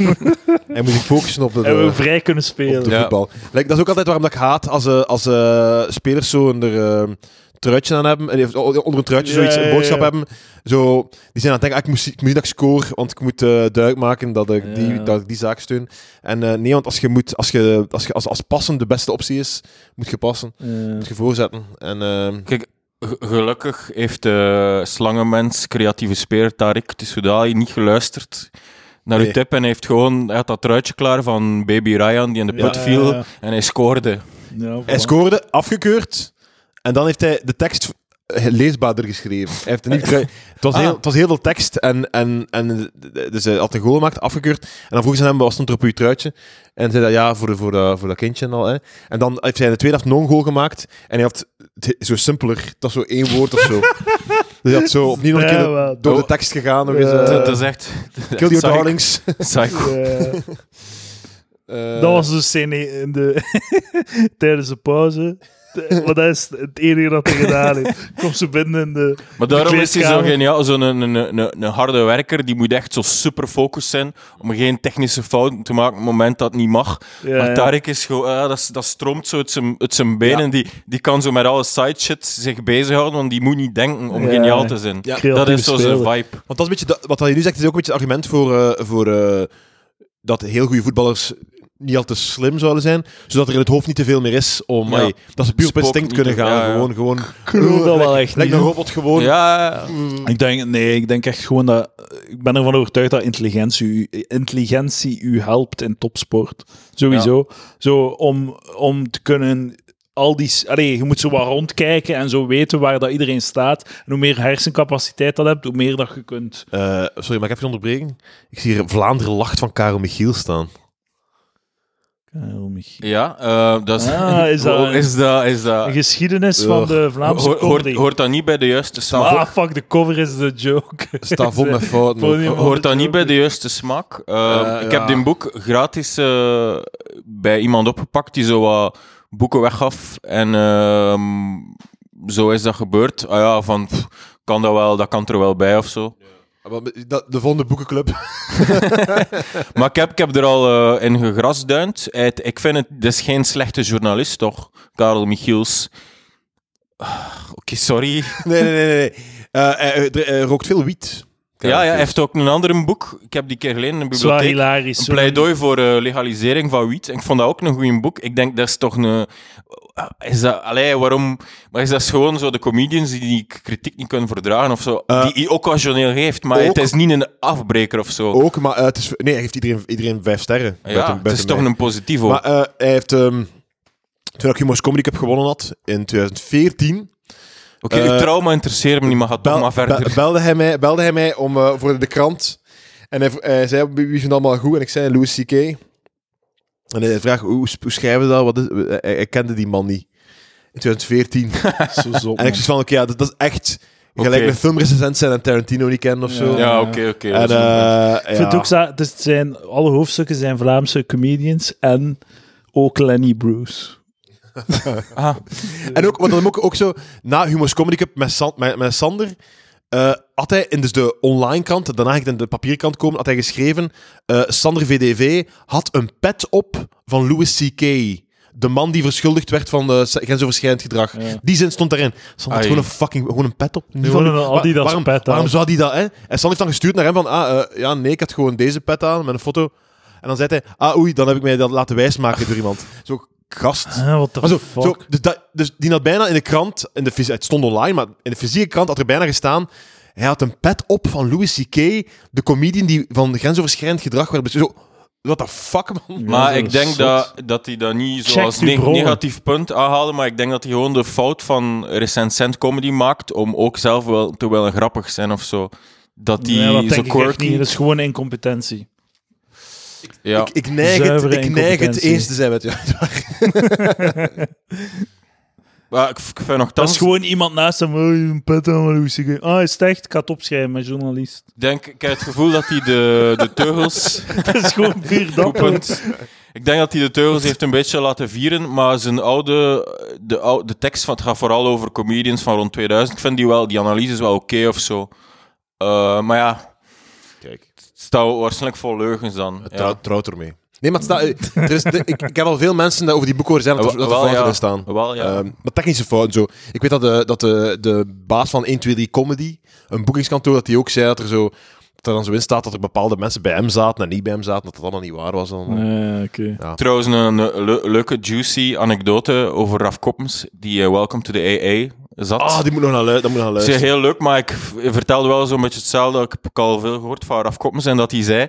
Speaker 2: hij moet zich focussen op de...
Speaker 1: En we vrij kunnen
Speaker 2: Oh, op de
Speaker 1: spelen.
Speaker 3: Ja.
Speaker 2: voetbal. Like, dat is ook altijd waarom dat ik haat als, eh, als eh, spelers zo in de, eh, truitje aan hebben, en die heeft onder een truitje
Speaker 1: Ja,
Speaker 2: zoiets,
Speaker 1: ja,
Speaker 2: een boodschap
Speaker 1: ja.
Speaker 2: hebben, zo, die zijn aan het denken, ah, ik moet, ik moet zien dat ik score, want ik moet eh duidelijk maken dat ik, die,
Speaker 1: Ja.
Speaker 2: dat ik die zaak steun. En eh, nee, want als je moet, als, je, als, je, als, als passen de beste optie is, moet je passen, moet je voorzetten. En ehm,
Speaker 3: G- Gelukkig heeft de slangenmens, creatieve speer Tarik Tsoudali niet geluisterd naar uw
Speaker 2: Nee.
Speaker 3: tip en heeft gewoon hij had dat truitje klaar van baby Ryan die in de
Speaker 1: Ja,
Speaker 3: put
Speaker 1: ja,
Speaker 3: viel
Speaker 1: ja.
Speaker 3: en hij scoorde.
Speaker 1: Ja,
Speaker 2: hij
Speaker 1: voilà.
Speaker 2: scoorde, afgekeurd, en dan heeft hij de tekst eh, leesbaarder geschreven. Hij heeft een nieuw trui- het, was
Speaker 3: Ah.
Speaker 2: heel, het was heel veel tekst, en, en, en, dus hij had een goal gemaakt, afgekeurd, en dan vroegen ze hem, wat stond er op uw truitje? En hij zei dat, ja, voor, voor, dat- voor dat kindje en al. Hè. En dan heeft hij in de tweede helft nog een goal gemaakt, en hij had het zo simpeler, dat was zo één woord of zo. dus hij had zo opnieuw nog een keer
Speaker 1: Ja,
Speaker 2: door de
Speaker 3: Oh.
Speaker 2: tekst gegaan, nog eens...
Speaker 1: Ja.
Speaker 2: eh,
Speaker 3: Dat dat is echt...
Speaker 2: Kill your
Speaker 3: Psycho-
Speaker 2: darlings.
Speaker 3: Psycho.
Speaker 1: Ja.
Speaker 2: Eh,
Speaker 1: Dat was dus zijn e- in de, tijdens de pauze. De- Maar dat is het enige dat hij gedaan heeft. Komt ze binnen in de...
Speaker 3: Maar daarom
Speaker 1: De
Speaker 3: is hij zo
Speaker 1: kleedkamer.
Speaker 3: geniaal. Zo'n een, een, een, een harde werker, die moet echt zo super focus zijn om geen technische fouten te maken op het moment dat het niet mag.
Speaker 1: Ja,
Speaker 3: maar
Speaker 1: ja.
Speaker 3: Tarek is gewoon, ah, dat, is- dat stroomt zo uit zijn, uit zijn benen. Die, die kan zo met alle side shit zich bezighouden, want die moet niet denken om
Speaker 1: Ja.
Speaker 3: geniaal te zijn.
Speaker 2: Ja.
Speaker 3: Dat
Speaker 1: Creatieve
Speaker 3: is zo zijn
Speaker 1: speler.
Speaker 3: vibe.
Speaker 2: Want dat is een beetje, dat- wat hij nu zegt, is ook een beetje het argument voor, eh, voor eh, dat heel goede voetballers niet al te slim zouden zijn, zodat er in het hoofd niet te veel meer is om...
Speaker 3: Ja.
Speaker 2: ai, dat ze puur op
Speaker 3: Spook
Speaker 2: instinct
Speaker 3: niet
Speaker 2: kunnen
Speaker 3: te-
Speaker 2: gaan.
Speaker 3: ja, ja.
Speaker 2: Gewoon, gewoon... Ik
Speaker 1: geloof dat wel echt
Speaker 2: Lijkt
Speaker 1: niet,
Speaker 2: een
Speaker 1: hè.
Speaker 2: robot gewoon...
Speaker 3: Ja,
Speaker 1: Ik denk, nee, ik denk echt gewoon dat... Ik ben ervan overtuigd dat intelligentie u, intelligentie u helpt in topsport. Sowieso. Zo om, om te kunnen... Al die, s- allee, je moet zo wat rondkijken en zo weten waar dat iedereen staat. En hoe meer hersencapaciteit dat hebt, hoe meer dat je kunt.
Speaker 2: Eh, sorry, maar ik even onderbreken. Ik zie hier Vlaanderen lacht van Karel Michiel staan.
Speaker 1: Karel Michiel.
Speaker 3: ja eh, dat is...
Speaker 1: Ah, is dat-
Speaker 3: is dat, is dat
Speaker 1: De geschiedenis van de Vlaamse
Speaker 3: hoort, hoort,
Speaker 1: comedy.
Speaker 3: hoort dat niet bij de juiste smaak?
Speaker 1: Ah, fuck, de cover is de joke.
Speaker 2: Sta vol met
Speaker 1: Voor
Speaker 2: fouten.
Speaker 1: die-
Speaker 2: ook.
Speaker 3: Hoort dat niet bij de juiste smaak? Eh,
Speaker 2: Eh,
Speaker 3: ik
Speaker 2: ja.
Speaker 3: heb dit boek gratis eh, bij iemand opgepakt die zo wat boeken weggaf. En ehm, zo is dat gebeurd. Ah ja, van pff, kan dat wel, dat kan er wel bij of zo.
Speaker 2: Maar dat- De volgende boekenclub.
Speaker 3: Maar ik heb, ik heb er al eh, in gegrasduind. Het, ik vind het, dit is geen slechte journalist toch, Karel Michiels. Ah, Oké, sorry.
Speaker 2: Nee, nee, nee. nee. Eh, hij- hij- hij rookt veel wiet.
Speaker 3: Ja, ja, hij heeft ook een ander boek. Ik heb die keer geleden in de
Speaker 1: Zwaar
Speaker 3: bibliotheek.
Speaker 1: hilarisch.
Speaker 3: Een pleidooi voor eh, legalisering van wiet. En ik vond dat ook een goed boek. Ik denk, dat is toch een... eh, Is dat, allee, waarom... Maar is dat gewoon zo de comedians die die k- kritiek niet kunnen verdragen of zo?
Speaker 2: Eh,
Speaker 3: die die occasioneel heeft, maar
Speaker 2: ook-
Speaker 3: het is niet een afbreker of zo.
Speaker 2: Ook, maar eh, het is, nee, hij geeft iedereen, iedereen vijf sterren.
Speaker 3: ja,
Speaker 2: Buiten-
Speaker 3: het is
Speaker 2: buiten
Speaker 3: toch
Speaker 2: mij.
Speaker 3: een positivo.
Speaker 2: Maar eh, hij heeft, ehm, toen ik Humor's Comedy Cup gewonnen had, in 2014,
Speaker 3: Oké, uw
Speaker 2: eh,
Speaker 3: trauma interesseert me niet, maar ga toch
Speaker 2: bel-
Speaker 3: maar verder.
Speaker 2: be- belde, hij mij, belde hij mij om, eh, voor de krant. En hij, v- hij zei, wie vindt het allemaal goed? En ik zei, Louis C.K. En hij vraagt, hoe, s- hoe schrijven we dat? Wat is, hij, hij kende die man niet. In 2014.
Speaker 1: Zo zot,
Speaker 2: en ik
Speaker 1: man.
Speaker 2: zei van, oké, ja, dat, dat is echt gelijk
Speaker 3: Oké.
Speaker 2: een filmrecensent zijn en Tarantino niet kennen of
Speaker 1: Ja.
Speaker 2: zo.
Speaker 3: ja, oké, oké.
Speaker 2: En,
Speaker 3: dat is een-
Speaker 2: eh,
Speaker 1: Ik vind
Speaker 2: ja.
Speaker 1: ook zo, dus het zijn, alle hoofdstukken zijn Vlaamse comedians en ook Lenny Bruce.
Speaker 3: Ah,
Speaker 2: En ook, want dat ook, ook zo, na Humo's Comedy Cup met, San- met, met Sander, eh, had hij in dus de online krant, daarna ging het in de papierkant komen, had hij geschreven, eh, Sander VDV had een pet op van Louis C.K., de man die verschuldigd werd van eh, grensoverschrijdend gedrag.
Speaker 1: Ja.
Speaker 2: Die zin stond daarin. Sander had
Speaker 3: Ai.
Speaker 2: gewoon een fucking gewoon een pet op. Niet
Speaker 1: Gewoon
Speaker 2: van-
Speaker 1: een
Speaker 2: Wa-
Speaker 1: Adidas
Speaker 2: waarom,
Speaker 1: pet aan.
Speaker 2: Waarom zou die dat, hè? En Sander heeft dan gestuurd naar hem van, ah, eh, ja, nee, ik had gewoon deze pet aan, met een foto. En dan zei hij, ah, oei, dan heb ik mij dat laten wijsmaken door iemand. Zo, gast.
Speaker 1: Ah, what the
Speaker 2: Maar zo,
Speaker 1: fuck?
Speaker 2: zo, dus, dat, dus die had bijna in de krant, in de, fysi- het stond online, maar in de fysieke krant had er bijna gestaan. Hij had een pet op van Louis C.K., de comedian die van grensoverschrijdend gedrag werd beschuldigd. Zo, what the fuck, man?
Speaker 3: maar
Speaker 1: dat
Speaker 3: ik
Speaker 1: is
Speaker 3: denk
Speaker 1: zot.
Speaker 3: dat, dat hij dat niet zo
Speaker 1: Check
Speaker 3: als
Speaker 1: uw
Speaker 3: neg-
Speaker 1: bronnen.
Speaker 3: negatief punt aanhaalde, maar ik denk dat hij gewoon de fout van recensent comedy maakt om ook zelf wel te willen grappig zijn of zo. Dat die
Speaker 1: Nee, dat
Speaker 3: zo
Speaker 1: denk ik echt
Speaker 3: quirky...
Speaker 1: niet. Dat is gewoon incompetentie.
Speaker 3: Ja.
Speaker 2: Ik, ik neig het,
Speaker 1: Zuivere
Speaker 2: ik neig het
Speaker 1: incompetentie.
Speaker 2: eens te zijn met jou.
Speaker 3: Maar ik, ik vind nog
Speaker 1: Dat
Speaker 3: thans,
Speaker 1: is gewoon iemand naast hem. Oh, een pet aan Louis C.K. Ah, is het echt? Ik ga het opschrijven, mijn journalist.
Speaker 3: denk, ik heb het gevoel dat hij de, de teugels...
Speaker 1: Dat is gewoon puur
Speaker 3: Goed
Speaker 1: dat.
Speaker 3: punt. Ik denk dat hij de teugels heeft een beetje laten vieren, maar zijn oude, de, ou- de tekst van, het gaat vooral over comedians van rond 2000. Ik vind die, wel, die analyse is wel oké of zo. Eh, maar ja,
Speaker 2: Kijk,
Speaker 3: het staat waarschijnlijk vol leugens dan.
Speaker 2: het
Speaker 3: Ja.
Speaker 2: trouw- trouwt ermee. Nee, maar het staat, eh, er is, de- ik, ik heb al veel mensen dat over die boeken horen zijn dat er, dat er
Speaker 3: Wel,
Speaker 2: fouten
Speaker 3: ja.
Speaker 2: in staan.
Speaker 3: Wel, ja.
Speaker 2: Ehm, maar technische fouten zo. Ik weet dat de, dat de, de baas van 123 Comedy, een boekingskantoor, dat die ook zei dat er zo... Dat er dan zo in staat dat er bepaalde mensen bij hem zaten en niet bij hem zaten, dat dat allemaal niet waar was. Dan.
Speaker 1: Eh, Oké.
Speaker 3: Trouwens, een eh, le- leuke, juicy anekdote over Raf Koppens, die eh, Welcome to the AA zat.
Speaker 2: Ah, die moet nog naar, lu- dat moet nog naar
Speaker 3: Dat is
Speaker 2: luisteren.
Speaker 3: heel leuk, maar ik v- vertelde wel zo'n beetje hetzelfde. Ik heb al veel gehoord van Raf Koppens en dat hij zei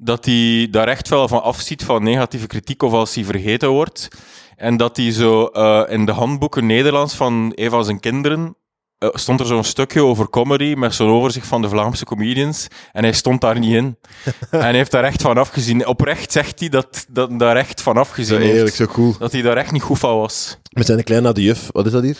Speaker 3: dat hij daar echt wel van afziet van negatieve kritiek of als hij vergeten wordt. En dat hij zo eh, in de handboeken Nederlands van een van zijn kinderen eh, stond er zo'n stukje over comedy met zo'n overzicht van de Vlaamse comedians en hij stond daar niet in. en hij heeft daar echt van afgezien. Oprecht zegt hij dat dat hij daar echt van
Speaker 2: Zo
Speaker 3: afgezien
Speaker 2: eerlijk,
Speaker 3: heeft.
Speaker 2: zo cool.
Speaker 3: Dat hij daar echt niet goed van was.
Speaker 2: We zijn een klein naar de juf. Wat is dat hier?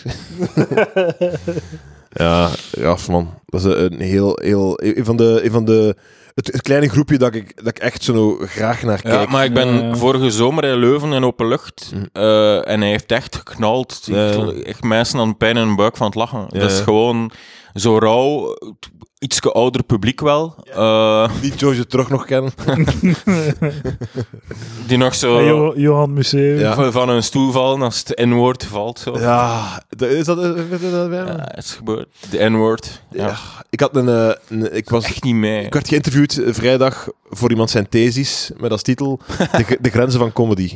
Speaker 2: ja, ja, man. Dat is een heel, heel... Een van de... Een van de het, het kleine groepje dat ik, dat ik echt zo nou graag naar
Speaker 3: Ja,
Speaker 2: kijk.
Speaker 3: maar ik ben
Speaker 1: eh, Mm.
Speaker 3: vorige zomer in Leuven in open lucht. eh, en hij heeft echt geknald. Eh,
Speaker 2: Ja, ja.
Speaker 3: Echt mensen aan pijn in hun buik van het lachen.
Speaker 2: Ja,
Speaker 3: Dat is
Speaker 2: ja.
Speaker 3: gewoon zo rauw. Iets ouder publiek wel. eh,
Speaker 2: Die George terug nog kennen.
Speaker 3: die nog zo
Speaker 1: Hey, Jo- Johan Museum.
Speaker 2: Ja.
Speaker 3: van, van een stoel vallen als het N-woord valt. Zo. Ja.
Speaker 2: Ja, dat- is dat, is dat bij hem?
Speaker 3: het is gebeurd. De N-woord. Ja.
Speaker 2: Ja, ik had een, eh, een- ik was,
Speaker 3: Echt niet mee.
Speaker 2: ik werd geïnterviewd eh, vrijdag voor iemand zijn thesis met als titel de, gr- de grenzen van comedy.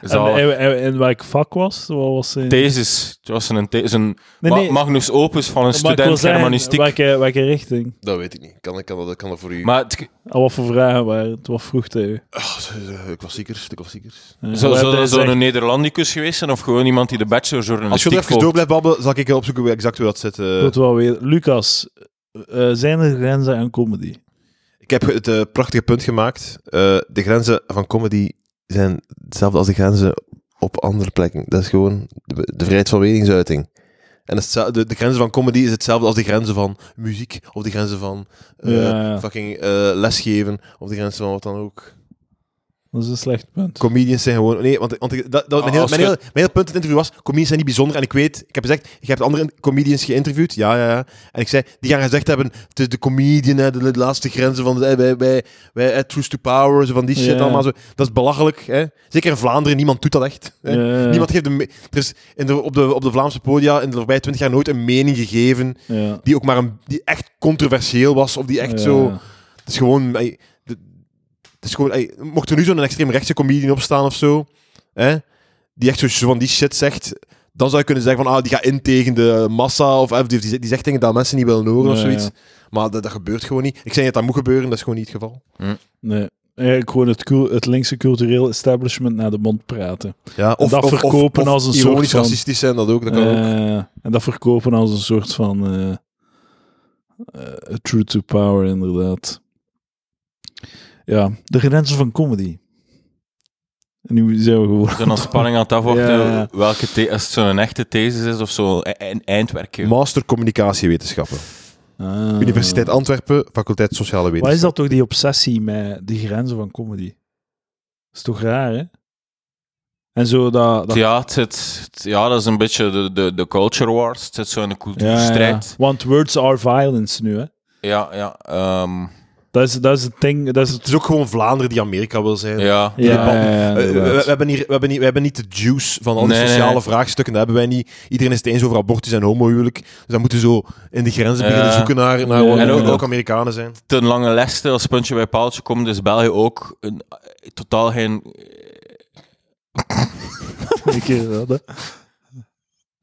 Speaker 1: En,
Speaker 3: Zalig.
Speaker 1: en, en- en welk vak was? Wat was zijn...
Speaker 3: Thesis. Het was een, the- een
Speaker 1: Nee,
Speaker 3: ma-
Speaker 1: nee.
Speaker 3: magnus opus van een
Speaker 1: Maar ik wil
Speaker 3: student
Speaker 1: zeggen,
Speaker 3: germanistiek.
Speaker 1: Welke, welke richting?
Speaker 2: Dat weet ik niet. Kan ik kan, dat kan dat voor u?
Speaker 3: Maar het,
Speaker 1: Al wat voor vragen waren het? Wat vroeg tegen? u?
Speaker 2: Ah, de klassiekers, de klassiekers.
Speaker 1: Eh,
Speaker 3: Zou
Speaker 1: wat
Speaker 3: zou
Speaker 1: hij
Speaker 3: dat zo'n
Speaker 1: zegt.
Speaker 3: Nederlandicus geweest zijn of gewoon iemand die de bachelor
Speaker 2: Als je
Speaker 3: journalistiek
Speaker 2: er even
Speaker 3: volgt?
Speaker 2: door blijft babbelen, zal ik even opzoeken hoe exact hoe dat zit. eh.
Speaker 1: Ik wil het wel weten. Lucas, eh, zijn er grenzen aan comedy?
Speaker 2: ik heb het eh, prachtige punt gemaakt. Eh, de grenzen van comedy zijn hetzelfde als de grenzen op andere plekken. Dat is gewoon de, de vrijheid van meningsuiting. En het is hetzelfde- de, de grenzen van comedy is hetzelfde als de grenzen van muziek, of de grenzen van eh,
Speaker 1: Ja, ja.
Speaker 2: fucking eh, lesgeven, of de grenzen van wat dan ook.
Speaker 1: Dat is een slecht punt.
Speaker 2: Comedians zijn gewoon... Nee, want, want ik- dat,
Speaker 1: Ah,
Speaker 2: dat, mijn, heel,
Speaker 3: Als
Speaker 2: mijn,
Speaker 3: je-
Speaker 2: heel, mijn heel punt in het interview was, comedians zijn niet bijzonder. En ik weet, ik heb gezegd, je hebt andere comedians geïnterviewd. Ja, ja, ja. En ik zei, die gaan gezegd hebben, het is de comedian, hè, de, de laatste grenzen van... Wij, wij, wij, wij eh, Truth to Power, zo van die shit
Speaker 1: Ja.
Speaker 2: allemaal. Zo. Dat is belachelijk. Hè. Zeker in Vlaanderen, niemand doet dat echt. Hè.
Speaker 1: Ja, ja.
Speaker 2: Niemand geeft een... me- Er is in de, op, de, op de Vlaamse podia in de voorbije twintig jaar nooit een mening gegeven
Speaker 1: Ja.
Speaker 2: die ook maar een, die echt controversieel was, of die echt
Speaker 1: Ja,
Speaker 2: zo...
Speaker 1: ja.
Speaker 2: Het is gewoon. ey, de- het is gewoon ey, mocht er nu zo'n extreemrechtse comedian opstaan of zo, hè, die echt zo zo van die shit zegt, dan zou je kunnen zeggen van ah, die gaat in tegen de massa of eh, die, die, die zegt dingen dat mensen niet willen horen of
Speaker 1: Ja,
Speaker 2: zoiets.
Speaker 1: ja.
Speaker 2: Maar dat, dat gebeurt gewoon niet. Ik zei dat dat moet gebeuren, dat is gewoon niet het geval.
Speaker 1: Nee. Eigenlijk gewoon het, cul- het linkse cultureel establishment naar de mond praten.
Speaker 2: Ja,
Speaker 1: of- dat of- verkopen of als een soort
Speaker 2: ironisch
Speaker 1: van-
Speaker 2: racistisch zijn, dat ook. Dat kan ook.
Speaker 1: Eh, En dat verkopen als een soort van eh, eh, true to power, inderdaad. Ja, de grenzen van comedy. En nu zijn we gewoon...
Speaker 3: We zijn aan spanning aan het afwachten
Speaker 1: Ja, ja.
Speaker 3: welke the- als het zo'n echte thesis is of zo'n e- e- eindwerkje.
Speaker 2: Master Communicatiewetenschappen.
Speaker 1: Ah.
Speaker 2: Universiteit Antwerpen, faculteit Sociale
Speaker 1: Wat is
Speaker 2: Wetenschappen.
Speaker 1: dat toch, die obsessie met de grenzen van comedy? is toch raar, hè? En zo dat... dat
Speaker 3: Ja, het zit- het- ja, dat is een beetje de, de, de culture wars. Het zit zo in de cultuurstrijd.
Speaker 1: Want words are violence nu, hè?
Speaker 3: Ja, ja. ehm,
Speaker 1: Dat is, dat is het ding... Dat is het...
Speaker 2: Het is ook gewoon Vlaanderen die Amerika wil zijn.
Speaker 3: ja.
Speaker 1: Ja,
Speaker 2: band-
Speaker 1: ja, ja,
Speaker 2: Eh, we,
Speaker 1: inderdaad.
Speaker 2: we hebben hier, we, hebben niet, we hebben niet de juice van alle
Speaker 3: Nee, nee,
Speaker 2: sociale
Speaker 3: nee.
Speaker 2: vraagstukken. Dat hebben wij niet. Iedereen is het eens over abortus en homohuwelijk. Dus dan moeten we zo in de grenzen
Speaker 3: Ja.
Speaker 2: beginnen zoeken naar, naar
Speaker 1: Ja,
Speaker 2: wat
Speaker 1: en ook-
Speaker 2: ook Amerikanen zijn.
Speaker 3: Ten lange leste, als puntje bij paaltje komt, is België ook een, eh, totaal geen...
Speaker 1: Ik, eh, dat,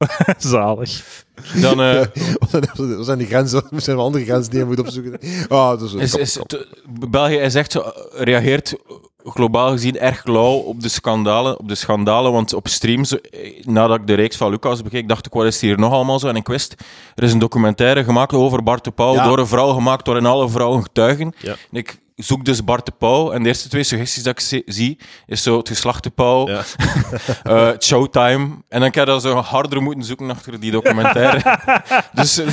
Speaker 1: hè. Zalig.
Speaker 3: Dan, eh,
Speaker 2: Wat zijn- Wat zijn die grenzen? Wat zijn wel andere grenzen die je moet opzoeken? Ah, dat is,
Speaker 3: Is,
Speaker 2: kap,
Speaker 3: is,
Speaker 2: kap.
Speaker 3: te- België is echt, zo- reageert globaal gezien erg lauw op de schandalen. Op de schandalen want op streams, eh, nadat ik de reeks van Lucas bekeek, dacht ik, wat is hier nog allemaal zo? En ik wist, er is een documentaire gemaakt over Bart de Pauw,
Speaker 2: Ja.
Speaker 3: door een vrouw gemaakt, door een alle vrouwen getuigen.
Speaker 2: Ja.
Speaker 3: En ik zoek dus Bart de Pauw, en de eerste twee suggesties dat ik zie- zie, is zo het geslacht de Pauw,
Speaker 2: Ja.
Speaker 3: eh, het Showtime. En dan kan je dat zo harder moeten zoeken achter die documentaire. dus... eh,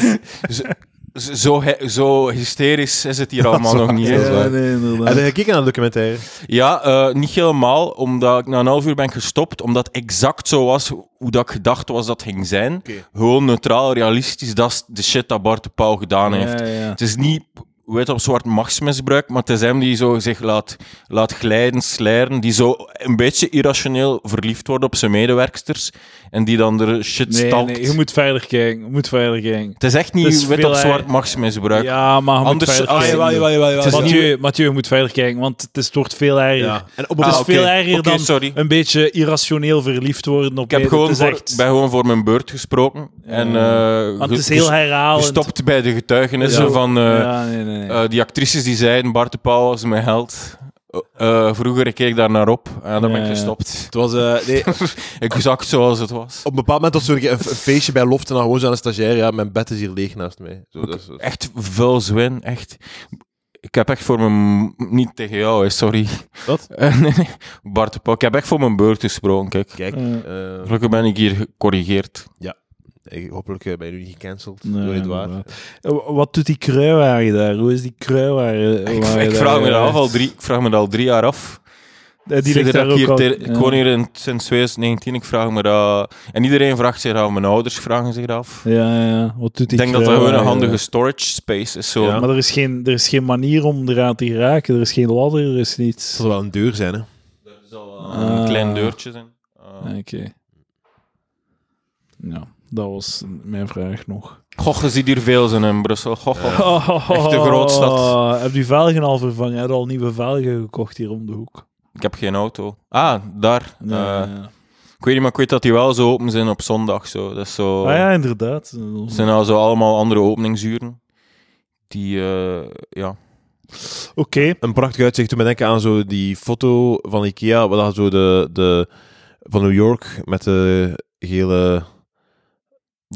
Speaker 3: zo- zo, he- zo hysterisch is het hier allemaal nog niet. hè.
Speaker 2: dat is waar.
Speaker 1: nee, inderdaad.
Speaker 2: Heb je gekeken naar de documentaire?
Speaker 3: Ja, eh, niet helemaal, omdat ik na een half uur ben gestopt, omdat exact zo was hoe dat ik gedacht was dat ging zijn.
Speaker 2: Oké.
Speaker 3: Gewoon neutraal, realistisch, dat is de shit dat Bart de Pauw gedaan heeft.
Speaker 1: Ja, ja.
Speaker 3: Het is niet hoe heet dat, op zwart machtsmisbruik, maar het is hem die zo zich laat, laat glijden, slijden, die zo een beetje irrationeel verliefd wordt op zijn medewerkers en die dan er shit
Speaker 1: Nee,
Speaker 3: stampt.
Speaker 1: nee, je moet verder kijken. Je moet verder kijken.
Speaker 3: Het is echt
Speaker 1: Het
Speaker 3: niet
Speaker 1: is
Speaker 3: wit
Speaker 1: veel
Speaker 3: op zwart
Speaker 1: eigen-
Speaker 3: machtsmisbruik.
Speaker 1: Ja, maar je moet
Speaker 3: Anders...
Speaker 1: verder
Speaker 3: ah,
Speaker 1: kijken.
Speaker 3: jawel, jawel, jawel,
Speaker 2: Het is
Speaker 3: jawel.
Speaker 2: niet-
Speaker 1: Mathieu, Mathieu, je moet verder kijken, want het, is, het wordt veel erger.
Speaker 2: Ja. En op
Speaker 1: Het is
Speaker 3: Ah, oké.
Speaker 1: veel erger
Speaker 3: Oké,
Speaker 1: dan
Speaker 3: sorry.
Speaker 1: een beetje irrationeel verliefd worden op
Speaker 3: Ik heb
Speaker 1: mede-
Speaker 3: gewoon
Speaker 1: het is
Speaker 3: voor,
Speaker 1: echt-
Speaker 3: ben gewoon voor mijn beurt gesproken. En, eh,
Speaker 1: want
Speaker 3: ge-
Speaker 1: het is heel
Speaker 3: ges-
Speaker 1: herhalend.
Speaker 3: gestopt bij de getuigenissen
Speaker 1: Ja.
Speaker 3: van eh,
Speaker 1: ja, nee, nee, nee.
Speaker 3: eh, die actrices die zeiden: Bart de Pauw was mijn held. Eh, eh, vroeger keek ik daar naar op en dan ben
Speaker 1: Ja,
Speaker 3: ik
Speaker 1: ja.
Speaker 3: gestopt.
Speaker 2: Het was, eh, nee,
Speaker 3: Ik zag zoals het was.
Speaker 2: op een bepaald moment was er een, een feestje bij Loft en dan gewoon zo aan een stagiair. Ja, mijn bed is hier leeg naast mij. Zo, dat is- dat is-
Speaker 3: Echt veel zwin, echt. Ik heb echt voor mijn... Niet tegen jou, hè, sorry.
Speaker 2: Wat?
Speaker 3: Eh, nee, nee. Bart de Pauw, ik heb echt voor mijn beurt gesproken, kijk.
Speaker 2: Kijk, eh,
Speaker 3: Gelukkig ben ik hier gecorrigeerd.
Speaker 2: ik- hopelijk eh, ben je nu niet gecanceld
Speaker 1: Nee,
Speaker 2: door Edouard.
Speaker 1: inderdaad. Eh, Wat doet die kruiwagen daar? Hoe is die kruiwagen? eh,
Speaker 3: Ik, ik vraag me dat af al drie, ik vraag me dat al drie jaar af.
Speaker 1: Die ligt
Speaker 3: Sinds
Speaker 1: daar
Speaker 3: dat ik
Speaker 1: ook
Speaker 3: hier
Speaker 1: al.
Speaker 3: ter- Ik
Speaker 1: ja.
Speaker 3: woon hier in, sinds 2019, ik vraag me dat... En iedereen vraagt zich dat af, mijn ouders vragen zich dat af.
Speaker 1: Ja, ja, ja. Wat doet die
Speaker 3: Ik denk dat dat gewoon
Speaker 1: kruiwagen
Speaker 3: een
Speaker 1: daar?
Speaker 3: handige storage space is. Zo.
Speaker 2: Ja.
Speaker 1: Maar er is, geen, er is geen manier om eraan te geraken. Er is geen ladder, er is
Speaker 2: Het
Speaker 1: niets.
Speaker 2: zal wel een deur zijn, hè.
Speaker 3: Er zal wel een
Speaker 1: Ah.
Speaker 3: klein deurtje zijn. Ah.
Speaker 1: Oké. Ja, dat was mijn vraag nog.
Speaker 3: Goh, je ziet hier veel zijn in Brussel. Goh, goh.
Speaker 1: Echt
Speaker 3: Echte grootstad.
Speaker 1: Heb je velgen al vervangen? Heb je al nieuwe velgen gekocht hier om de hoek?
Speaker 3: Ik heb geen auto. Ah, daar.
Speaker 1: Nee,
Speaker 3: Eh,
Speaker 1: ja.
Speaker 3: Ik weet niet, maar ik weet dat die wel zo open zijn op zondag. Zo. Dat is zo...
Speaker 1: Ah ja, inderdaad.
Speaker 3: Het zijn al zo allemaal andere openingsuren. Die, eh, ja.
Speaker 1: Oké.
Speaker 2: een prachtig uitzicht. Toen ben ik aan zo die foto van Ikea, wat dat zo de, de, van New York met de gele...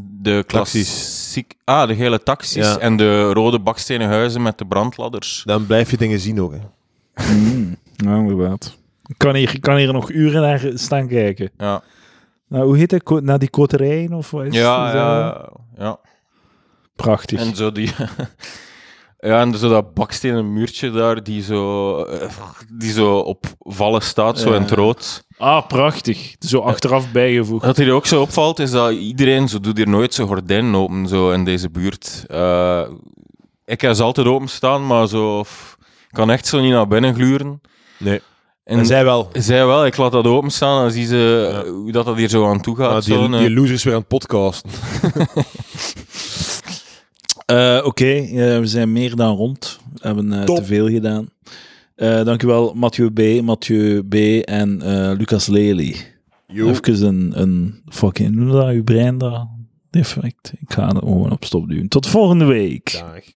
Speaker 3: De
Speaker 2: Taxis.
Speaker 3: klassiek... Ah, de gele taxis
Speaker 2: Ja.
Speaker 3: en de rode bakstenen huizen met de brandladders.
Speaker 2: Dan blijf je dingen zien ook. Hè.
Speaker 1: Mm, Ja, inderdaad. Ik kan hier, ik kan hier nog uren naar staan kijken.
Speaker 3: Ja,
Speaker 1: Nou, hoe heet dat? Ko- Naar die koterijen of wat is dus, eh,
Speaker 3: ja,
Speaker 1: is dat?
Speaker 3: ja. ja.
Speaker 1: Prachtig.
Speaker 3: En zo die... Ja, en zo dat bakstenen muurtje daar, die zo, eh, die zo op vallen staat, zo
Speaker 1: Ja.
Speaker 3: in het rood.
Speaker 1: Ah, prachtig. Zo achteraf bijgevoegd.
Speaker 3: Wat hier ook zo opvalt, is dat iedereen zo doet hier nooit zijn gordijn open zo in deze buurt. Eh, ik heb ze altijd open staan, maar zo f- ik kan echt zo niet naar binnen gluren.
Speaker 2: Nee.
Speaker 3: En zij,
Speaker 2: wel.
Speaker 3: wel, ik laat dat open staan, dan zie ze eh, hoe dat, dat hier zo aan toe gaat.
Speaker 2: ah, die,
Speaker 3: zo, eh.
Speaker 2: die losers weer aan het podcasten.
Speaker 1: Eh, Oké, eh, we zijn meer dan rond. We hebben eh,
Speaker 2: Top.
Speaker 1: te veel gedaan. Eh, dankjewel, Mathieu B., Mathieu B. en eh, Lucas Lely. Even een, een fucking... Hoe noem je dat? Uw brein daar. Defect. Ik ga er gewoon op stop doen. Tot volgende week.
Speaker 2: Dag.